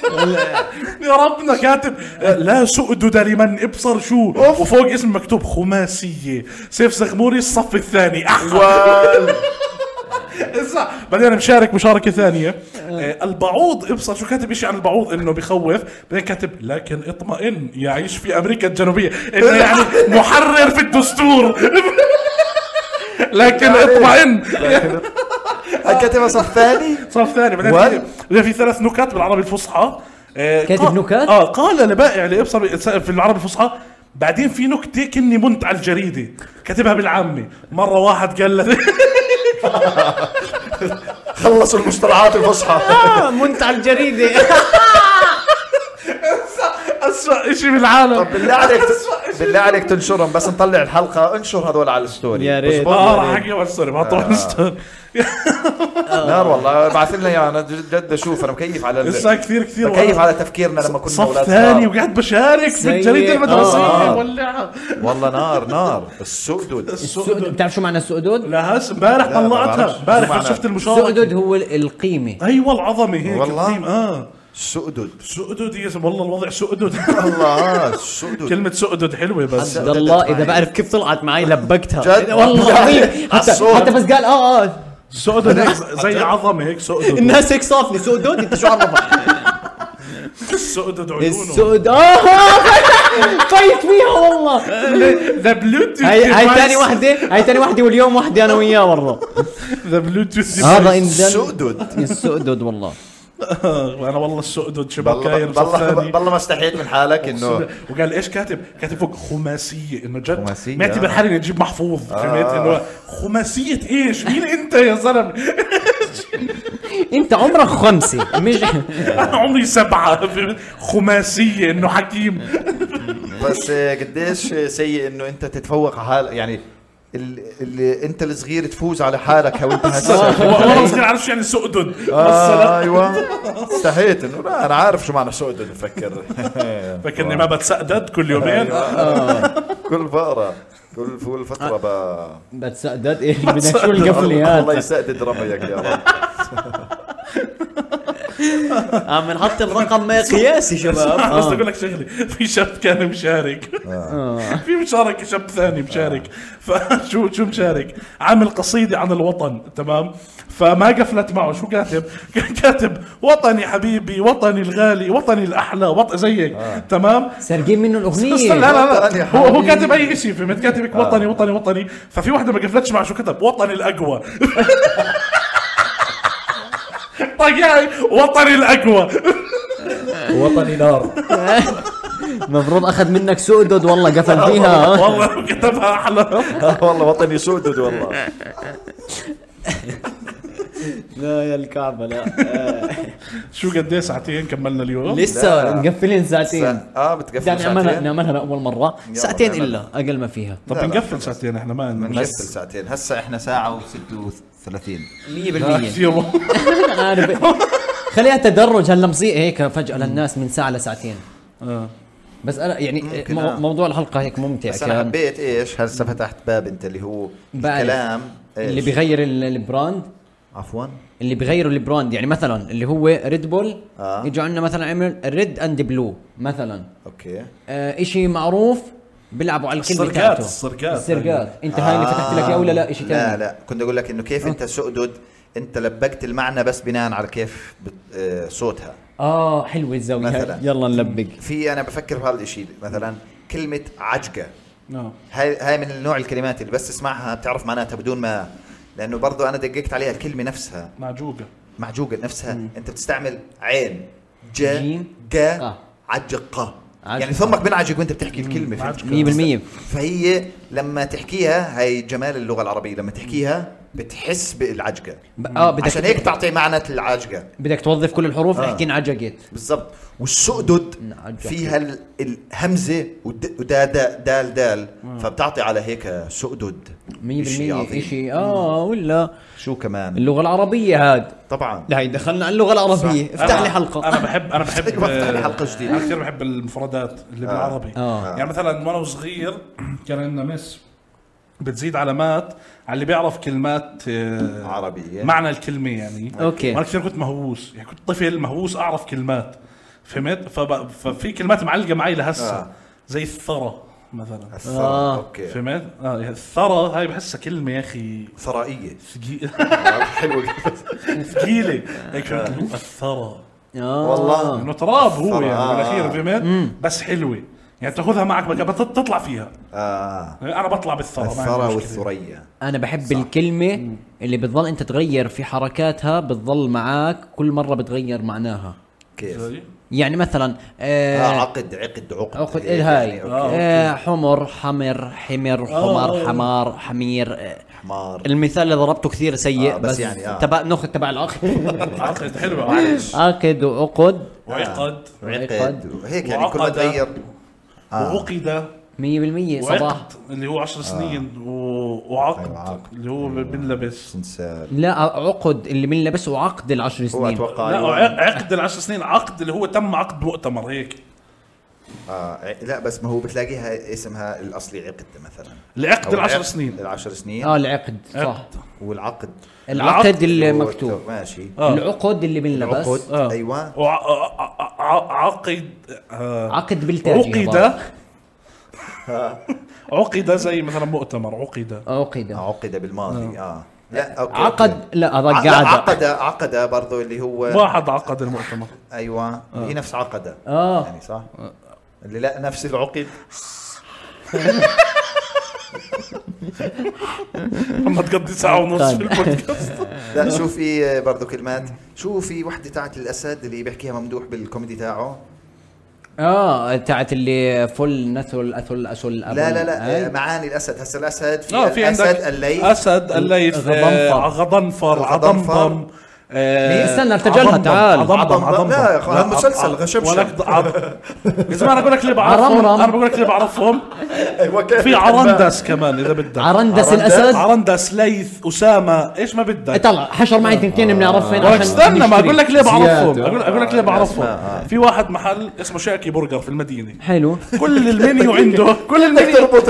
S2: يا ربنا كاتب لا سؤدد لمن ابصر شو وفوق اسم مكتوب خماسية سيف زغموري الصف الثاني أحا. اسمع بعدين مشارك مشاركة ثانية آه، البعوض ابصر شو كاتب شيء عن البعوض انه بخوف بعدين كاتب لكن اطمئن يعيش في امريكا الجنوبية انه يعني محرر في الدستور لكن اطمئن
S3: الكاتبة صف ثاني
S2: صف ثاني بعدين
S3: وال-
S2: في- بعدين في ثلاث نكات بالعربي الفصحى آه،
S1: كاتب
S2: قا-
S1: نكات؟
S2: اه قال لبائع لابصر في العربي الفصحى بعدين في نكته كني منت على الجريده كاتبها بالعامي مره واحد قال له
S3: خلصوا المصطلحات الفصحى
S1: آه، منت على الجريدة
S2: اسوء شيء بالعالم
S3: طب بالله عليك بالله عليك تنشرهم بس نطلع الحلقة انشر هذول على الستوري
S1: يا ريت.
S3: بس
S2: اه
S3: والله
S2: راح احكي على الستوري بحطه
S3: آه.
S2: على الستوري
S3: نار والله ابعث لنا اياها انا جد اشوف انا مكيف على
S2: لسه
S3: ال-
S2: كثير كثير
S3: مكيف على تفكيرنا لما كنا
S2: صف
S3: اولاد
S2: ثاني
S3: صغار.
S2: وقعد بشارك في الجريده
S1: سيء.
S2: المدرسيه
S3: آه.
S2: ولعها
S3: والله نار نار السؤدد
S1: السؤدد بتعرف شو معنى السؤدد؟
S2: لا هس امبارح
S3: لا، ما
S2: طلعتها
S3: بعرفش. شو
S2: امبارح
S3: معناها؟
S2: شفت المشاركه
S1: السؤدد هو ال- القيمة
S2: ايوه العظمه هيك
S3: والله.
S2: القيم، اه
S3: السؤدد
S2: سؤدد يا زلمة، والله الوضع سؤدد
S3: الله السؤدد
S2: كلمة سؤدد حلوة بس
S1: عبد الله اذا بعرف كيف طلعت معي لبقتها
S3: جد؟
S1: والله العظيم حتى,
S3: عالصوت.
S1: حتى بس قال اه اه
S2: سؤدد هيك زي عظمة هيك سؤدد
S1: الناس هيك صافني سؤدود انت شو عرفك؟
S2: سؤدد عيونه
S1: السؤد اه فايت فيها والله
S2: ذا بلوتوث
S1: هاي هاي ثاني وحده هاي ثاني وحده واليوم وحده انا وياه والله
S2: ذا بلوتوث
S1: هذا
S2: هذا
S1: إن-
S3: السؤدد
S1: السؤدد والله
S2: انا والله السؤدد شباب
S3: والله
S2: كاين
S3: والله
S2: صفاني
S3: والله ما استحيت من حالك انه
S2: وقال ايش كاتب؟ كاتب فوق خماسية انه جد
S3: خماسية،
S2: معتبر
S3: آه.
S2: حالي اني اجيب محفوظ فهمت انه خماسية ايش؟ مين انت يا زلمة؟
S1: انت عمرك خمسه مش
S2: انا عمري سبعة فهمت؟ خماسية انه حكيم
S3: بس آه، قديش سيء انه انت تتفوق على حالك يعني اللي, اللي انت الصغير تفوز على حالك او انت هتسوي.
S2: وانا صغير عارف شو يعني سؤدد
S3: آه ايوه استحيت انه لا انا عارف شو معنى سؤدد بفكر
S2: فكرني ما بتسأدد كل يومين
S3: كل فقره كل كل فتره
S2: آه.
S3: ب...
S1: بتسدد ايش بدك شو القفله
S3: الله
S1: هاد
S3: يسدد رميك يا رب
S4: عم نحط الرقم قياسي شباب
S2: بس بدي اقول لك شغله في شاب كان مشارك في مشارك شاب ثاني مشارك فشو شو مشارك عامل قصيده عن الوطن تمام فما قفلت معه شو كاتب كان كاتب وطني حبيبي وطني الغالي وطني الاحلى وطن زيك تمام
S1: سارقين منه
S2: استنى، لا
S1: الاغنيه
S2: لا
S3: وطني
S2: لا هو هو
S3: حبيبي.
S2: كاتب اي شيء فهمت كاتب وطني وطني وطني ففي وحده ما قفلتش معه شو كتب وطني الاقوى طقعي وطني الاقوى
S5: وطني نار
S1: المفروض اخذ منك سؤدد والله قفل فيها
S2: والله كتبها احلى
S3: والله وطني سودد والله
S4: لا يا الكعبه لا
S2: شو قد ايه ساعتين كملنا اليوم
S4: لسه
S1: مقفلين ساعتين
S4: آه،
S3: اه بتقفل
S1: بدنا نعملها
S3: ساعتين
S1: نعملها لاول مره ساعتين الا اقل ما فيها
S2: طب
S3: لا، لا،
S2: نقفل ساعتين احنا ما
S3: بنقفل
S2: بنقفل
S3: ساعتين هسه احنا ساعه و36
S4: 100%
S1: أنا ب- خليها تدرج هاللمسيه هيك فجاه للناس من ساعه لساعتين
S4: آه.
S1: بس انا يعني
S3: ممكن،
S1: مو-
S3: آه.
S1: موضوع الحلقه هيك ممتع
S3: بس انا
S1: كان
S3: حبيت ايش هسه فتحت باب انت اللي هو
S1: بعرف.
S3: الكلام
S1: اللي
S3: إيش؟
S1: بيغير ال- البراند
S3: عفوا
S1: اللي بيغيروا البراند يعني مثلا اللي هو ريد بول
S3: آه.
S1: يجوا عندنا مثلا عمل ريد اند بلو مثلا
S3: اوكي
S1: آه شيء معروف بيلعبوا على الكلمه
S2: السرقات،
S1: تاعته
S2: السرقات. آه.
S1: السرقات انت هاي اللي فتحت لك اياه ولا لا آه. شيء
S3: آه. لا
S1: ثاني
S3: لا كنت اقول لك انه كيف انت سؤدد انت لبقت المعنى بس بناء على كيف بت- آه، صوتها
S1: اه حلوه الزاويه
S3: مثلاً.
S1: هاي. يلا نلبق
S3: في انا بفكر بهذا الشيء مثلا كلمه عجقه
S2: آه،
S3: هاي هاي من النوع الكلمات اللي بس تسمعها بتعرف معناتها بدون ما لانه برضو انا دققت عليها الكلمه نفسها
S2: معجوقه
S3: معجوقه نفسها مم. انت بتستعمل عين ج
S1: جيم،
S3: ق
S1: قا.
S3: عجقه
S1: عجقة.
S3: يعني ثمك بنعجق وانت بتحكي الكلمه فهمت؟
S1: 100%
S3: فهي لما تحكيها هاي جمال اللغه العربيه لما تحكيها بتحس بالعجقه
S1: ب- اه بدك
S3: عشان هيك تعطي معنى العجقه
S1: بدك توظف كل الحروف
S3: آه.
S1: احكي انعجقت
S3: بالضبط والسؤدد
S1: نعجقت.
S3: فيها ال- الهمزه والد- ودا دا دال دال فبتعطي على هيك سؤدد
S1: 100%
S3: إشي عظيم.
S1: شيء اه ولا
S3: شو كمان
S1: اللغه العربيه هاد
S3: طبعا
S1: لا هي دخلنا على اللغه العربيه افتح
S2: أنا-
S1: لي حلقه
S2: انا بحب انا بحب
S3: أيوة، افتح لي حلقة جديدة.
S2: انا كثير بحب المفردات اللي بالعربي
S1: آه.
S2: يعني مثلا وانا صغير كان عندنا مس بتزيد علامات على اللي بيعرف كلمات آه،
S3: عربية.
S2: معنى الكلمه يعني
S1: أوكي.
S2: وانا كثير كنت مهووس يعني كنت طفل مهووس اعرف كلمات فهمت فب... ففي كلمات معلقه معي لهسه
S3: آه.
S2: زي الثرى مثلا
S3: الثرى
S1: آه.
S3: اوكي
S2: فهمت؟ اه الثرى هاي بحسها كلمه يا اخي
S3: ثرائيه
S2: ثقيل-
S3: حلوه
S2: ثقيله هيك فهمت
S3: آه.
S2: اللي هو الثرى
S1: اه
S3: والله
S2: انه تراب هو
S3: صراحة.
S2: يعني بالاخير
S3: آه.
S2: فهمت بس حلوه يعني تاخذها معك بك- بت- بتطلع فيها
S1: آه.
S3: اه
S2: انا بطلع بالثرى ما عندي مشكلة.
S3: الثرى والثريا
S1: انا بحب الكلمه اللي بتضل انت تغير في حركاتها بتضل معاك كل مره بتغير معناها
S3: كيف
S2: زي-
S1: يعني مثلا
S3: آه
S1: آه
S3: عقد عقد عقد
S1: اخذ
S3: هيك
S1: الهاي
S3: يعني، أوكي.
S1: آه حمر حمر حمر حمر
S2: آه.
S1: حمار حمير آه
S3: حمار
S1: المثال اللي ضربته كثير سيء
S3: آه،
S1: بس,
S3: بس
S1: بس يعني
S3: يعني، آه.
S1: تبع ناخذ تبع العقد
S2: عقد حلوه معلش
S1: عقد وعقد
S2: وعقد
S1: عقد.
S3: عقد هيك آه. يعني كل ما
S2: وعقد.
S3: تغير آه.
S2: وعقد
S1: 100% صباح
S2: وعقد اللي هو 10 سنين و- وعقد
S3: آه. أيوة، عقد.
S2: اللي هو بنلبس
S3: سنسال
S1: لا عقد اللي بنلبسه عقد العشر
S3: هو
S1: سنين
S3: اتوقع
S2: لا
S3: أيوة.
S2: ع- عقد ال 10 سنين عقد اللي هو تم عقد مؤتمر هيك
S3: آه ع- لا بس ما هو بتلاقيها اسمها الاصلي عقد مثلا
S2: العقد
S3: أو
S2: ال 10
S3: العقد-
S2: سنين
S3: العشر سنين
S1: اه العقد صح
S2: عقد.
S3: والعقد
S1: العقد اللي
S3: هو
S1: مكتوب
S3: ماشي
S2: آه.
S1: العقد اللي بنلبس
S3: العقد
S2: آه.
S3: ايوه
S2: وع- ع- ع- ع- عقد آه،
S1: عقد بالتاج
S2: عقد عقد زي مثلا مؤتمر عقد
S1: عقد
S3: عقد بالماضي اه لا اوكي أوكي.
S1: آه. عقد لا هذا
S3: ع- لا،
S1: قاعدة
S3: عقد عقد برضو اللي هو
S2: واحد عقد المؤتمر
S3: ايوه هي نفس عقد
S1: آه.
S3: يعني صح اللي لا نفس العقد
S2: اما تقضي ساعه ونص
S1: طيب.
S2: في البودكاست
S3: لا شو في برضه كلمات شو في وحده تاعت الاسد اللي بيحكيها ممدوح بالكوميدي تاعه
S1: اه تاعت اللي فل نثل اثل اسل أبل.
S3: لا لا لا
S1: هاي.
S3: آه، معاني الاسد هسه الاسد في,
S2: اه في عندك
S3: الاسد الليث
S2: اسد الليث آه،
S1: غضنفر.
S2: غضنفر
S3: غضنفر.
S2: عضمضم آه،
S1: استنى، ارتجلها،
S2: عضمضم،
S1: تعال.
S2: عضمضم، عضمضم.
S3: لا يا أخي، هذا
S2: عض-
S3: مسلسل
S2: عض-
S3: غشمشة.
S2: ولك عض- يا زلمه انا بقول لك اللي بعرفهم
S1: عرمرم.
S2: انا بقول لك اللي بعرفهم
S3: ايوه كيف
S2: في عرندس كمان اذا بدك
S1: عرندس
S3: عرندس.
S1: الاسد
S2: عرندس ليث اسامه ايش ما بدك
S1: طلع حشر معي تنتين بنعرف فين
S2: ولك استنى ما
S1: نشتري.
S2: اقول لك ليه بعرفهم
S5: زيادة.
S2: اقول اقول لك ليه بعرفهم في واحد محل اسمه شاكي برجر في المدينه
S1: حلو
S2: كل المنيو عنده كل
S3: بدك
S2: المنيو
S3: تربط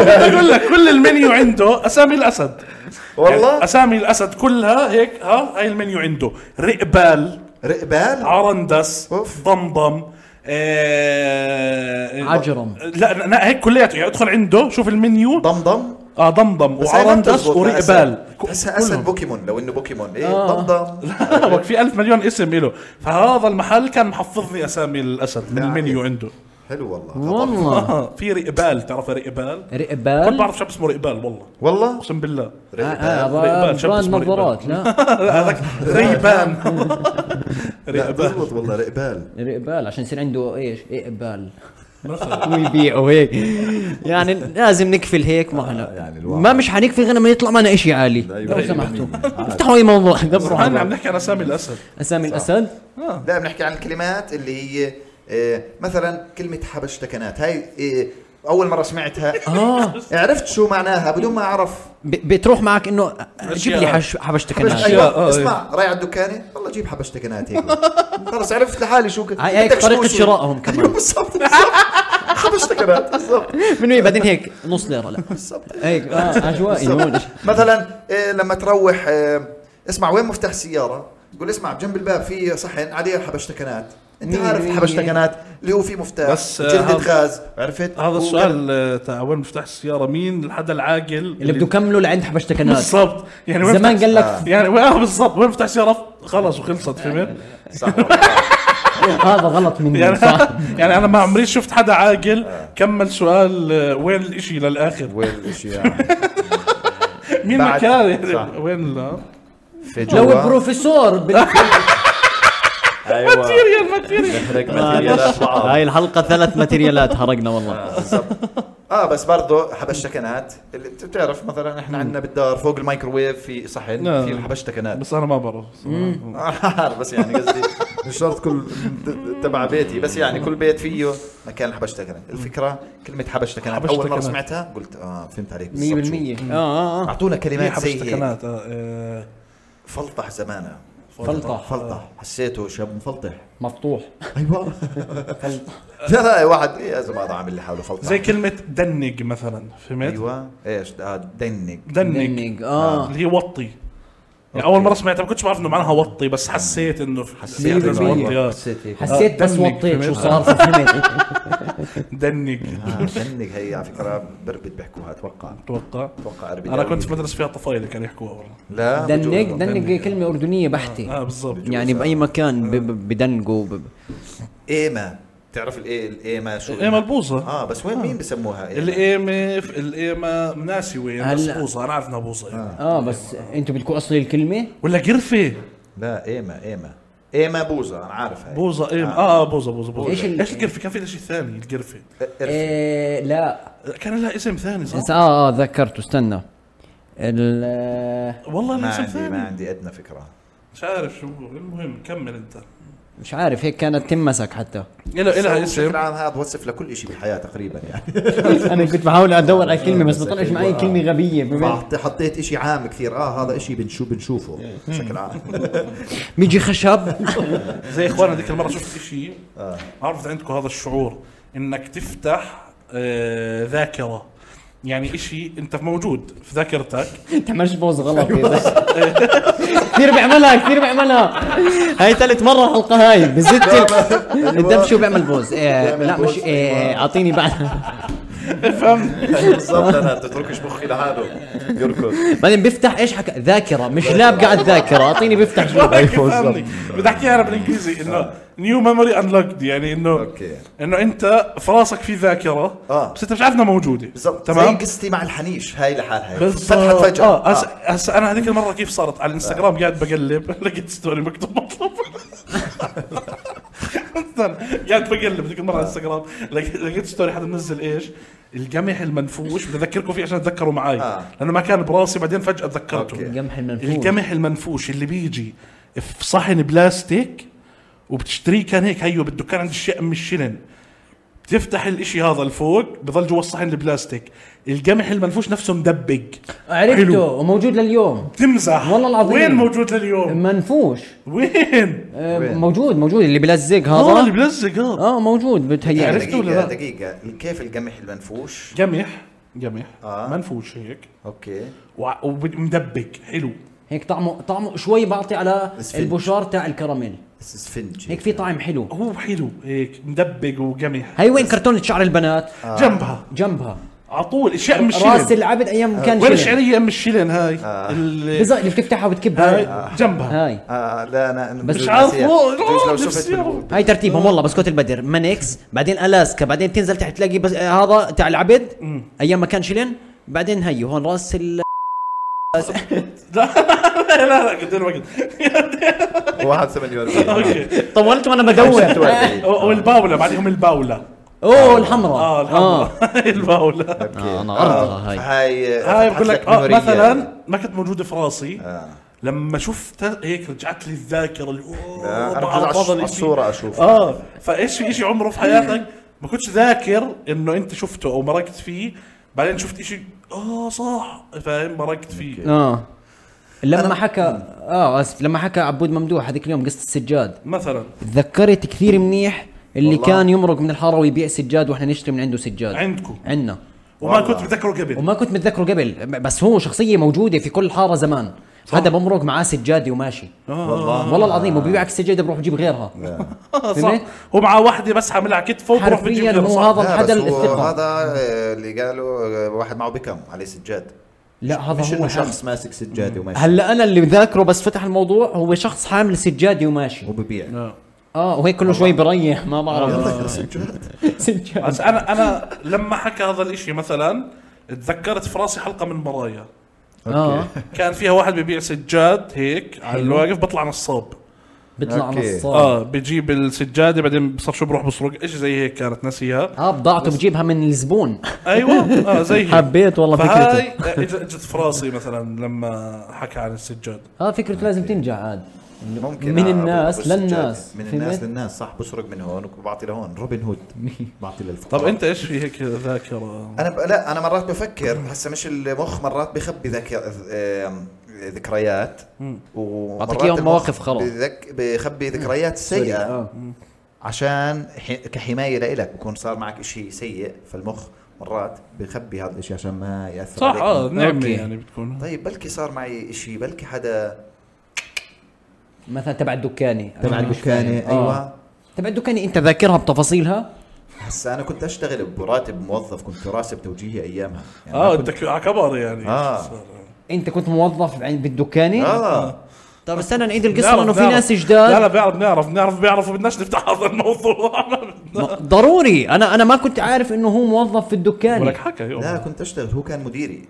S2: بدي اقول لك كل المنيو عنده اسامي الاسد يعني
S3: والله
S2: اسامي الاسد كلها هيك ها هاي المنيو عنده رئبال
S3: رقبال
S2: عرندس
S3: أوف.
S2: ضمضم آه
S1: عجرم.
S2: لا لا- لا هيك كلياته يعني ادخل عنده شوف المنيو
S3: ضمضم
S2: اه ضمضم
S3: بس هاي ما
S2: وعرندس
S3: بتزبط مع
S2: ورئبال آه.
S3: أسد. تحسها اسد بوكيمون لو انه بوكيمون ايه ضمضم
S2: وقت في ألف مليون اسم له فهذا المحل كان محفظني اسامي الاسد من المنيو عنده
S3: حلو والله
S1: والله
S2: اه في رئبال تعرف رئبال كنت
S1: رقبال
S2: بعرف شاب اسمه رئبال والله
S3: والله
S2: اقسم بالله
S1: آه، آه،
S3: رقبال.
S1: هذا
S2: رقبال، شاب
S1: براند
S2: اسمه
S1: نظارات لا
S2: هذاك ريبان
S3: لا
S2: ريبان
S3: بزبط والله رقبال
S1: رقبال عشان يصير عنده ايش اقبال ويبيعوا هيك يعني لازم نكفل هيك ما احنا ما مش حنكفي غير لما يطلع معنا شيء عالي لو سمحتوا افتحوا اي موضوع دبروا
S2: احنا عم
S1: على
S2: نحكي عن اسامي الاسد
S1: اسامي الاسد آه.
S3: لا بنحكي عن الكلمات اللي هي آه، مثلا كلمة حبشتكنات هاي آه، أول مرة سمعتها
S1: اه
S3: عرفت شو معناها بدون ما أعرف
S1: ب- بتروح معك انه جيب لي حش- حبشتك
S3: حبش-
S1: الناس
S2: أشياء،
S3: أيوة.
S2: آه،
S3: اسمع رايح على الدكانة والله جيب حبشتكنات هيك خلص عرفت لحالي شو ك-
S1: هاي هيك
S3: بدك
S1: طريقة
S3: شوشو.
S1: شرائهم
S3: أيوة،
S1: كمان
S3: بالضبط بالضبط. حبشتكنات بالضبط
S1: من وين بعدين هيك نص ليرة لا
S3: بالضبط
S1: هيك اه عشوائي مو-
S3: مثلا آه، لما تروح آه، اسمع وين مفتاح السيارة قول اسمع جنب الباب في صحن عليه حبشتكنات انت
S1: مين-
S3: عارف
S1: مين-
S3: الحبشتكنات اللي هو فيه مفتاح
S2: بس، آه،
S3: جلدة
S2: هذا-
S3: غاز عرفت
S2: هذا
S3: وكان-
S2: السؤال آه، تاع وين مفتاح السياره مين الحدا العاقل
S1: اللي بده يكملوا لعند حبشتك الناس
S2: بالضبط يعني وين
S1: زمان
S2: مفتاح-
S1: قال لك
S2: يعني وين آه، بالضبط وين مفتاح السياره خلص وخلصت فهمت
S3: صح
S1: هذا غلط مني
S2: يعني
S1: صح
S2: يعني انا ما عمري شفت حدا عاقل كمل سؤال آه، وين الاشي للاخر
S3: وين الاشياء
S2: مين
S3: بعد-
S2: مكان
S3: صح.
S2: يعني وين لا
S3: في
S1: لو البروفيسور بال-
S3: ايوه
S2: ماتيريال ماتيريال
S3: نحرق
S2: آه،
S3: ماتيريالات
S1: آه.
S3: بعض
S4: هاي الحلقه ثلاث ماتريالات حرقنا والله
S3: اه بس برضه حبشتكنات اللي بت- بتعرف مثلا احنا عندنا بالدار فوق الميكروويف في صحن
S2: آه.
S3: في الحبشتكنات
S2: بس انا ما بعرف صراحة.
S3: عارف بس يعني قصدي مش شرط كل ت- تبع بيتي بس يعني كل بيت فيه مكان الحبشتكنات الفكره كلمه حبشتكنات اول مره
S2: حبشتكنات.
S3: سمعتها قلت اه فهمت عليك
S1: 100%
S3: بالضبط شو.
S1: اه اه اه
S3: اعطونا
S2: في
S3: كلمات زي هيك
S2: حبشتكنات آه، آه،
S3: فلطح زمانها
S1: فلطح.
S3: فلطح حسيته شاب مفلطح
S1: مفتوح
S2: أيوة.
S3: ايوه لا لا واحد إيه يا زلمه هذا عامل اللي حاله فلطح
S2: زي كلمة دنج مثلا فهمت؟
S3: ايوه ايش آه، دنج
S2: دنج
S1: منك اه
S2: اللي هي وطي يعني اول مرة سمعتها ما كنتش بعرف انه معناها وطي بس حسيت انه
S3: حسيت
S2: لازم
S1: إنه
S2: وطي آه.
S3: حسيت هيك
S1: حسيت بس
S2: دمك
S1: وطيت شو
S2: فهمت؟
S1: صار ففهمت
S2: دنج
S3: آه، دنج هي على فكره بربت بيحكوها اتوقع
S2: اتوقع
S3: اتوقع اربد
S2: انا كنت بدرس فيها طفايلة كانوا يحكوها والله
S3: لا
S1: دنق
S3: بجوز.
S1: دنق كلمة أردنية
S2: اه
S1: بحتة
S2: بالضبط
S1: يعني بأي مكان ب- ب- بدنقوا ب-
S3: ايما تعرف الايه الايما شو
S2: الايمة البوظة
S3: اه بس وين مين بسموها إيما؟
S2: الايمة القيمة ناسي وين بس
S1: هلا.
S2: بوظة انا عارف انها بوظة يعني.
S1: اه بس انتوا بدكم اصلي الكلمة؟
S2: ولا قرفة
S3: لا ايما ايما ايما بوزة إيه، انا عارف هاي
S2: بوظة ايمة اه آه، بوظة بوظة
S1: إيش
S2: بوظة
S1: ال-
S2: ايش القرفة كان في شيء ثاني القرفة
S3: إيه.
S1: إيه لا
S2: كان لها اسم ثاني صح؟
S1: إنس- اه اه ذكرته استنى ال-
S2: والله
S3: ما
S2: لها اسم
S3: عندي ما
S2: ثاني
S3: عندي ادنى فكره
S2: مش عارف شو هو. المهم كمل انت
S1: مش عارف هيك كانت تمسك حتى
S2: إلها إلها
S3: بس هو
S2: اسم
S3: بشكل عام هذا بوصف لكل شيء بالحياه تقريبا يعني
S1: انا كنت بحاول ادور على كلمه بس بطلعش معي كلمه غبيه بما-
S3: حط- حطيت شيء عام كثير اه هذا شيء بنشوف بنشوفه بشكل عام
S1: ميجي خشب
S2: زي اخوانا هذيك المره شفت شيء
S3: آه.
S2: عرفت عندكم هذا الشعور انك تفتح آه، ذاكره يعني شيء انت موجود في ذاكرتك
S1: تعملش بوز غلط يا زلمة. كثير بيعملها كثير بيعملها هاي ثالث مرة الحلقة هاي بزت الدبشة وبيعمل بوز إيه
S3: بيعمل
S1: لا
S3: بوز،
S1: مش إيه اعطيني بعد
S3: بالضبط انا تتركش مخي لحاله يركض
S1: بعدين بيفتح ايش حكى ذاكرة مش لابقة على الذاكرة اعطيني بيفتح شو
S2: فهمني. بدي احكيها انا بالانجليزي انه نيو ميموري انلوكد يعني انه
S3: آه. أوكي.
S2: انه انت في راسك في ذاكره
S3: آه.
S2: بس انت مش عارف انها موجوده
S3: بالضبط
S2: تمام
S3: تمام زي قصتي مع الحنيش هاي لحالها هيك.
S2: بالضبط
S3: فتحت فجاه
S2: اه
S3: آه.
S2: هسا هسا انا هذيك المره كيف صارت على الانستغرام قاعد بقلب لقيت ستوري مكتوب مطلوب استنى، قاعد بقلب هذيك المره على الانستغرام لقيت لقيت ستوري حدا منزل ايش القمح المنفوش بدي اذكركم فيه عشان تذكروا معي
S3: آه.
S2: لانه ما كان براسي بعدين فجاه تذكرته
S3: أوكي.
S1: القمح المنفوش
S2: القمح المنفوش اللي بيجي في صحن بلاستيك وبتشتريه كان هيك هيو بده كان عند الشيء ام الشنن بتفتح الاشي هذا لفوق بضل جوا الصحن البلاستيك القمح المنفوش نفسه مدبق
S1: عرفته
S2: حلو.
S1: وموجود لليوم
S2: تمزح
S1: والله العظيم.
S2: وين موجود لليوم
S1: منفوش
S2: وين
S1: آه،
S3: وين؟
S1: موجود موجود اللي بلزق
S2: هذا اللي
S1: هذا
S2: بلزق هذا
S1: اه موجود بتهيألي
S3: يعني
S2: عرفت ولا
S3: دقيقة
S2: لا؟
S3: دقيقة كيف القمح المنفوش؟
S2: قمح قمح
S3: آه.
S2: منفوش هيك
S3: اوكي
S2: وع- ومدبك حلو
S1: هيك طعمه طعمه شوي بعطي على
S3: السفنج.
S1: البشار تاع الكراميل
S3: بس اسفنجي
S1: هيك في طعم حلو
S2: هو حلو هيك مدبق وقمح
S1: هي وين كرتونة شعر البنات
S2: جنبها
S1: جنبها
S2: على طول اشياء ام
S1: راس
S2: الشيلن
S1: العبد ايام كان
S2: وين
S1: شيلن.
S2: الشعريه ام الشيلن هاي اللي
S1: بزق اللي بتفتحها
S2: هاي
S1: وبتكبها
S2: جنبها
S1: هاي
S3: آه لا انا أنا
S1: بس
S3: بجوز
S2: مش عارف
S3: نسيت.
S2: هو-
S3: بجوز لو
S2: آه،
S3: شفت
S2: نفسي
S3: بالبوت.
S1: هاي ترتيبهم والله بسكوت البدر مانكس بعدين الاسكا بعدين تنزل تحت تلاقي بس آه، هذا تاع العبد ايام ما كان شيلن بعدين هي هون راس ال
S2: لا لا قد الوقت
S3: 41
S2: اوكي
S1: طولت وانا بدور
S3: 41
S2: والباوله بعدهم الباوله
S1: اوه الحمراء
S2: اه
S1: آه.
S2: الحمراء الباوله
S3: اوكي
S1: أنا
S3: آه.
S1: أرضها آه. هاي.
S3: هاي
S2: هاي
S3: فتحت
S2: بقول لك آه
S3: ميمورية.
S2: مثلا ما كنت موجوده في راسي
S3: آه.
S2: لما شفتها هيك رجعت لي الذاكره اللي
S3: آه،
S2: اوه
S3: انا
S2: بعرف
S3: بجوز
S2: هذا
S3: على- على
S2: الإشي.
S3: الصورة اشوف
S2: اه فايش في شيء عمره في حياتك ما كنتش ذاكر انه انت شفته او مرقت فيه بعدين شفت شيء اه صح فاهم مرقت فيه
S1: اه لما حكى اه اسف لما حكى عبود ممدوح هذيك اليوم قصه السجاد
S2: مثلا
S1: تذكرت كثير منيح اللي
S3: والله.
S1: والله. كان يمرق من الحاره ويبيع سجاد واحنا نشتري من عنده سجاد
S2: عندكم
S1: عندنا
S2: وما كنت متذكره قبل
S1: وما كنت متذكره قبل بس هو شخصيه موجوده في كل حاره زمان هذا بمرق معاه سجاده وماشي
S3: آه. والله
S1: والله العظيم وبيبيعك السجاده بروح بجيب غيرها
S2: آه صح
S1: فهمت؟
S2: هو معاه وحده بس حاملها على كتفه وبروح بجيب
S1: حرفيا
S2: غيرها،
S1: هو
S2: صح.
S1: هذا
S3: لا،
S1: الحدا
S3: بس هو
S1: الثقه
S3: هذا آه، اللي قالوا آه، واحد معه بكم عليه سجاد
S1: لا
S3: مش
S1: هذا
S3: انه
S1: هو
S3: شخص ماسك سجاده وماشي
S1: هلا انا اللي ذاكره بس فتح الموضوع هو شخص حامل سجاده وماشي
S2: آه.
S3: وببيع
S1: اه وهيك كله شوي بريح ما بعرف
S3: سجاد
S1: سجاد
S2: بس انا انا لما حكى هذا الاشي مثلا تذكرت في راسي حلقه من مرايا
S1: اه
S2: كان فيها واحد ببيع سجاد هيك على الواقف بطلع نصاب
S1: بيطلع
S3: أوكي.
S1: نصاب
S2: اه بجيب السجاده بعدين بصير شو بروح بسرق ايش زي هيك كانت ناسيها
S1: اه بضاعته بجيبها من الزبون
S2: ايوه اه زي هيك.
S1: حبيت والله
S2: فهاي
S1: فكرته
S2: اجت إجت في راسي مثلا لما حكى عن السجاد
S1: اه فكرته لازم تنجح عاد
S3: ممكن
S1: من
S3: آه،
S1: الناس
S3: أبو- أبو السجادة.
S1: للناس.
S3: من الناس
S1: فهمت؟
S3: للناس صح بسرق من هون وبعطي لهون روبن هود بعطي للفقراء
S2: طب انت ايش في هيك ذاكره
S3: انا ب... لا انا مرات بفكر هسه مش المخ مرات بخبي ذك... آم، ذكريات
S1: بعطيك
S3: ومرات
S1: إياهم
S3: المخ
S1: مواقف خلاص.
S3: بذك... بخبي ذكريات
S1: آه.
S3: سيئه
S1: اه.
S3: عشان ح... كحمايه لإلك بكون صار معك شيء سيء فالمخ مرات بخبي هذا الشيء عشان ما ياثر
S2: صح
S3: عليك.
S1: آه.
S2: اه نعمه
S1: أوكي.
S2: يعني بتكون
S3: طيب بلكي صار معي شيء بلكي حدا
S1: مثلا تبع الدكاني
S3: تبع
S1: عشان مش
S3: الدكانه
S1: فاهم.
S2: أيوة.
S1: آه.
S3: ايوه
S1: تبع الدكاني انت ذاكرها بتفاصيلها
S3: هسا انا كنت اشتغل براتب موظف كنت راسب توجيهي ايامها يعني ما
S1: آه.
S2: اه
S3: كنت...
S2: بدك على كبر يعني
S3: آه.
S2: صار.
S1: انت كنت موظف عند بالدكاني آه.
S3: اه
S1: طب استنى نعيد
S2: بنعرف-
S1: القصه لانه في
S2: بنعرف.
S1: ناس
S2: لا لا
S1: جداد
S2: بيعرف بنعرف بنعرف بيعرف وبدناش نفتح هذا الموضوع ما بدنا.
S1: ما- ضروري انا انا ما كنت عارف انه هو موظف في
S2: ولك
S1: الدكاني
S2: حكى يوم
S3: لا كنت اشتغل هو كان مديري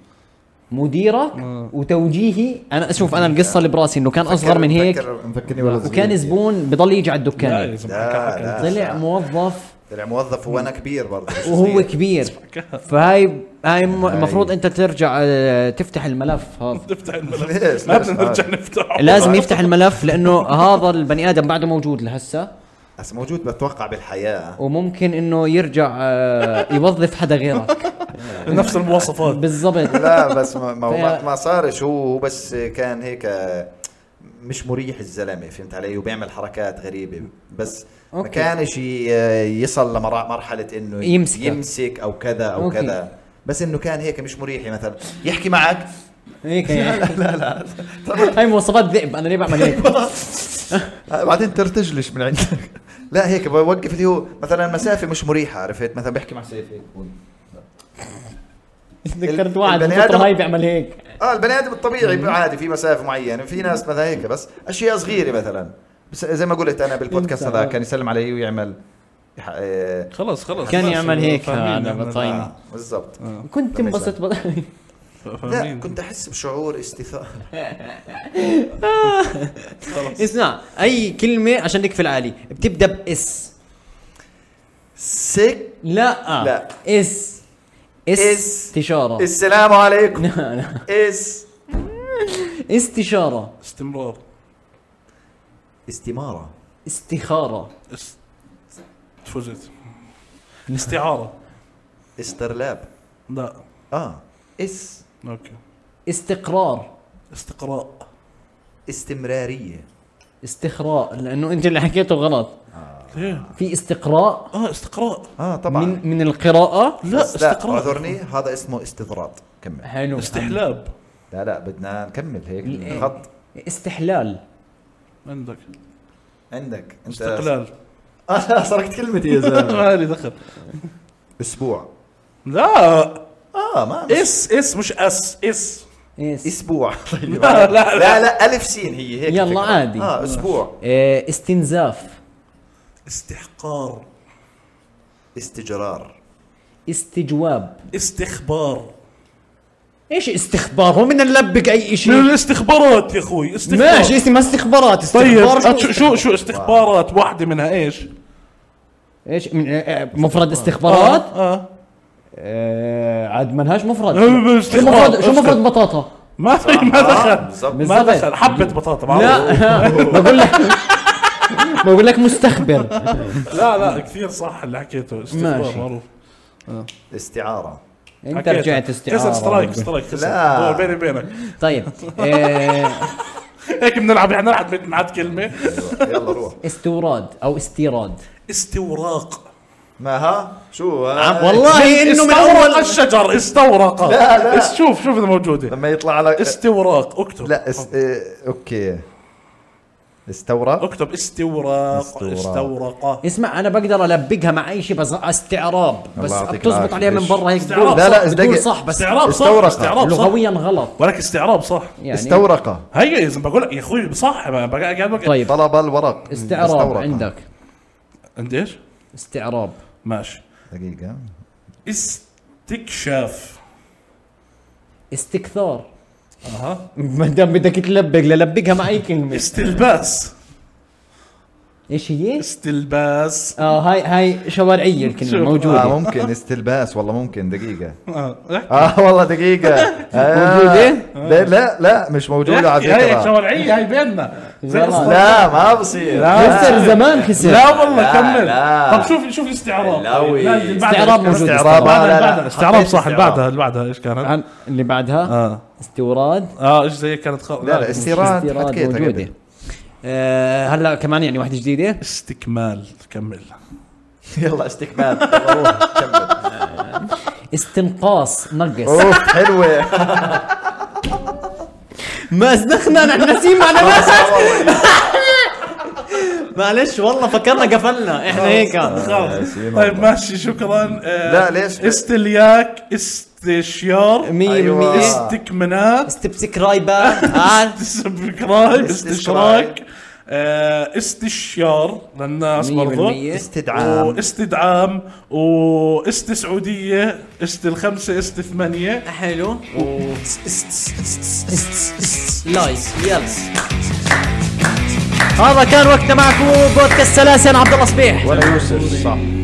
S1: مديرك
S2: آه.
S1: وتوجيهي انا اشوف انا القصه اللي براسي انه كان اصغر من هيك
S3: مفكرني ولا
S1: وكان زبون بضل يجي على
S2: لا يا
S1: الدكاني
S2: زلمة،
S3: لا،
S2: حكى
S3: لا.
S2: حكى
S1: طلع موظف
S3: طلع موظف وانا كبير برضه مش
S1: وهو
S3: صغير.
S1: كبير فهاي هاي م- المفروض انت ترجع آه، تفتح الملف هذا
S2: نفتح الملف
S3: ليش؟
S2: ما
S3: ليش؟
S2: بدنا نرجع
S3: آه.
S2: نفتحه
S1: لازم يفتح الملف لانه هذا البني ادم بعده موجود لهسه
S3: هسا موجود بتوقع بالحياه
S1: وممكن انه يرجع آه، يوظف حدا غيرك
S2: نفس المواصفات
S1: بالضبط
S3: لا بس ما ما, ما,
S1: فيها-
S3: ما صارش هو هو بس كان هيك آه، مش مريح الزلمه فهمت علي وبيعمل حركات غريبه بس ما
S1: أوكي.
S3: كانش ي- آه، يصل لمرحله انه
S1: يمسكك.
S3: يمسك او كذا او
S1: أوكي.
S3: كذا بس انه كان هيك مش مريحي مثلا يحكي معك
S1: هيك لا لا هاي مواصفات ذئب انا ليه بعمل هيك
S3: آه، بعدين ترتجلش من عندك لا هيك بوقف اللي هو مثلا مسافه مش مريحه عرفت مثلا بحكي مع سيف هيك بقول.
S1: ذكرت واحد
S3: البني
S1: من فترة
S3: آدم-
S1: هاي بيعمل هيك
S3: اه البني ادم الطبيعي عادي في مسافه معينه في ناس مثلا هيك بس اشياء صغيره مثلا بس زي ما قلت انا بالبودكاست هذا كان يسلم علي ويعمل يح- آه،
S2: خلاص خلاص
S1: كان
S2: خلاص،
S1: يعمل هيك
S2: فاهمين
S1: أنا
S2: إحنا.
S1: بطيني.
S3: آه، بالضبط
S1: كنت انبسط بط-
S3: لا
S2: فاهمين.
S3: كنت احس بشعور استيثار
S1: اسمع اي كلمة عشان نكفي العالي بتبدا باس
S3: سك
S1: لا
S3: لا.
S1: اس
S3: إس.
S2: آه.
S1: استشارة
S3: السلام عليكم
S2: نعم.
S1: لا، لا.
S3: اس
S1: استشارة
S2: استمرار
S3: استماره
S1: استخاره
S2: است- فزت استعاره
S3: استرلاب
S2: لا
S3: اه اس
S2: اوكي
S1: استقرار
S2: استقراء
S3: استمراريه
S1: استخراء لانه انت اللي حكيته غلط
S2: ليه؟
S1: في استقراء
S2: اه استقراء
S3: اه طبعا
S1: من من القراءه
S2: لا نعم.
S3: بس لا
S2: استقراء
S3: اعذرني هذا اسمه استطراد كمل
S1: حلو
S2: استحلاب
S3: لا لا بدنا نكمل هيك
S2: نعم.
S1: إيه.
S3: الخط
S1: استحلال
S2: عندك
S3: عندك انت
S2: استقلال
S3: اه سرقت كلمتي يا زلمه
S2: ما لي دخل
S3: اسبوع
S2: لا
S3: اه ما
S2: اس اس مش اس اس
S1: إيه،
S3: اسبوع
S2: لا، لا.
S3: طيب، لا لا الف سين هي هيك
S1: يلا
S3: الفكرة.
S1: عادي.
S3: اه اسبوع
S1: إيه، استنزاف
S2: استحقار
S3: استجرار
S1: استجواب
S2: استخبار
S1: ايش استخبار هو من نلبق اي
S2: من
S1: شيء
S2: الاستخبارات يا اخوي استخبار
S1: ماشي اسمها استخبارات
S2: طيب
S1: استخبار شو
S2: أت- شو شو استخبارات واحدة منها ايش؟
S1: ايش من إيه، إيه، مفرد استخبارات
S2: اه, آه.
S1: إيه، عاد ملهاش مفرد
S2: إيه،
S1: شو
S2: استخبار،
S1: مفرد شو
S2: استخ-
S1: مفرد بطاطا
S2: ما في ما
S3: آه،
S2: دخل
S3: بالضبط
S2: ما
S1: بالضبط.
S2: دخل حبة بطاطا معروف.
S1: لا بقول لك بقول لك مستخبر
S2: لا لا كثير صح اللي حكيته استخبار
S1: ماشي.
S2: معروف
S3: استعاره
S1: انت
S2: حكيته.
S1: رجعت
S2: خسر
S1: استعاره
S2: سترايك سترايك
S3: لا.
S2: خسر دور بيني وبينك
S1: طيب إيه،
S2: هيك بنلعب احنا نلعب بنعاد كلمة
S3: يلا روح
S1: استوراد او استيراد
S2: استوراق
S3: ما ها شو ها
S1: عم- والله انه من
S2: استورق
S1: اول
S2: الشجر استورق
S3: لا، لا.
S2: بس شوف شوف اذا موجودة
S3: لما يطلع لك
S2: استوراق اكتب
S3: لا است... إيه، اوكي استورق
S2: اكتب استوراق
S3: استوراق.
S2: استورق
S1: اسمع انا بقدر البقها مع اي شيء بس استعراب بس
S3: الله يعطيك
S1: بتزبط
S3: العافية.
S1: عليها من برا هيك
S2: استعراب
S1: بتقول
S2: لا،
S3: لا،
S1: صح-
S3: دقيق.
S1: بتقول صح بس
S2: استعراب صح
S3: استورق.
S2: استعراب صح
S1: لغويا غلط
S2: ولك استعراب صح
S1: يعني
S3: استورق
S2: هي يا زلمه بقول لك يا اخوي صح ما بقى قاعد بقى
S1: طيب
S3: طلب الورق
S1: استعراب عندك
S2: عندي ايش؟
S1: استعراب
S2: ماشي
S3: دقيقة
S2: استكشاف
S1: استكثار
S2: اها
S1: ما دام بدك تلبق للبقها مع اي كلمه
S2: استلباس
S1: ايش هي؟
S2: استلباس
S1: اه هاي هاي شوارعيه الكلمه
S2: شوف.
S1: موجوده
S3: اه ممكن استلباس والله ممكن دقيقة
S2: آه.
S3: اه والله دقيقة آه.
S1: موجودة؟
S3: لا لا لا مش موجودة على
S2: هي
S3: فكرة
S2: شوارعيه هي بيننا زي
S1: زمان.
S2: أصلاً.
S3: لا ما بصير
S2: لا.
S1: خسر زمان خسر
S2: لا والله
S3: لا،
S2: كمل
S3: لا.
S2: طب شوف شوف الاستعراب
S3: لاوي.
S2: لا، اللي بعدها
S1: استعراب
S2: إيش
S1: موجود.
S2: كان؟
S3: استعراب
S2: بعدها-
S3: آه، لا
S2: بعدها.
S3: لا
S2: استعراب
S3: حطيت
S2: صح اللي
S3: استعراب.
S2: بعدها اللي بعدها ايش كانت؟
S1: عن- اللي بعدها
S2: اه
S1: استوراد
S2: اه ايش زي كانت خ...
S3: لا لا استيراد
S1: استيراد
S3: حكيتها
S1: موجوده
S3: قبل.
S1: آه، هلا كمان يعني واحده جديده
S2: استكمال كمل
S3: يلا استكمال يلا روح كمل
S1: استنقاص نقص
S3: اوف حلوة
S1: ما ازدخنا نحن ناسيين معنا معلش والله فكرنا قفلنا احنا هيك
S2: خلاص
S3: ياسين
S2: طيب
S3: آه، والله.
S2: ماشي شكرا آه،
S3: لا، ليش؟
S2: استلياك استشيار
S1: مية
S3: أيوة.
S1: بالمية
S3: است-
S2: استكمنات
S1: استبسك رايبة تعال
S2: استشراك
S3: استشراك.
S2: استشراك آه، استشيار للناس
S1: مية
S2: برضو
S1: بالمية.
S3: استدعام
S2: واستدعام واستسعودية است الخمسة است ثمانية
S1: حلو لايف يلا هذا كان وقتنا معكم بودكاست سلاسل عبد الله صبيح
S3: ولا يوسف صح